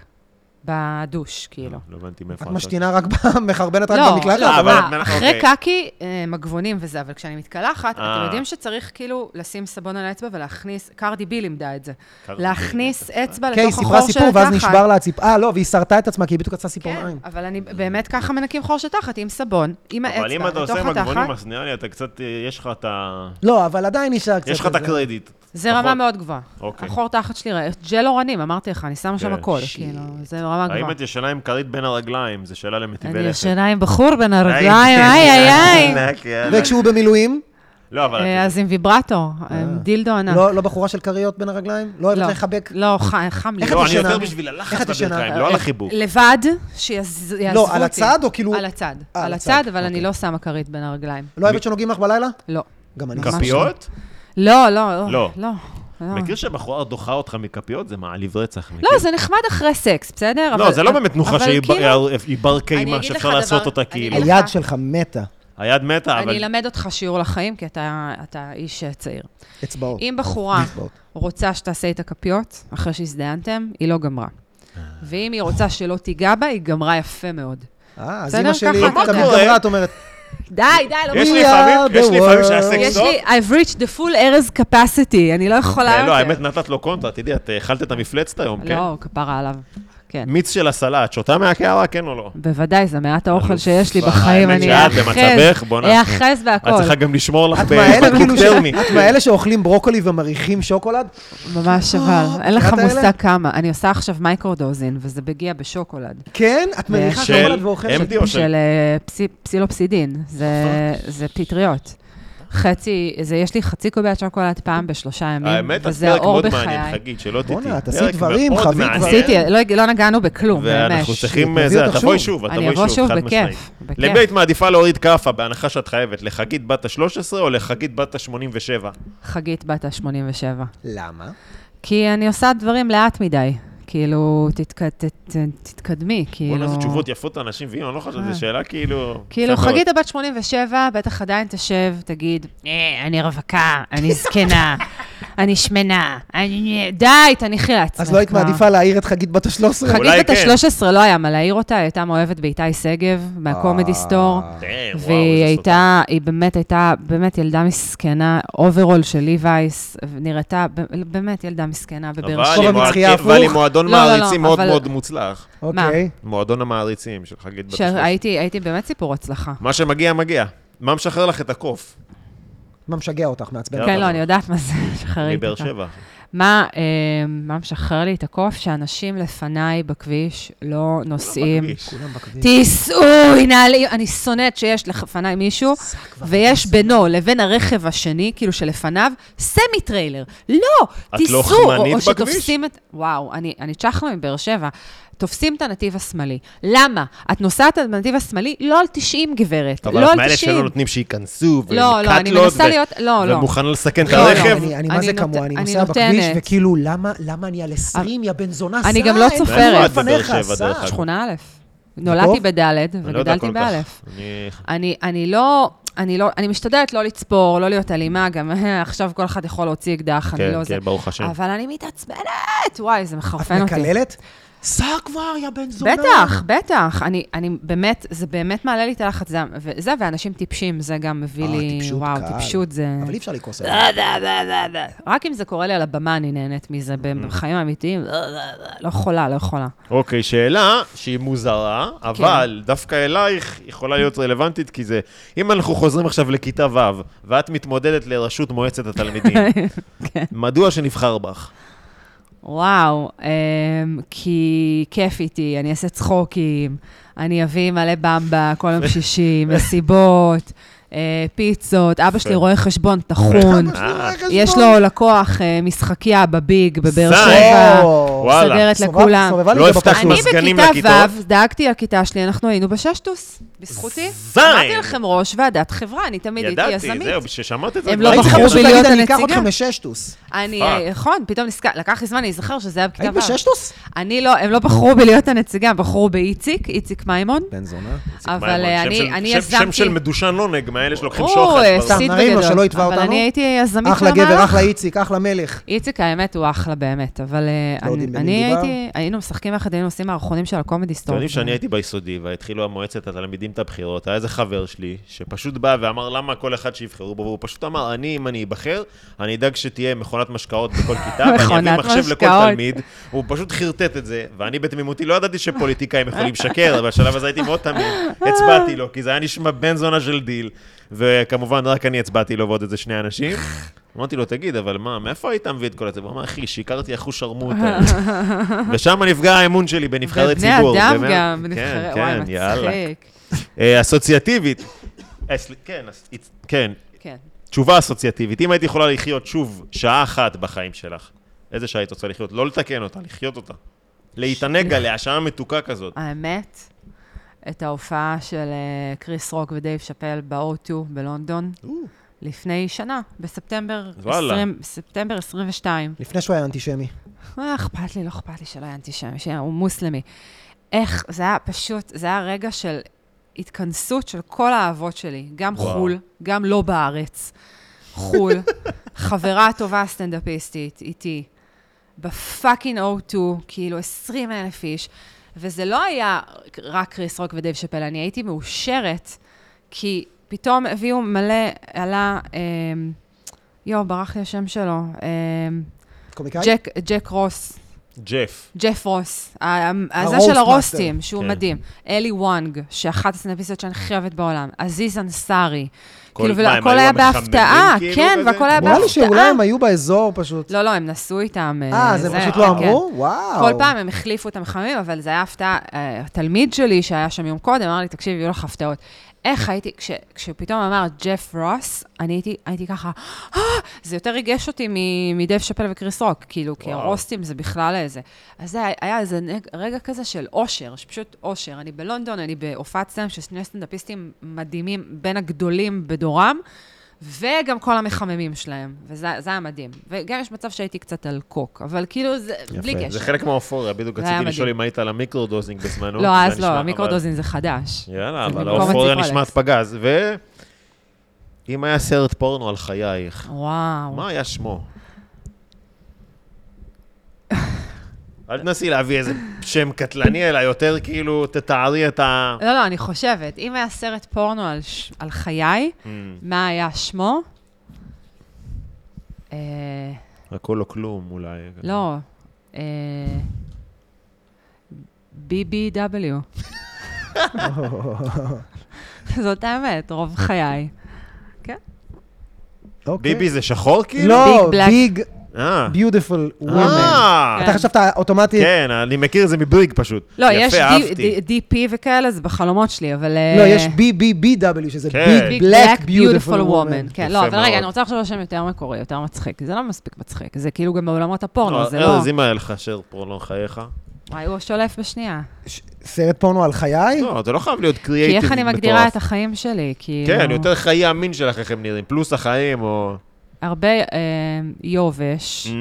S3: בדוש, כאילו.
S1: לא הבנתי מאיפה
S2: את
S1: את...
S2: משתינה רק, ב- מחרבנת רק
S3: לא,
S2: במקלחת?
S1: אה,
S3: לא,
S1: אבל את
S3: מה,
S1: מנ-
S3: אחרי
S1: אוקיי.
S3: קקי, אה, מגבונים וזה, אבל כשאני מתקלחת,
S1: אה.
S3: אתם יודעים שצריך כאילו לשים סבון על האצבע ולהכניס, קרדי בי לימדה את זה,
S1: קרדי
S3: להכניס אצבע
S2: כן, היא
S3: לתוך
S2: סיפרה
S3: החור של
S2: סיפור ואז נשבר
S3: התחת.
S2: לה הציפ... אה, לא, והיא סרטה את עצמה, כי היא בדיוק יצאה
S3: כן,
S2: ציפורניים.
S3: אבל אני באמת ככה מנקים חור של תחת עם סבון, עם
S1: אבל אם
S3: האצבע,
S1: אתה עושה
S3: לתוך
S1: עם הגבונים,
S3: התחת,
S1: אז נראה לי, אתה קצת, אה, יש לך את ה...
S2: לא, אבל עדיין נשאר קצת...
S1: יש לך את
S2: איזה-
S1: הקרדיט.
S3: זה
S1: פחות.
S3: רמה מאוד גבוהה.
S1: אוקיי.
S3: החור תחת שלי, ראה- ג'ל אורנים, אמרתי לך, אני שמה שם
S1: כן,
S3: הכל,
S2: שיט.
S3: כאילו, זה רמה גבוהה.
S1: האם את ישנה עם כרית בין הרגליים? זו שאלה למטיבי
S3: אני
S1: לכת.
S3: ישנה עם בחור בין הרגליים,
S1: כן?
S3: איי, איי,
S1: אה,
S3: איי.
S2: וכשהוא במילואים?
S1: לא, אבל...
S3: אה,
S1: את-
S3: אז עם ויברטור, אה, עם דילדו ענק.
S2: לא לא בחורה של כריות בין הרגליים? לא אוהבת לחבק?
S3: לא, ח- חם לי.
S2: איך את
S1: לא, אני
S2: ישנה?
S1: יותר בשביל
S2: איך את
S1: הלחץ
S2: ישנה?
S1: בברכיים, לא על החיבוק.
S3: אה, לבד, שיעזבו אותי.
S2: לא, על הצד או כאילו...
S3: על הצד.
S2: אה,
S3: על
S2: על
S3: הצד,
S2: הצד,
S3: אבל אני לא שמה כרית בין הרגליים.
S2: לא אוהבת שנוגעים לך בלילה?
S3: לא.
S2: גם אני.
S3: ממש לא.
S1: כפיות?
S3: לא, לא,
S1: לא.
S3: לא. לא.
S1: מכיר שבחורה דוחה אותך מכפיות? זה מעליב רצח. מכיר?
S3: לא, זה נחמד אחרי סקס, בסדר?
S1: לא,
S3: אבל-
S1: זה לא באמת תנוחה
S3: אבל
S1: שהיא ב- אה,
S3: כאילו,
S1: היא בר
S3: אני
S1: קיימא,
S3: אגיד
S1: שאפשר
S3: לך
S1: לעשות
S3: דבר-
S1: אותה
S3: אני
S1: כאילו.
S3: אגיד לך-
S2: היד שלך מתה,
S1: היד מתה, אבל...
S3: אני אלמד אותך שיעור לחיים, כי אתה אתה איש אה, צעיר.
S2: אצבעות.
S3: אם בחורה
S2: אצבעות.
S3: רוצה שתעשה איתה כפיות, אחרי שהזדיינתם, היא לא גמרה. ואם היא רוצה שלא תיגע בה, היא גמרה יפה מאוד.
S2: אה, אז
S3: בסדר,
S2: אימא שלי
S3: ככה
S1: אתה
S2: תמיד
S1: קורא.
S2: גמרה, את אומרת,
S3: די, די, לא
S1: יש לי לא?
S2: We
S1: לפעמים-
S2: are
S1: יש לי לפעמים
S2: the
S1: שהסקס
S3: יש
S1: טוב.
S3: לי, I've reached the full Erez capacity, אני לא יכולה
S1: אה,
S3: יותר.
S1: לא, האמת, נתת לו קונטרה, תדעי, את אה, אכלת את המפלצת היום, כן?
S3: לא, כפרה עליו. כן.
S1: מיץ של הסלט, שותה מהקערה, כן או לא?
S3: בוודאי, זה מעט האוכל
S1: אלופה.
S3: שיש לי בחיים,
S1: האמת
S3: אני
S1: שאת במצבך,
S3: אאחז,
S1: בואנה.
S3: אאחז
S1: את
S3: בהכל.
S1: צריכה גם לשמור לך
S2: את מאלה
S1: בבקבוק
S2: כאילו ש-
S1: טרמי.
S2: את מאלה שאוכלים ברוקולי ומריחים שוקולד?
S3: ממש אבל, אין לך
S2: מכירה את האלה?
S3: מושג כמה. אני עושה עכשיו מייקרודוזין, וזה מגיע בשוקולד.
S2: כן, את מריחה
S1: של
S2: שוקולד ואוכלת.
S1: MD או של... אוקיי.
S3: של אה, פסי- פסילופסידין, זה- זה פטריות. חצי, זה יש לי חצי קוביית שוקולד פעם בשלושה ימים,
S1: האמת, את
S3: וזה
S1: פרק
S3: האור
S1: מאוד מעניין,
S3: בחיי.
S1: חגית, שלא תטעי.
S2: בואנה, את עשית
S1: פרק
S2: דברים,
S1: מאוד
S2: חבית
S1: מעניין.
S3: עשיתי, לא- לא נגענו בכלום, באמת.
S1: ואנחנו צריכים...
S2: נביא
S1: זה,
S2: אותך
S1: תבואי
S2: שוב.
S1: שוב, את
S3: אני
S1: תבואי
S3: אבוא שוב,
S1: חד משמעית.
S3: בכיף, בכיף.
S1: למי היית מעדיפה להוריד כאפה, בהנחה שאת חייבת, לחגית בת ה-13 או לחגית בת ה-87?
S3: חגית בת ה-87.
S2: למה?
S3: כי אני עושה דברים לאט מדי. כאילו, תתק- ת- ת- תתקדמי, כאילו...
S1: בוא'נה, איזה תשובות יפות לאנשים, ואם אני לא חושב, זו שאלה כאילו...
S3: אה. כאילו,
S1: יפה מאוד.
S3: חגית הבת 87, בטח עדיין תשב, תגיד, "אה, אני רווקה, אני זקנה, אני שמנה, אני... די, תניחי לעצמך.
S2: אז לא היית
S3: כבר."
S2: מעדיפה להעיר את חגית בת ה-13?
S1: אולי
S3: חגית בת
S1: כן.
S3: ה-13 לא היה מה להעיר אותה, היא הייתה מאוהבת באיתי שגב, מהקומדי
S2: אה,
S3: סטור.
S1: דאם, אה, וואו,
S3: והיא
S1: איזה
S3: הייתה, היא באמת הייתה, באמת ילדה מסכנה, אוברול של ליווייס, נראתה ב- באמת ילדה מסכנה
S1: סרטן.
S3: בבאר
S1: אבל
S3: שבע.
S2: שבע
S1: היא מוע-
S2: מצחייה
S1: אבל היא
S2: הפוך.
S1: מועדון
S3: לא, לא, לא,
S1: מעריצים מאוד
S3: אבל-
S1: מאוד מוצלח.
S2: אוקיי.
S1: מועדון המעריצים של חגית בת השלוש.
S3: שהייתי הייתי באמת סיפור הצלחה.
S1: מה שמגיע, מגיע. מה משחרר לך את הקוף?
S2: מה משגע אותך, מעצבן?
S1: יאללה.
S3: כן, לא, אני יודעת מה זה, שחררית
S1: מבאר
S3: לא אותה.
S1: שבע.
S3: מה, אה, מה משחרר לי את הקוף? שאנשים לפניי בכביש לא נוסעים.
S1: בכביש.
S2: כולם בכביש.
S3: תיסעו, ינהלי, אני שונאת שיש לפניי מישהו, ויש בינו לבין הרכב השני, כאילו שלפניו, סמי טריילר. לא,
S1: את לא
S3: תיסעו.
S1: חמנית
S3: או, או
S1: בכביש?
S3: שתופסים את... וואו, אני, אני צ'חלה מבאר שבע. תופסים את הנתיב השמאלי. למה? את נוסעת על הנתיב השמאלי לא על 90, גברת.
S1: אבל
S3: לא
S1: את
S3: על
S1: מאלה
S3: 90.
S1: שלא נותנים שייכנסו,
S3: לא, לא, אני
S1: וקאטלות,
S3: מנסה
S1: ו-
S3: להיות- לא, לא.
S1: ומוכנה לסכן את
S3: לא, לא,
S1: הרכב.
S2: אני, אני מה
S3: אני
S2: זה
S3: נות-
S2: כמוה, אני
S3: אני
S2: נוסע בכביש,
S3: נותנת.
S2: וכאילו, למה, למה אני על 20, יא בן זונה, סע?
S3: אני גם לא
S2: אין
S3: צופרת.
S2: גבול
S3: איפה
S1: את בבאר
S2: לפניך,
S1: שבע,
S2: סע.
S1: דרך אגב?
S3: שכונה א'. נולדתי בד'
S1: אני לא יודע
S3: וגדלתי
S1: כל כך.
S3: באלף.
S1: אני-
S3: אני, אני לא, אני לא, אני משתדלת לא לצפור, לא להיות אלימה, גם עכשיו כל אחד יכול להוציא אקדח,
S1: כן,
S3: אני לא
S1: כן,
S3: זה.
S1: ברוך השם.
S3: אבל אני מתעצבנת, וואי, זה
S2: את
S3: מחרפן אותי.
S2: מקללת? סע כבר, יא בן זונה.
S3: בטח, בטח. אני, אני באמת, זה באמת מעלה לי את הלחץ. זה, וזה, ואנשים טיפשים, זה גם מביא
S2: אה,
S3: לי,
S2: טיפשות,
S3: וואו,
S2: קל.
S3: טיפשות זה...
S2: אבל אי אפשר לכעוס על זה.
S3: אה, אה, אה, אה, אה. רק אם זה קורה לי על הבמה, אני נהנית מזה,
S1: Mm-hmm.
S3: בחיים האמיתיים, אה, אה, אה, לא יכולה, לא יכולה.
S1: אוקיי, שאלה שהיא מוזרה,
S3: כן.
S1: אבל דווקא אלייך יכולה להיות רלוונטית, כי זה... אם אנחנו חוזרים עכשיו לכיתה ו', ואת מתמודדת לראשות מועצת התלמידים,
S3: כן.
S1: מדוע שנבחר בך?
S3: וואו, אמ, כי כיף איתי, אני אעשה צחוקים, אני אביא מלא במבה כל יום שישי, מסיבות, אה, פיצות, אבא שלי
S1: יפה.
S3: רואה חשבון טחון,
S2: יש לי רואה חשבון.
S3: אה, יש לו לקוח אה, משחקייה בביג בבאר
S1: סע.
S3: שבע,
S2: או,
S1: וואלה.
S3: מסדרת
S2: סובב-
S3: לכולם.
S2: סובבה לי
S1: לא
S2: את זה
S1: הבטחנו.
S2: בפרצוף.
S3: אני
S1: מזגנים
S3: בכיתה
S1: לכיתות.
S3: ו' דאגתי לכיתה שלי, אנחנו היינו בששטוס, בזכותי.
S1: זין.
S3: אמרתי לכם ראש ועדת חברה, אני תמיד הייתי
S1: ידעתי,
S3: יזמית.
S1: זהו, ששמעת את זה.
S3: הם
S1: כבר
S3: לא
S2: הייתי
S1: הייתי
S2: צריכה
S3: בחרו
S1: חושב-
S2: פשוט
S3: בלהיות
S2: להגיד, אני אקח
S3: הנציגה.
S2: אתכם לששטוס.
S3: אני,
S1: פאק.
S3: אה, נכון, פתאום נזכר, לקח לי זמן להיזכר שזה היה בכיתה
S2: היית
S3: ו'.
S2: בששטוס?
S3: אני לא, הם לא בחרו בלהיות הנציגה, הם בחרו באיציק, איציק מימון.
S2: בן זונה.
S3: אבל
S1: מימון,
S3: אה,
S1: שם
S3: אני
S1: של-
S3: אני
S1: שם-
S3: יזמתי...
S1: שם של מדושן לא עונג, מאלה שלוקחים שוחד.
S3: הוא
S1: כבר.
S3: הפסיד
S2: סתם, נרים לו,
S3: בגדול.
S2: לא שלא יתבע
S3: אבל
S2: אותנו.
S3: אני הייתי יזמית של
S2: אחלה
S3: המערך.
S2: גבר, אחלה איציק, אחלה מלך.
S3: איציק, האמת, הוא אחלה באמת, אבל אה,
S2: לא
S3: אני
S2: יודעים במי
S3: אני
S2: מדובר.
S3: הייתי... היינו משחקים יחד, היינו עושים מערכונים של הקומדי
S1: אתם
S3: סטור.
S1: יודעים שאני הייתי ביסודי, והתחילו המועצת התלמידים את הבחירות, היה איזה חבר שלי, שפשוט בא ואמר למה כל אחד שיבחרו בו, והוא פשוט אמר, אני, אם אני אבחר, אני אדאג שתהיה מכונת משקאות בכל כיתה, ואני אביא
S3: מכונת
S1: מחשב לכל
S3: משקאות.
S1: תלמיד, הוא פשוט חרטט את זה, ואני בתמימותי לא ידעתי שפוליטיקאים יכולים לשקר, אבל בשלב הזה הייתי מאוד תמים, הצבעתי לו, כי זה היה נשמע בן זונה של דיל, וכמובן, רק אני הצבעתי לו ועוד איזה שני אנשים. אמרתי לו, תגיד, אבל מה, מאיפה היית מביא את כל זה? הוא אמר, אחי, שיקרתי אחוש שרמוטה. ושם נפגע האמון שלי בנבחרי ציבור.
S3: ובני אדם
S1: באמת.
S3: גם,
S1: כן,
S3: נבחרי...
S1: כן,
S3: וואי,
S1: יאללה.
S3: מצחיק.
S1: אה, אסוציאטיבית. אה, סל- כן, אס- אית- כן,
S3: כן.
S1: תשובה אסוציאטיבית. אם היית יכולה לחיות שוב שעה אחת בחיים שלך, איזה שעה היית רוצה לחיות? לא לתקן אותה, לחיות אותה. להתענג עליה, שעה מתוקה כזאת.
S3: האמת, את ההופעה של אה, קריס רוק ודייב שאפל ב-O2 בלונדון, לפני שנה, בספטמבר
S1: וואלה.
S3: 20 ספטמבר 22.
S2: לפני שהוא היה אנטישמי.
S3: מה אכפת לי, לא אכפת לי שלא היה אנטישמי, שהוא מוסלמי. איך, זה היה פשוט, זה היה רגע של התכנסות של כל האהבות שלי, גם
S1: וואו.
S3: וואו. חו"ל, גם לא בארץ. חו"ל, חברה טובה סטנדאפיסטית איתי, בפאקינג O2, כאילו 20 אלף איש, וזה לא היה רק קריס רוק ודייב שאפל, אני הייתי מאושרת, כי פתאום הביאו מלא, עלה, אה, יואו, ברח לי השם שלו, אה,
S2: קומיקאי?
S3: ג'ק, ג'ק רוס,
S1: ג'ף.
S3: ג'ף רוס, ה- ה- זה
S2: הרוסט
S3: של הרוסטים,
S2: מאסטר.
S3: שהוא
S1: כן.
S3: מדהים. אלי וואנג, שאחת הסטנדאפיסטיות שאני חייבת בעולם, עזיז אנסארי.
S1: כל-
S3: כאילו,
S1: מה, הם
S3: והכל
S1: היו
S3: היה
S1: המחממים
S3: בהפתעה,
S1: כאילו
S3: כן,
S1: כזה?
S3: והכל היה
S2: נראה לי
S3: בהפתעה.
S2: שאולי הם היו באזור פשוט.
S3: לא, לא, הם נסעו איתם.
S2: אה, זה פשוט לא
S3: כן.
S2: אמרו? וואו.
S3: כל פעם הם החליפו את המחממים, אבל זה היה הפתעה. אה, התלמיד שלי שהיה שם יום קודם, אמר לי, תקשיב, יהיו לך הפתעות. איך הייתי, כש, כשפתאום אמר ג'ף רוס, אני הייתי, הייתי ככה, "אה!" זה יותר ריגש אותי מ- מדב שאפל וקריס רוק, כאילו, כי
S1: וואו.
S3: הרוסטים זה בכלל איזה. אז זה היה- היה איזה נג- רגע כזה של אושר, שפשוט אושר. אני בלונדון, אני בהופעת סטנדאפ של שני סטנדאפיסטים מדהימים, בין הגדולים בדורם, וגם כל המחממים שלהם, וזה זה היה מדהים. וגם יש מצב שהייתי קצת על קוק, אבל כאילו, זה,
S2: יפה.
S3: בלי קשר.
S1: זה חלק מהאופוריה, בדיוק
S3: זה היה
S1: רציתי
S3: מדהים.
S1: לשאול אם היית על המיקרודוזינג בזמנו.
S3: לא,
S1: זה
S3: אז
S1: נשמע,
S3: לא,
S1: אבל-
S3: המיקרודוזין זה חדש.
S1: יאללה, אבל
S3: במקום
S1: האופוריה
S3: הציפרלקס.
S1: נשמעת פגז. ו... אם היה סרט פורנו על חייך,
S3: וואו.
S1: מה היה שמו? אל תנסי להביא איזה שם קטלני, אלא יותר כאילו תתארי את ה...
S3: לא, לא, אני חושבת, אם היה סרט פורנו על, ש... על חיי, מה היה שמו? אה,
S1: הכל או כלום, אולי.
S3: לא, אה, BBW. זאת האמת, רוב חיי.
S2: אוקיי.
S1: ביבי זה שחור כאילו?
S2: לא,
S3: Big Black.
S2: ביג
S1: אה.
S2: ביוטיפול וומן.
S1: אה.
S2: אתה חשבת אוטומטית?
S1: כן, אני מכיר את זה מביג פשוט.
S3: לא,
S1: יפה,
S3: יש D-
S1: אהבתי.
S3: D- DP וכאלה, זה בחלומות שלי, אבל... אה,
S2: לא, יש BBBW, שזה
S1: כן.
S2: ביג
S3: Big
S2: בלק
S3: Black
S2: ביוטיפול
S3: Beautiful
S2: וומן.
S3: Woman. כן,
S1: יפה
S3: לא, אבל
S1: מאוד.
S3: רגע, אני רוצה לחשוב על שם יותר מקורי, יותר מצחיק. זה לא מספיק מצחיק, זה כאילו גם בעולמות הפורנו, זה לא...
S1: ארז, אם היה לך שר פורנו חייך?
S3: וואי, הוא שולף בשנייה.
S2: סרט פורנו על חיי?
S1: לא, אתה לא חייב להיות
S3: כי
S1: קריאייטיב
S3: איך אני מגדירה את החיים שלי, כאילו...
S1: כן, יותר חיי המין שלך, איך הם נראים, פלוס החיים, או...
S3: הרבה אה, יובש
S1: Mm.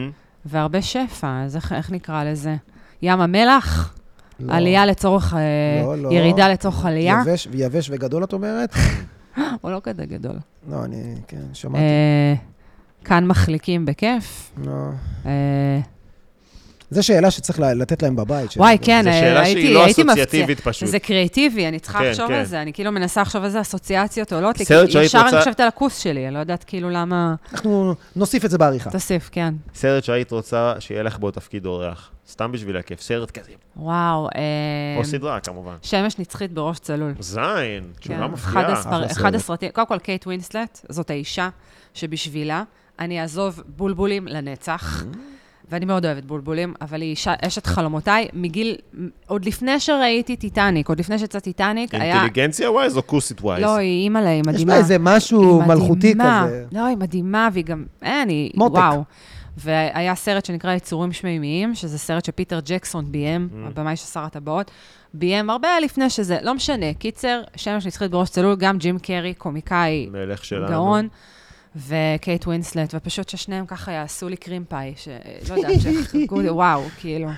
S3: והרבה שפע, אז איך, איך נקרא לזה? ים המלח?
S2: לא.
S3: עלייה לצורך... אה,
S2: לא, לא.
S3: ירידה לצורך עלייה?
S2: יבש- יבש וגדול, את אומרת?
S3: הוא לא כזה גדול.
S2: לא, אני, כן, שמעתי.
S3: אה, כאן מחליקים בכיף.
S2: לא.
S3: אה,
S2: כן, זו שאלה שצריך ל- לתת להם בבית. שאני
S3: וואי,
S2: יודע.
S3: כן,
S1: זו
S3: אה,
S1: שאלה
S3: הייתי,
S1: שהיא לא
S3: הייתי מפציע.
S1: אסוציאטיבית פשוט.
S3: זה קריאיטיבי, אני צריכה
S1: כן,
S3: לחשוב
S1: כן.
S3: על זה. אני כאילו מנסה לחשוב איזה אסוציאציות עולות לי, כי כאילו
S1: סרט שהיית
S3: ישר
S1: רוצה- אה.
S3: אני חושבת על הכוס שלי, אני לא יודעת כאילו למה...
S2: אנחנו נוסיף את זה בעריכה.
S3: תוסיף, כן.
S1: סרט שהיית רוצה שיהיה לך בו תפקיד אורח. סתם בשביל הכיף, סרט כזה.
S3: וואו, אה,
S1: או סדרה, כמובן.
S3: שמש נצחית בראש צלול.
S1: זין, תשובה
S3: כן,
S1: לא מפתיעה.
S3: אחד, הספר...
S2: אחלה
S3: אחד
S2: סרט.
S3: הסרטים, קודם כל קייט ווינסלט, זאת האישה שבשבילה אני אעזוב בולבולים לנצח,
S1: Mm.
S3: ואני מאוד אוהבת בולבולים, אבל היא אישה, אשת חלומותיי, מגיל, עוד לפני שראיתי טיטניק, עוד לפני שיצא טיטניק, היה...
S1: אינטליגנציה ווייז או כוסית ווייז?
S3: לא, היא אימא'לה, היא מדהימה.
S2: יש לה איזה משהו
S3: היא
S2: מלכותי
S3: מדהימה.
S2: כזה.
S3: לא, היא מדהימה, והיא גם, אין, היא,
S2: מותק.
S3: וואו. והיה סרט שנקרא יצורים שמימיים, שזה סרט שפיטר ג'קסון ביים,
S1: Mm.
S3: הבמאי של שר הטבעות, ביים הרבה לפני שזה, לא משנה. קיצר, שמש נצחית בראש צלול, גם ג'ים קרי, קומיקאי
S1: מלך שלנו.
S3: גאון, וקייט ווינסלט, ופשוט ששניהם ככה יעשו לי קרים פאי, לא שלא יודעת, שיחגגו לי, וואו,
S2: לא.
S3: כאילו.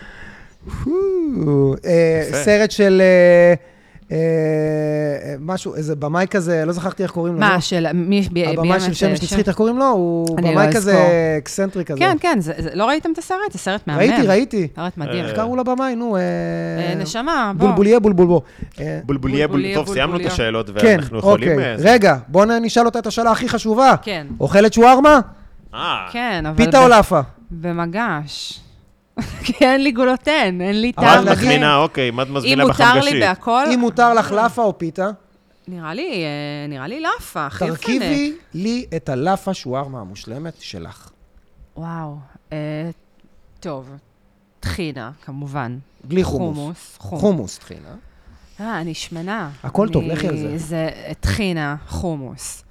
S2: אה,
S1: יפה.
S2: סרט של אה, אה, משהו, איזה במאי כזה, לא זכרתי איך קוראים לו.
S3: מה, של מי ב- ביים
S2: הבמאי של
S3: את אה,
S2: שמש
S3: ש-
S2: נצחית, איך קוראים לו? הוא
S3: אני
S2: במאי
S3: לא
S2: כזה
S3: אזכור.
S2: אקסנטרי כזה.
S3: כן, כן, זה- זה- לא ראיתם את הסרט? זה סרט מהמם.
S2: ראיתי, ראיתי.
S3: סרט מדהים.
S1: אה,
S2: איך קראו לבמאי? נו, אה,
S3: אה, נשמה, בוא.
S2: בולבוליה בולבולבו. אה,
S1: בולבוליה בול...
S3: בולבוליה,
S1: טוב, סיימנו את
S3: בולבוליה.
S1: השאלות,
S2: כן,
S1: ואנחנו יכולים...
S2: אוקיי.
S1: אה, זה-
S2: רגע, בוא נ- נשאל אותה את השאלה הכי חשובה.
S3: כן.
S2: אוכלת שווארמה?
S1: אה,
S3: כן, אבל...
S2: פיתה
S3: ב-
S2: או לאפה?
S3: במגש. כי אין לי גלוטן, אין לי
S1: מה
S3: טעם.
S1: את
S2: אבל
S1: מחמינה, אוקיי, מה את
S3: אם
S1: מזמינה
S3: מותר לי
S1: בחמגשית?
S3: בהכל,
S2: אם מותר לך לאפה או פיתה,
S3: נראה לי, אה, נראה לי לאפה, הכי מפנק.
S2: תרכיבי לי את הלאפה שווארמה המושלמת שלך.
S3: וואו, אה, טוב. טחינה, כמובן.
S2: בלי חומוס.
S3: חומוס.
S2: חומוס, טחינה.
S3: אה, אני שמנה.
S2: הכל
S3: אני-
S2: טוב, לכי על זה.
S3: זה אה, טחינה, חומוס.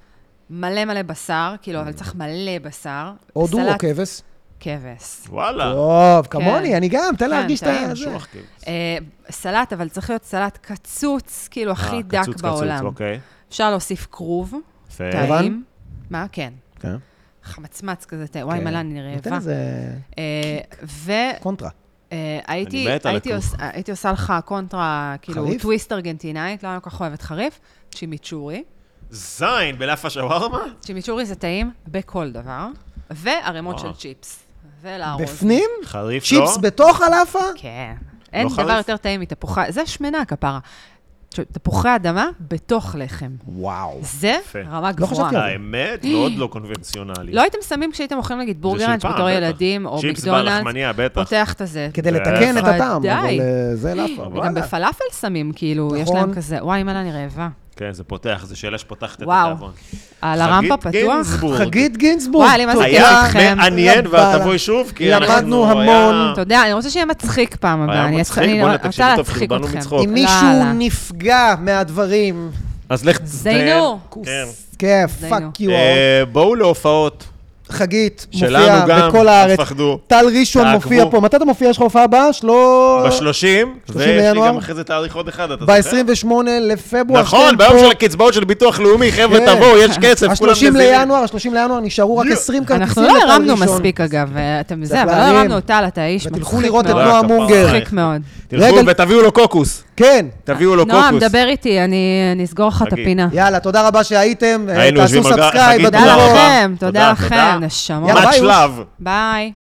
S3: מלא מלא בשר, כאילו, אבל צריך מלא בשר.
S2: הודו אוקיי. או
S3: סלט
S2: כבש?
S3: כבש.
S1: וואלה.
S2: לא. טוב, כמוני, אני גם, תן
S3: כן,
S2: להרגיש את
S3: טעים,
S2: ה... זה.
S1: שוח, כאילו.
S3: אה, סלט, אבל צריך להיות סלט קצוץ, כאילו, הכי
S1: אה,
S3: דק
S1: קצוץ, קצוץ,
S3: בעולם.
S1: אוקיי.
S3: אפשר להוסיף כרוב,
S1: יפה.
S2: לבן?
S3: טעים. מה? כן.
S2: כן.
S3: חמצמץ כזה, טעים. וואי,
S2: כן.
S3: מלא אני
S2: נותן
S3: רעבה.
S2: איזה קונטרה.
S3: והייתי
S1: אני מת על הכרוב.
S3: הייתי עושה לך קונטרה, כאילו,
S2: חריף?
S3: טוויסט ארגנטינאית, לא אני כל כך אוהבת חריף, צ'ימיצ'ורי.
S1: זין, בלאפה שווארמה?
S3: צ'ימיצ'ורי זה טעים בכל דבר, וערימות
S1: וואו.
S3: של צ'יפס. ולארוז.
S2: בפנים? לא
S1: חריף, לא?
S2: צ'יפס בתוך הלאפה?
S3: כן. אין דבר
S1: חריף?
S3: יותר טעים מתפוחי, זה שמנה כפרה. תפוחי אדמה בתוך לחם.
S2: וואו.
S3: זה
S1: יפה.
S3: רמה
S2: לא חשבתי
S3: גבוהה.
S2: על זה.
S1: האמת, מאוד לא קונבנציונלי.
S3: לא הייתם שמים כשהייתם אוכלים נגיד בורגראנץ'
S1: פעם,
S3: בתור
S1: בטח.
S3: ילדים, או
S1: צ'יפס
S3: מקדונלדס,
S1: בלחמניה, בטח.
S3: פותח את הזה.
S2: כדי
S1: זה-
S2: לתקן את הטעם,
S3: ודאי.
S2: אבל אה, זה לאפה.
S1: וגם
S3: גם
S2: וואלה.
S3: בפלאפל שמים, כאילו, יש
S2: נכון.
S3: להם כזה, וואי, מנה אני רעבה.
S1: כן, זה פותח, זו שאלה שפותחת את
S3: וואו.
S1: התיאבון.
S3: על הרמפה
S1: חגית
S3: פתוח?
S1: גינזבורג.
S2: חגית גינזבורג.
S3: וואי, אני מה זה
S2: תודה.
S1: היה
S3: כיף איתכם.
S1: מעניין,
S2: רבה
S1: ואת
S2: לך.
S1: תבואי שוב, כי
S2: למדנו
S1: אנחנו...
S2: המון.
S1: היה-
S3: Mm, אתה יודע, אני רוצה שיהיה מצחיק פעם
S1: היה
S3: הבאה. אני
S1: מצחיק,
S3: אני
S1: בואנה,
S3: רוצה
S1: תקשיבי טוב,
S3: להצחיק
S1: חרבנו
S3: אתכם. לא,
S1: מצחוק.
S2: אם מישהו
S3: יאללה.
S2: נפגע מהדברים,
S1: אז לך...
S3: זיינו.
S1: כן.
S2: כוס כיף,
S3: דיינו.
S2: פאק יו.
S1: אה, בואו להופעות.
S2: חגית
S1: שלנו
S2: מופיעה
S1: גם,
S2: בכל
S1: אל
S2: הארץ.
S1: תפחדו.
S2: טל ראשון
S1: תעקבו.
S2: מופיע פה. מתי אתה מופיע? יש לך הופעה הבאה? שלא...
S1: בשלושים, ויש לי
S2: לינואר?
S1: גם אחרי זה תאריך עוד אחד, אתה זוכר?
S2: ב-28 לפברואר.
S1: נכון,
S2: שאתם
S1: ביום
S2: פה.
S1: של הקצבאות של ביטוח לאומי, חבר'ה,
S2: כן.
S1: תבואו, יש כסף, כולם
S2: ה-30
S1: נזירים.
S2: לינואר, ה-30 לינואר, נשארו רק
S1: יו.
S2: 20 כרטיסים
S3: אנחנו לא
S2: לטל
S3: הרמנו
S2: ראשון.
S3: מספיק, אגב, אתם זה,
S2: צריך
S3: אבל לא
S2: להרים.
S3: הרמנו אותה, אתה איש מצחיק מאוד.
S2: ותלכו לראות את
S1: מאוד.
S2: נועה
S1: רק
S2: מונגר.
S1: הפעם.
S3: מצחיק מאוד.
S1: תלכו
S2: רגע-
S1: ותביאו לו קוקוס.
S2: כן.
S1: תביאו לו קוקוס.
S3: נועם, דבר איתי, אני אני אסגור לך את
S1: חגית.
S3: הפינה.
S2: יאללה, תודה רבה שהייתם. אה,
S1: היינו
S2: תעשו
S1: יושבים על גר-
S2: סאבסקרייב
S1: חגית,
S3: תודה
S1: תודה
S2: בתגובות.
S1: רבה.
S3: לכם, תודה
S1: תודה,
S3: לכם,
S1: תודה.
S3: נשמות.
S2: יאללה,
S1: Much
S2: ביי, אוש.
S1: love.
S3: ביי.